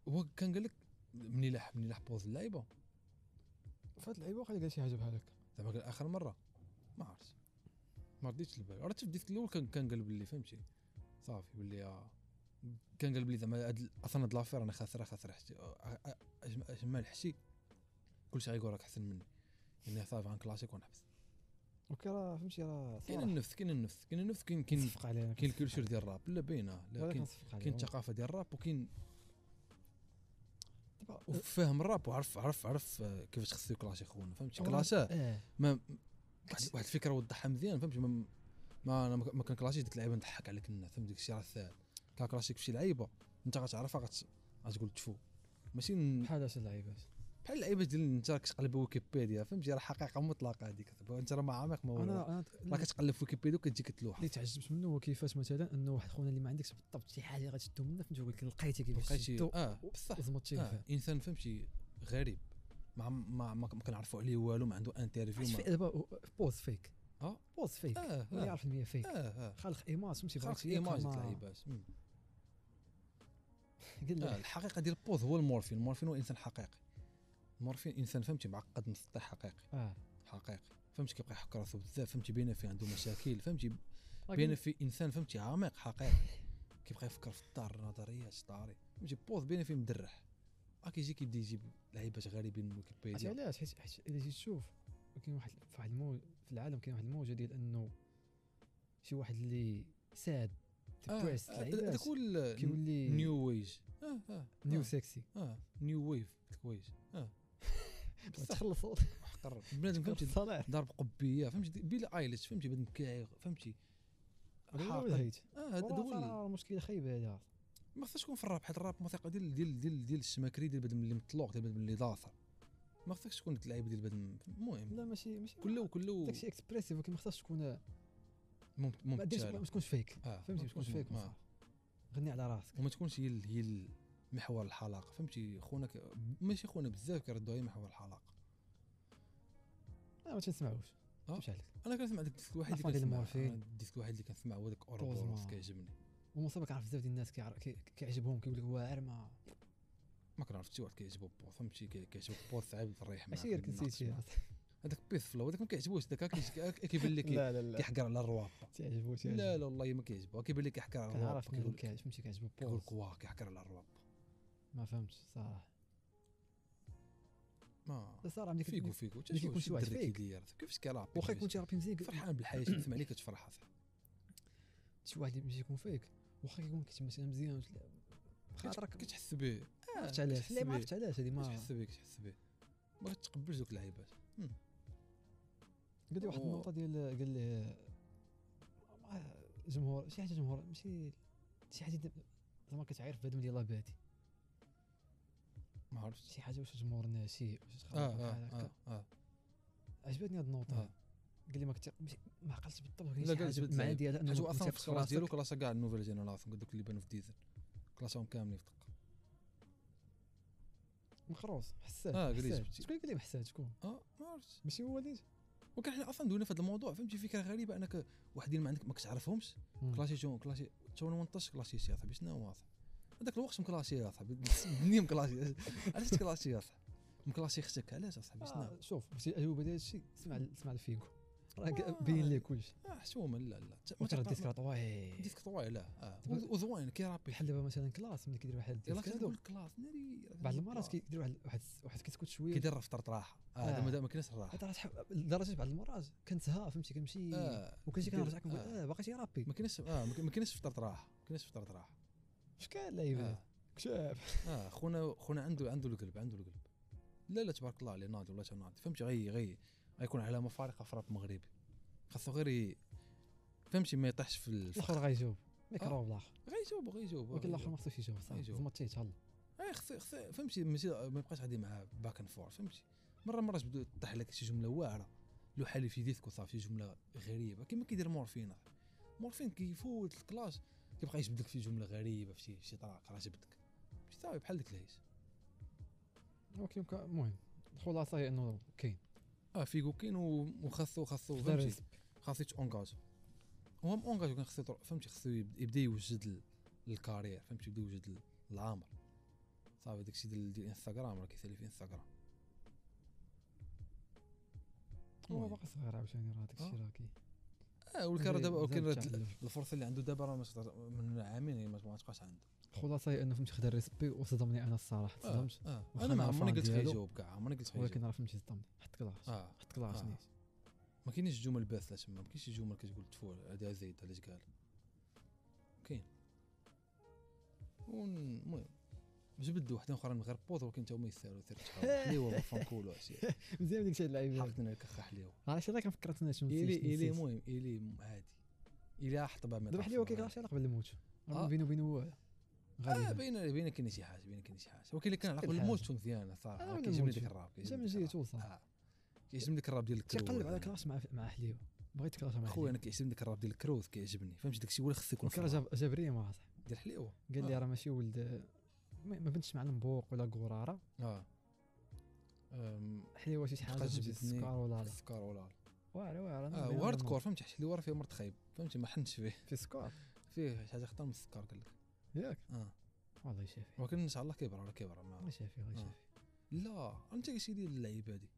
A: هو كان قال لك مني لاح مني لاح بوز اللعيبه
B: فهاد اللعيبه واقيلا قال شي حاجه بحال هكا
A: زعما قال اخر مره ما عرفتش ما رديتش البال عرفت في الديسك الاول كان كان قال بلي فهمتي صافي بلي آه، كان قال بلي زعما هاد ال- اصلا هاد لافير انا خاسره خاسره حتي آه، آه، أجم- اجمال حشي كلشي غيقول راك احسن مني يعني صافي غنكلاشيك ونحبس
B: اوكي راه فهمتي راه
A: كاين
B: صراحه
A: النفس كاين النفس كاين النفس كاين كاين
B: كنصفق عليه
A: كاين الكولتور ديال الراب لا باينه لا كاين
B: كنصفق عليه
A: كاين الثقافه ديال الراب وكاين
B: دابا
A: وفاهم الراب وعرف عرف عرف آه، كيفاش خصو يكلاشي خونا فهمتي
B: أولاً-
A: كلاشاه
B: آه،
A: ما واحد, واحد الفكره وضحها مزيان فهمتي ما, ما انا ما ما كنكلاشيش ديك اللعيبه نضحك عليك الناس فهمت داك الشيء راه ساهل كنكلاشيك في شي لعيبه انت غتعرفها غت- غتقول تفو ماشي ن-
B: بحال هاد اللعيبات
A: بحال اللعيبه ديال انت راك تقلب ويكيبيديا فهمتي راه حقيقه مطلقه هذيك انت راه ما عميق ما والو
B: انا انا
A: راه كتقلب في ويكيبيديا وكتجيك تلوح
B: اللي تعجبت منه هو كيفاش مثلا انه واحد خونا اللي ما عندكش بالضبط شي حاجه غتشدو منه فهمتي ولكن لقيتي كيفاش
A: لقيتي
B: شدو
A: اه بصح
B: زمطتي
A: آه.
B: فيها
A: انسان فهمتي غريب ما عم- ما ما كنعرفوا عليه والو ما عنده انترفيو
B: عرفت
A: ما
B: في- دابا هو- بوز فيك
A: اه
B: بوز فيك
A: اه
B: ولا
A: اه
B: يعرف ان هي فيك
A: اه
B: خلق ايماج فهمتي بغاك
A: خاص
B: تيقرا
A: ايماج
B: ما-
A: اللعيبات مم.
B: قال
A: آه
B: لك
A: الحقيقه ديال بوز هو المورفين المورفين هو انسان حقيقي المورفين انسان فهمتي معقد مسطح حقيقي
B: اه
A: حقيقي فهمتي كيبقى يحك راسو بزاف فهمتي باينه فيه عنده مشاكل فهمتي باينه
B: بين
A: في انسان فهمتي عميق حقيقي كيبقى يفكر في الدار النظريات طاري فهمتي بوز باينه فيه مدرح اه كيجي كيبدا يجيب لعيبات غريبين من
B: عرفتي
A: ويكيبيديا
B: علاش حيت حيت الا جيت تشوف كاين واحد في واحد الموج في العالم كاين واحد الموجه ديال انه شي واحد اللي ساد ديبريس
A: أه، هذاك آه، هو ال-
B: كيولي
A: نيو ويج اه اه
B: نيو
A: آه،
B: سكسي
A: اه نيو ويف ديك ويج اه
B: بس تخلصوا
A: قرب بنادم فهمتي
B: الصلاح
A: ضرب قبيه فهمتي بيلا ايليش فهمتي بنادم كاعي فهمتي حاقد.
B: هيت
A: اه هذا هو ال-
B: مشكله خايبه هذا
A: ما خصهاش تكون في الراب حيت الراب موسيقى ديال ديال ديال ديال الشماكري ديال بنادم اللي مطلوق ديال بنادم اللي ضاثر ما خصكش تكون ديك اللعيبه ديال بنادم المهم
B: لا ماشي ماشي
A: كله كله
B: داكشي اكسبريسيف ولكن ما خصهاش تكون
A: ممت-
B: ما ديرش
A: ممتعه
B: ما تكونش فيك
A: آه،
B: فهمتي ما تكونش فيك
A: آه.
B: غني على راسك
A: وما تكونش هي ال- هي محور الحلقه فهمتي خونا ك... ماشي خونا بزاف كيردوها هي محور الحلقه
B: آه، ما تنسمعوش
A: آه.
B: مشي عليك
A: انا كنسمع ديك الديسك الواحد
B: أفضل
A: اللي كنسمع
B: المورفين.
A: آه، الديسك الواحد اللي كنسمع هو داك
B: طوزما.
A: اوربوروس كيعجبني
B: ومصاب كنعرف بزاف ديال الناس كيعر- كي- كيعجبهم كيقول لك واعر ما
A: ما كنعرف حتى واحد كيعجبو بو فهمتي كي- كيعجبو بو صعيب تريح معاه
B: ماشي غير كنسيت شي
A: هذاك بيس فلو هذاك ما كيعجبوش داك كيجي- كيبان لك
B: لا لا لا
A: كيحكر على الروابط
B: تعجبو
A: لا لا والله ما كيعجبو كيبان لك كيحكر على الروابط
B: كنعرف
A: كيقول
B: منهم
A: لك-
B: كيعجب فهمتي كيعجبو
A: كيقول
B: بوز
A: لك واه كيحكر على الروابط
B: ما فهمتش صراحه
A: ما
B: بس صراحه ملي كت-
A: فيكو فيكو
B: ملي كيكون
A: تشوف
B: شي واحد
A: الدري
B: فيك.
A: كيدير كيفاش كيلعب
B: واخا يكون شي رابي مزيان
A: فرحان بالحياه تسمع ليك كتفرح اصاحبي
B: شي واحد يمشي يكون فيك واخا يكون كيتم مثلا مزيان ولا- خاطرك ما
A: كتحس به
B: عرفتش علاش لا ما
A: كتحس
B: عرفتش علاش هذه
A: به
B: ما
A: كتحس به كتحس به ما كتقبلش دوك اللعيبات
B: قال لي واحد
A: أوه.
B: النقطه ديال قال لي ما- جمهور شي حاجه جمهور ماشي شي حاجه دب- زعما كتعاير في هذا ديال لاباتي
A: ما عرفتش
B: شي حاجه واش جمهور ناشئ واش
A: اه
B: تخرب
A: اه
B: بحال هكا.
A: اه, آه.
B: عجبتني هاد النقطه
A: آه.
B: قال لي ما كنت ماشي- ما عقلتش بالضبط
A: لا،
B: كاين شي
A: قال
B: حاجه
A: جبت
B: مع
A: زين.
B: ديال
A: حيت
B: انه
A: هو اصلا في الكلاس ديالو
B: ديالو
A: كلاس كاع النوفيل جينيراسيون دوك اللي بانوا في ديزل كلاسهم كاملين في دقه
B: مخروص حساد
A: آه، قال لي
B: حساد.
A: جبتي.
B: شكون قال لي حساد شكون
A: اه ما عرفتش
B: ماشي هو اللي
A: وكان حنا اصلا دوينا في هذا الموضوع فهمتي فكره غريبه انك واحدين ما عندك ما كتعرفهمش كلاسي جون كلاسي تو 18 كلاسي يا صاحبي شنو هو اصاحبي هذاك الوقت مكلاسي يا صاحبي بني مكلاسي علاش كلاسي يا صاحبي مكلاسي اختك علاش اصاحبي شنو
B: آه، شوف ماشي الاجوبه ديال هادشي سمع سمع الفيكو راه
A: آه.
B: قا- باين ليه كلشي
A: اه حشومه لا لا ت- ما
B: وترى
A: تقدر-
B: الديسك راه طويل
A: ديسك طويل لا اه
B: تبقى-
A: وز- وزوين كيرابي
B: بحال دابا مثلا كلاس ملي كيدير واحد
A: يلا
B: الديسك هادو،
A: كتقول الكلاس ناري
B: بعض المرات كيدير واحد واحد واحد كتكون شويه
A: كيدير فتره راحه اه هذا
B: آه.
A: ما- ما كاينش الراحه
B: حتى راه تحب- لدرجه بعض المرات كنتها فهمتي كنمشي
A: اه
B: وكنجي
A: كدير-
B: كنرجع كنقول
A: آه.
B: اه باقي تيرابي
A: ما كاينش اه ما كاين- ما كاينش فتره راحه ما كاينش فتره راحه
B: شكال لعيبه
A: آه.
B: كشاف
A: اه خونا خونا عنده عنده القلب عنده القلب لا لا تبارك الله عليه ناضي والله ناضي فهمتي غي غي غيكون علامه فارقه في راب مغربي خاصو غير ي- فهمتي ما يطيحش في الفخر
B: الاخر غيجاوب ميكروب الاخر
A: غيجاوبو غيجاوبو
B: ولكن الاخر
A: غيجاوبو.
B: ما خصوش يجاوب صح
A: آه. غيجاوب.
B: زعما تيت هلا
A: اي خصي خصي آه، فهمتي ماشي ما يبقاش غادي معاه باك اند فور فهمتي مره مره تبدا تطيح لك شي جمله واعره لو حالي في ديسك وصافي شي جمله غريبه كما كيدير مورفين أخي. مورفين كيفوت الكلاس كيبقى يجبد لك شي جمله غريبه في شي شي طراق راه جبدك ماشي صافي بحال ديك الهيس
B: ولكن كا- المهم الخلاصه هي انه كاين
A: اه فيغو كاين و- وخاصو خاصو
B: خدا
A: فهمتي
B: ريسك.
A: خاصو يتونكاج هو مونكاج كان خاصو يطر- فهمتي خاصو يب- يبدا يوجد ال- الكارير فهمتي يبدا يوجد ال- العامر صافي داكشي ديال ديال انستغرام راه كيسالي في انستغرام
B: هو
A: المهم.
B: باقي صغير عاوتاني راه داك الشيء راه كاين
A: اه ولكن راه دابا ولكن راه
B: مازال
A: د-
B: تعلم.
A: الفرصه اللي عنده دابا راه ما تقدر- من عامين هي ما ما تبقاش عنده
B: الخلاصه هي انه فهمتي خدا الريسبي وصدمني انا الصراحه
A: آه،
B: تصدمت
A: آه.
B: واخا
A: انا ما
B: مع
A: عمرني
B: الفان
A: قلت
B: ديالو.
A: غيجاوب كاع عمرني قلت غيجاوب
B: ولكن راه فهمتي صدمني حط كلاش
A: اه
B: حط كلاش
A: آه.
B: نيت
A: ما كاينينش جمل باسله تما ما كاينش شي جمل كتقول تفول هذا زيد علاش قال كاين ون- المهم جبد واحده اخرى من غير بوط ولكن حتى هما يسالوا سير تحاول حليوه ما فانكولو هادشي
B: مزيان ديك الشيء اللعيبه
A: حرقتنا لك اخا حليوه
B: علاش انا كنفكر انا شنو
A: الي
B: نسيت-
A: الي
B: نسيت.
A: المهم الي م- عادي الي حطبه ما
B: دابا
A: تعرف
B: حليوه
A: شنو
B: كيقرا شي علاقه بالموت
A: آه.
B: راه بينه وبينه هو
A: آه
B: غالبا
A: باينه باينه كاين شي حاجه باينه كاين شي حاجه ولكن اللي كان
B: شكل
A: عقل
B: حاجة.
A: الموت مزيانه صراحه
B: أنا
A: أنا
B: ولا
A: كيعجبني
B: الموت.
A: ديك الراب
B: جا
A: كيعجبني
B: من
A: ديك
B: جهه
A: الراب.
B: توصل
A: آه. كيعجبني ديك الراب ديال الكروز
B: تيقلب على كلاش مع مع حليوه بغيت كلاش مع
A: خويا
B: خويا
A: انا كيعجبني ديك الراب ديال الكروز كيعجبني فهمتي داكشي هو اللي خصو يكون في
B: كرا
A: الراب
B: جاب جابريه مع صح
A: ديال حليوه
B: قال لي
A: آه.
B: راه ماشي ولد ما ما بنتش مع المبوق ولا قراره
A: اه أم،
B: حليوه شي حاجه
A: تبقى
B: فهمتي،
A: جبدني.
B: السكر ولا لا
A: السكر ولا
B: واعره واعره أنا
A: اه
B: بين
A: وهارد
B: أنا
A: كور فهمتي حيت الورا فيه مرض خايب فهمتي ما حنش فيه
B: في سكر
A: فيه شي حاجه خطر من السكر قال لك
B: ياك
A: اه
B: والله يشافي
A: ولكن ان شاء الله كيبرى ولا كيبرى
B: الله
A: ما
B: يشافي الله
A: آه.
B: يشافي
A: لا انت كيش يدير اللعيبه هادي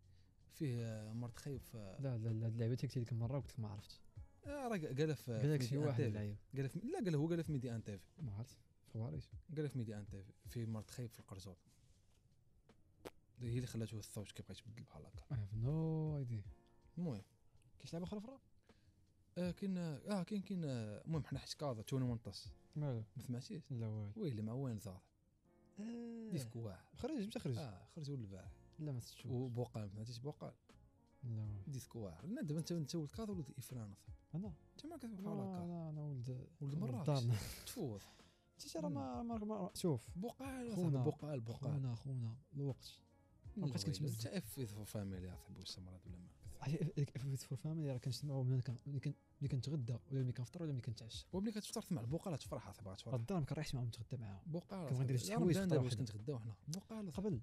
A: فيه آه، مرض خايب ف
B: لا لا لا هاد اللعبه تيك ديك المره وقلت لك ما عرفتش
A: آه، راه قالها في
B: قال لك
A: في
B: شي
A: ميدي
B: واحد
A: أن تيفي.
B: اللعيب
A: قالها في لا قالها هو قالها في ميدي ان تيفي
B: ما عرفت خباريش
A: قالها في ميدي ان تيفي فيه مرض خايب في القرجوط هي اللي خلاته الصوت كيبقى يتبدل بحال هكا
B: I have no idea
A: المهم
B: كاين شي لعبه اخرى اخرى
A: آه كاين اه كاين كاين آه، المهم حنا حيت كازا تونا ونطس
B: مالو
A: ما سمعتيش
B: لا والو
A: ويلي مع وين زار
B: آه. إيه.
A: ديسك واعر
B: خرج مشى خرج
A: اه خرجوا للبارح
B: لا ما شفتش لا
A: وبوقال ما سمعتيش بوقال
B: والو
A: ديسك واعر انا دابا انت انت ولد كازا ولد افران أصاحبي.
B: انا
A: انت ما كتبقى بحال
B: لا
A: هكا
B: لا انا ولد
A: ولد مراكش.
B: دارنا.
A: تفوض
B: حتى شي راه ما ما- ما شوف
A: بوقال
B: خونا.
A: أصاحبي، بوقال بوقال
B: خونا خونا الوقت ما بقيتش
A: الويلي،
B: كنتمزج.
A: انت اف في فاميلي اصاحبي واش مراد ولا ما
B: ديك اف فور فاميلي راه كنسمعو ملي كان ملي كان- ملي كنتغدى ولا ملي كنفطر ولا ملي كنتعشى
A: وملي كتفطر تسمع البوقال تفرح اصاحبي غتفرح
B: الدار ما كنريحش معاهم نتغدى معاهم
A: بوقال
B: كنبغي ندير شي حوايج
A: انا
B: خطرة
A: باش
B: وحدة.
A: كنتغداو حنا بوقال أصاحبي.
B: قبل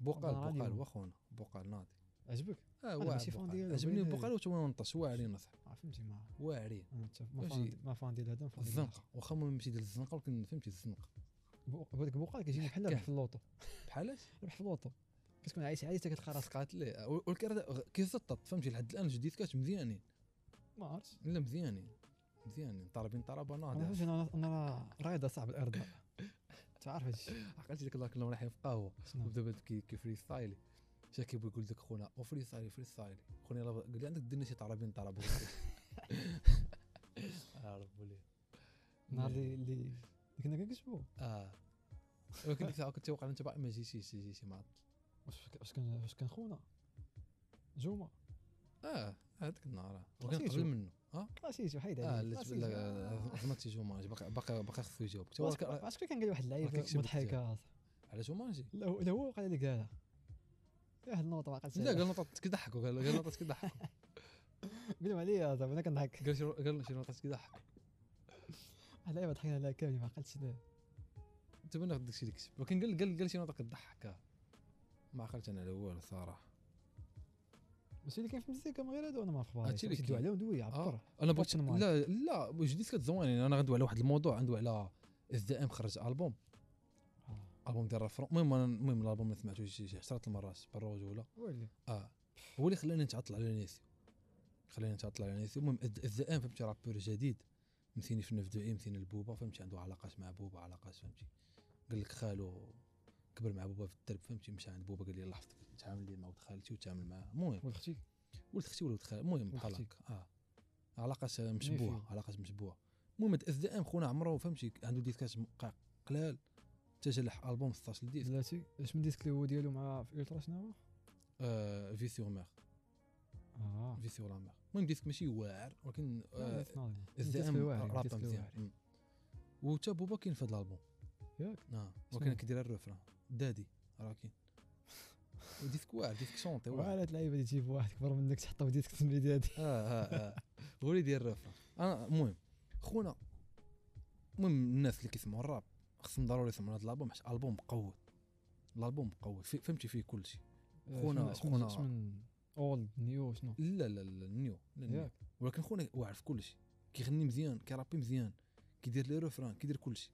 A: بوقال
B: أنا غادي
A: بوقال
B: هو.
A: واخونا بوقال ناضي
B: عجبك
A: اه
B: أنا
A: واعر
B: ماشي فان
A: بوقال
B: ديالو،
A: عجبني
B: بغينا-
A: بوقال وتو نطس واعرين أصاحبي،
B: آه، فهمتي ما
A: واعرين
B: انا حتى ما
A: ماشي.
B: فان ما فان ديال هذا ما فان ديال هذا
A: الزنقه واخا ما ماشي ديال الزنقه ولكن فهمتي الزنقه
B: هذاك بوقا كيجيني بحال ربح في اللوطو
A: بحالاش
B: ربح في اللوطو كتكون عايش عايش حتى كتلقى راسك
A: قالت لي والكره كيزطط فهمتي لحد الان الجديدكات مزيانين
B: ما عرفتش
A: لا مزيانين مزيانين طالبين طلبه
B: انا
A: ناضيه
B: فهمت انا انا راه رايضه صعب الارض تعرف هادشي
A: عقلتي ديك الله كنا رايحين في قهوه
B: شنو
A: ودابا كي كيفري ستايلي شا كيبغي يقول لك خونا او فري ستايلي فري ستايلي خونا يلا قال لي عندك ديرنا شي طرابين طرابين عرفوا لي
B: النهار اللي اللي كنا كنكتبو
A: اه ولكن ديك الساعه كنت واقع انت باقي ما جيتيش جيتي مع
B: واش واش كان واش كان خونا جوما
A: اه هذاك النهار آه.
B: ما
A: ولكن
B: سيتو.
A: قبل منه اه
B: كلاسيتي آه، وحيد
A: اه
B: عليك
A: لا
B: كلاسيتي. آه.
A: زمرتي جومانج باقي باقي باقي خصو يجاوب كنت
B: واش
A: واقع-
B: واش كان قال واحد اللعيبه
A: راك كتشبك
B: مضحكه
A: على جومانجي
B: لا هو- لا هو قال لي قالها واحد النوطه ما قالتش
A: لا
B: عليها.
A: قال نطات كيضحكوا قال قال نطات كيضحكوا
B: قول لهم عليا دابا انا كنضحك
A: قال شي قال شي نطات كيضحكوا
B: واحد اللعيبه ضحكنا عليها كاملين ما قالتش لا
A: تبنى غير داكشي اللي كتب ولكن قال قال قال شي نطات كتضحك آه. ما عقلت انا على والو صراحه
B: بس اللي كاين في المزيكا من غير هادو انا ما خباري
A: هادشي اللي
B: شدوا
A: كاين.
B: عليهم دوي عبر
A: انا بغيت
B: Open mic.
A: لا لا جديد كتزواني انا غندوي على واحد الموضوع غندوي على اس دي ام خرج البوم
B: آه.
A: البوم ديال رفرون المهم أنا- المهم الالبوم اللي سمعته شي شي 10 المرات بالرجوله
B: ويلي
A: اه هو اللي خلاني نتعطل على نيسيو خلاني نتعطل على نيسيو المهم اس دي ام فهمتي رابور جديد مثيني في النفدو اي مثيني لبوبا فهمتي عنده علاقات مع بوبا علاقات فهمتي قال لك خالو كبر مع بوبا في الدرب فهمتي مشى عند بوبا قال لي لاحظت تعامل لي مع ولد خالتي وتعامل معاه المهم
B: ولد اختي
A: ولد اختي ولا ولد خالي المهم بحال
B: أختك.
A: هكا اه علاقات مشبوهه
B: فيهم.
A: علاقات مشبوهه المهم اس دي ام خونا عمرو فهمتي عنده ديسكات مق- قلال تجلح البوم 16 ديسك
B: بلاتي اش من ديسك اللي هو ديالو مع في الترا شنو هو؟
A: آه في سيغ ميغ
B: اه
A: في سيغ لا ميغ المهم ديسك ماشي واعر ولكن آه، اس دي
B: الزعم
A: ام راب مزيان وتا بوبا كاين في هذا الالبوم
B: ياك
A: اه
B: شنو؟
A: ولكن كيدير الرفران دادي راه كاين وديسك واعر ديسك شونطي واعر
B: وعلى هاد اللعيبه اللي تجيب واحد كبر منك تحطه في ديسك تسمي ديالك
A: اه اه اه هو اللي داير الرفرة انا المهم خونا المهم الناس اللي كيسمعوا الراب خصهم ضروري يسمعوا هذا الالبوم حيت البوم مقود الالبوم مقود في- فهمتي فيه كل شيء خونا- خونا.
B: من اولد نيو شنو
A: لا لا لا النيو لا النيو.
B: ياك
A: ولكن خونا واعر في كل شيء كيغني مزيان كيرابي مزيان كيدير لي رفران كيدير كل شيء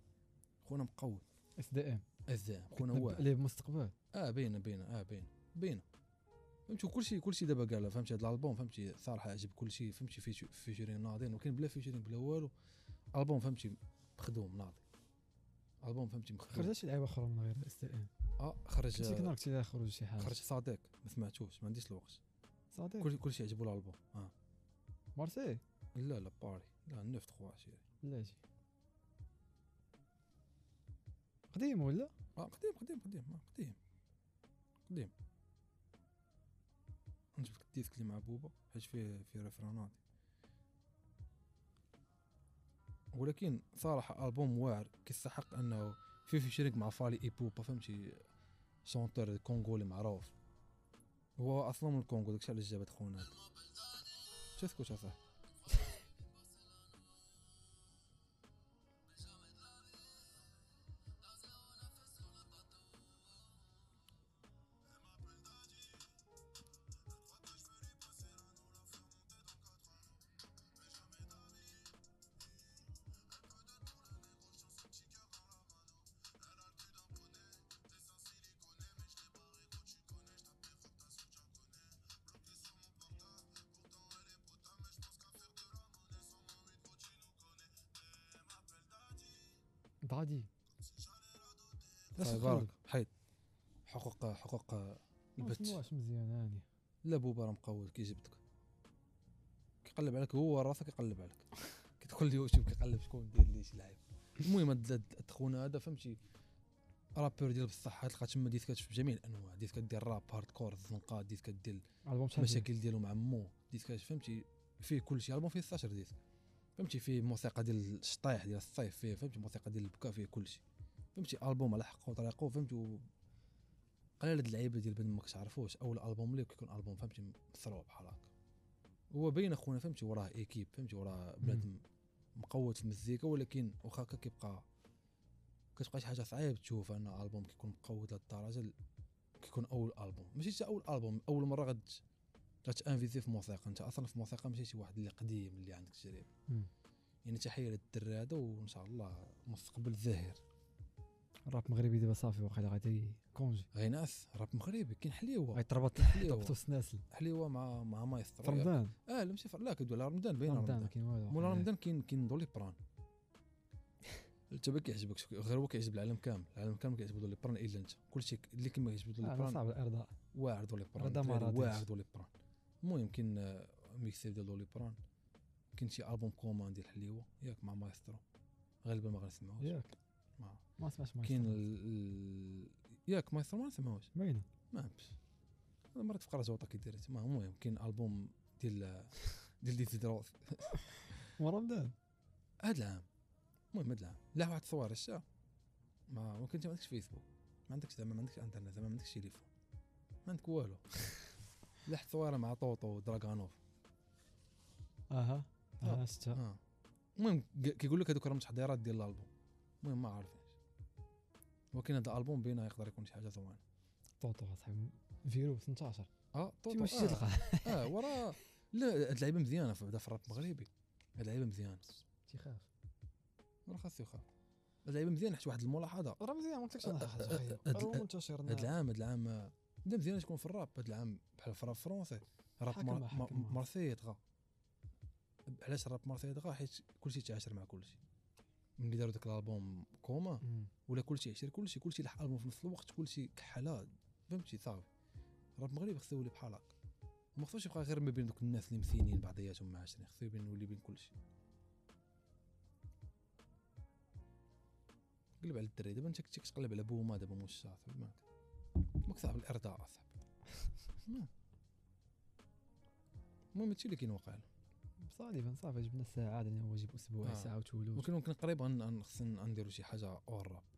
A: خونا مقود
B: اس دي ام
A: الزعم خونا واعر
B: اللي بمستقبل
A: اه باينه باينه اه باينه باينه فهمتي كل شيء كل شيء دابا قال فهمتي هذا الالبوم فهمتي صراحه عجب كل شيء فهمتي في فيجرين ناضين ولكن بلا فيجرين بلا والو البوم فهمتي مخدوم ناضي البوم فهمتي مخدوم
B: خرجت شي لعيبه اخرى من غير اس دي ام
A: اه خرج
B: كنت كنا قلت لها خرج شي حاجه
A: خرج صديق ما سمعتوش ما عنديش الوقت
B: صديق
A: كل كل شيء عجبو الالبوم اه
B: مارسي
A: لا لا باري لا 9 3 شي
B: لا شي قديم ولا
A: اه قديم قديم قديم اه قديم قديم نجيب لك الديسك اللي مع بوبا حيت فيه فيه ريفرانات ولكن صراحة ألبوم واعر كيستحق أنه فيه في شريك مع فالي إي بوبا فهمتي شونتور كونغولي معروف هو أصلا من الكونغو داكشي علاش جابت خونا هاد. تسكت أصاحبي
B: دادي
A: صافي بارك حيد حقوق طيب، حقوق حقوق البت
B: واش مزيان هاني
A: لا بوبا راه مقود كيجبدك كيقلب عليك هو راسك يقلب عليك كتدخل ليه وتشوف كيقلب شكون داير ليه شي لعيب المهم هاد هاد التخونه هذا فهمتي رابور ديال بصح تلقى تما ديسكات في جميع الانواع ديسكات ديال الراب هارد كور الزنقه ديسكات ديال
B: البوم شحال فيه؟
A: المشاكل ديالو مع مو ديسكات فهمتي فيه كل شيء البوم فيه 16 ديسك فهمتي فيه موسيقى ديال الشطيح ديال الصيف فيه فهمتي موسيقى ديال البكا فيه كل شيء فهمتي البوم على حقه وطريقه فهمتي و- قليل هاد اللعيبه ديال بنادم ما كتعرفوش اول البوم ليه كيكون البوم فهمتي مسروع بحال هكا هو باين اخونا فهمتي وراه ايكيب فهمتي وراه بنادم مقوت في المزيكا ولكن واخا هكا كيبقى كتبقى شي حاجه صعيب تشوف ان البوم كيكون مقوت لهاد الدرجه ل- كيكون اول البوم ماشي حتى اول البوم اول مره غد غتانفيزي في موسيقى انت اصلا في الموسيقى ماشي شي واحد اللي قديم اللي عندك تجربه
B: مم.
A: يعني تحيه للدري هذا وان شاء الله مستقبل زاهر
B: الراب المغربي دابا صافي واقيلا غادي كونجي
A: غيناس راب مغربي كاين حليوه
B: غيتربط
A: حليوة.
B: طبطو السناسل
A: حليوه مع مع
B: في
A: مايسترو
B: رمضان
A: اه لا ماشي في- لا كدوي على رمضان باين
B: رمضان ما
A: رمضان
B: كاين والو
A: مولا رمضان كاين كاين دولي بران انت ما كيعجبكش غير هو كيعجب العالم كامل العالم كامل كيعجبو دولي بران الا انت كلشي ك- اللي كما كيعجبو دولي
B: آه،
A: بران
B: صعب الارضاء
A: واعر دولي بران
B: هذا ما
A: الدراري
B: راضيش.
A: واعر دولي بران المهم كاين آه، ميكسيب ديال دولي بران كاين شي البوم كومان ديال حليوه ياك مع مايسترو غالبا ما غنسمعوش
B: ياك
A: ما-
B: ما سمعتش
A: كاين ال- ال- ياك مايسترو ما نسمعوش
B: باينه
A: ما عرفتش انا مرات في قرا كي دارت ما المهم كاين البوم ديال ديال ديال دروس
B: ورمضان
A: هاد العام المهم هاد العام لا واحد صور الشا ما ممكن انت ما عندكش فيسبوك ما عندكش زعما ما عندكش انترنت زعما ما عندكش تليفون ما عندك والو لحت صوره مع طوطو ودراغانوف
B: اها
A: آه.
B: اه شتا
A: آه. المهم ك- كيقول لك هذوك راهم تحضيرات ديال الالبوم المهم ما عارفينش ولكن هذا الالبوم بينا يقدر يكون شي حاجه زوينه
B: طوطو صاحبي فيرو 18
A: اه
B: في
A: طوطو
B: ماشي
A: آه.
B: تلقاه
A: اه وراه لا هاد اللعيبه مزيانه في بعدا في الراب المغربي هاد اللعيبه مزيانه
B: تيخاف
A: راه خاصو يخاف هاد اللعيبه مزيانه حيت واحد الملاحظه
B: راه مزيان ما قلتلكش
A: أه،
B: انا
A: أه،
B: حاجه
A: أه،
B: خير
A: هاد
B: راه
A: ال-
B: منتشر
A: هاد العام هاد العام آه، بدا مزيان تكون في الراب هاد العام بحال في الراب فرونسي راب
B: حاكم
A: مار-
B: واحد،
A: مار-
B: حاكم واحد.
A: مارسي يطغى علاش الراب مارسي يطغى حيت كلشي تعاشر مع كلشي ملي داروا داك الالبوم كوما
B: مم.
A: ولا كلشي عشر كلشي كلشي لح البوم في نفس الوقت كلشي كحاله فهمتي صافي الراب المغربي خصو يولي بحال هكا ما خصوش يبقى غير ما بين دوك الناس اللي مثينين بعضياتهم مع عشرين خصو يبين يولي بين كلشي قلب على الدري دابا انت كنتي كتقلب على بوما دابا مش صافي ماك ماك صعب الارضاء اصاحبي ما. نعم. المهم هادشي اللي كاين واقع له
B: صالبا صافي جبنا الساعه عاد انا واجب اسبوع
A: آه.
B: ساعه وتولوج
A: ولكن ممكن قريب غن- غن- خصنا نديرو شي حاجه اور راب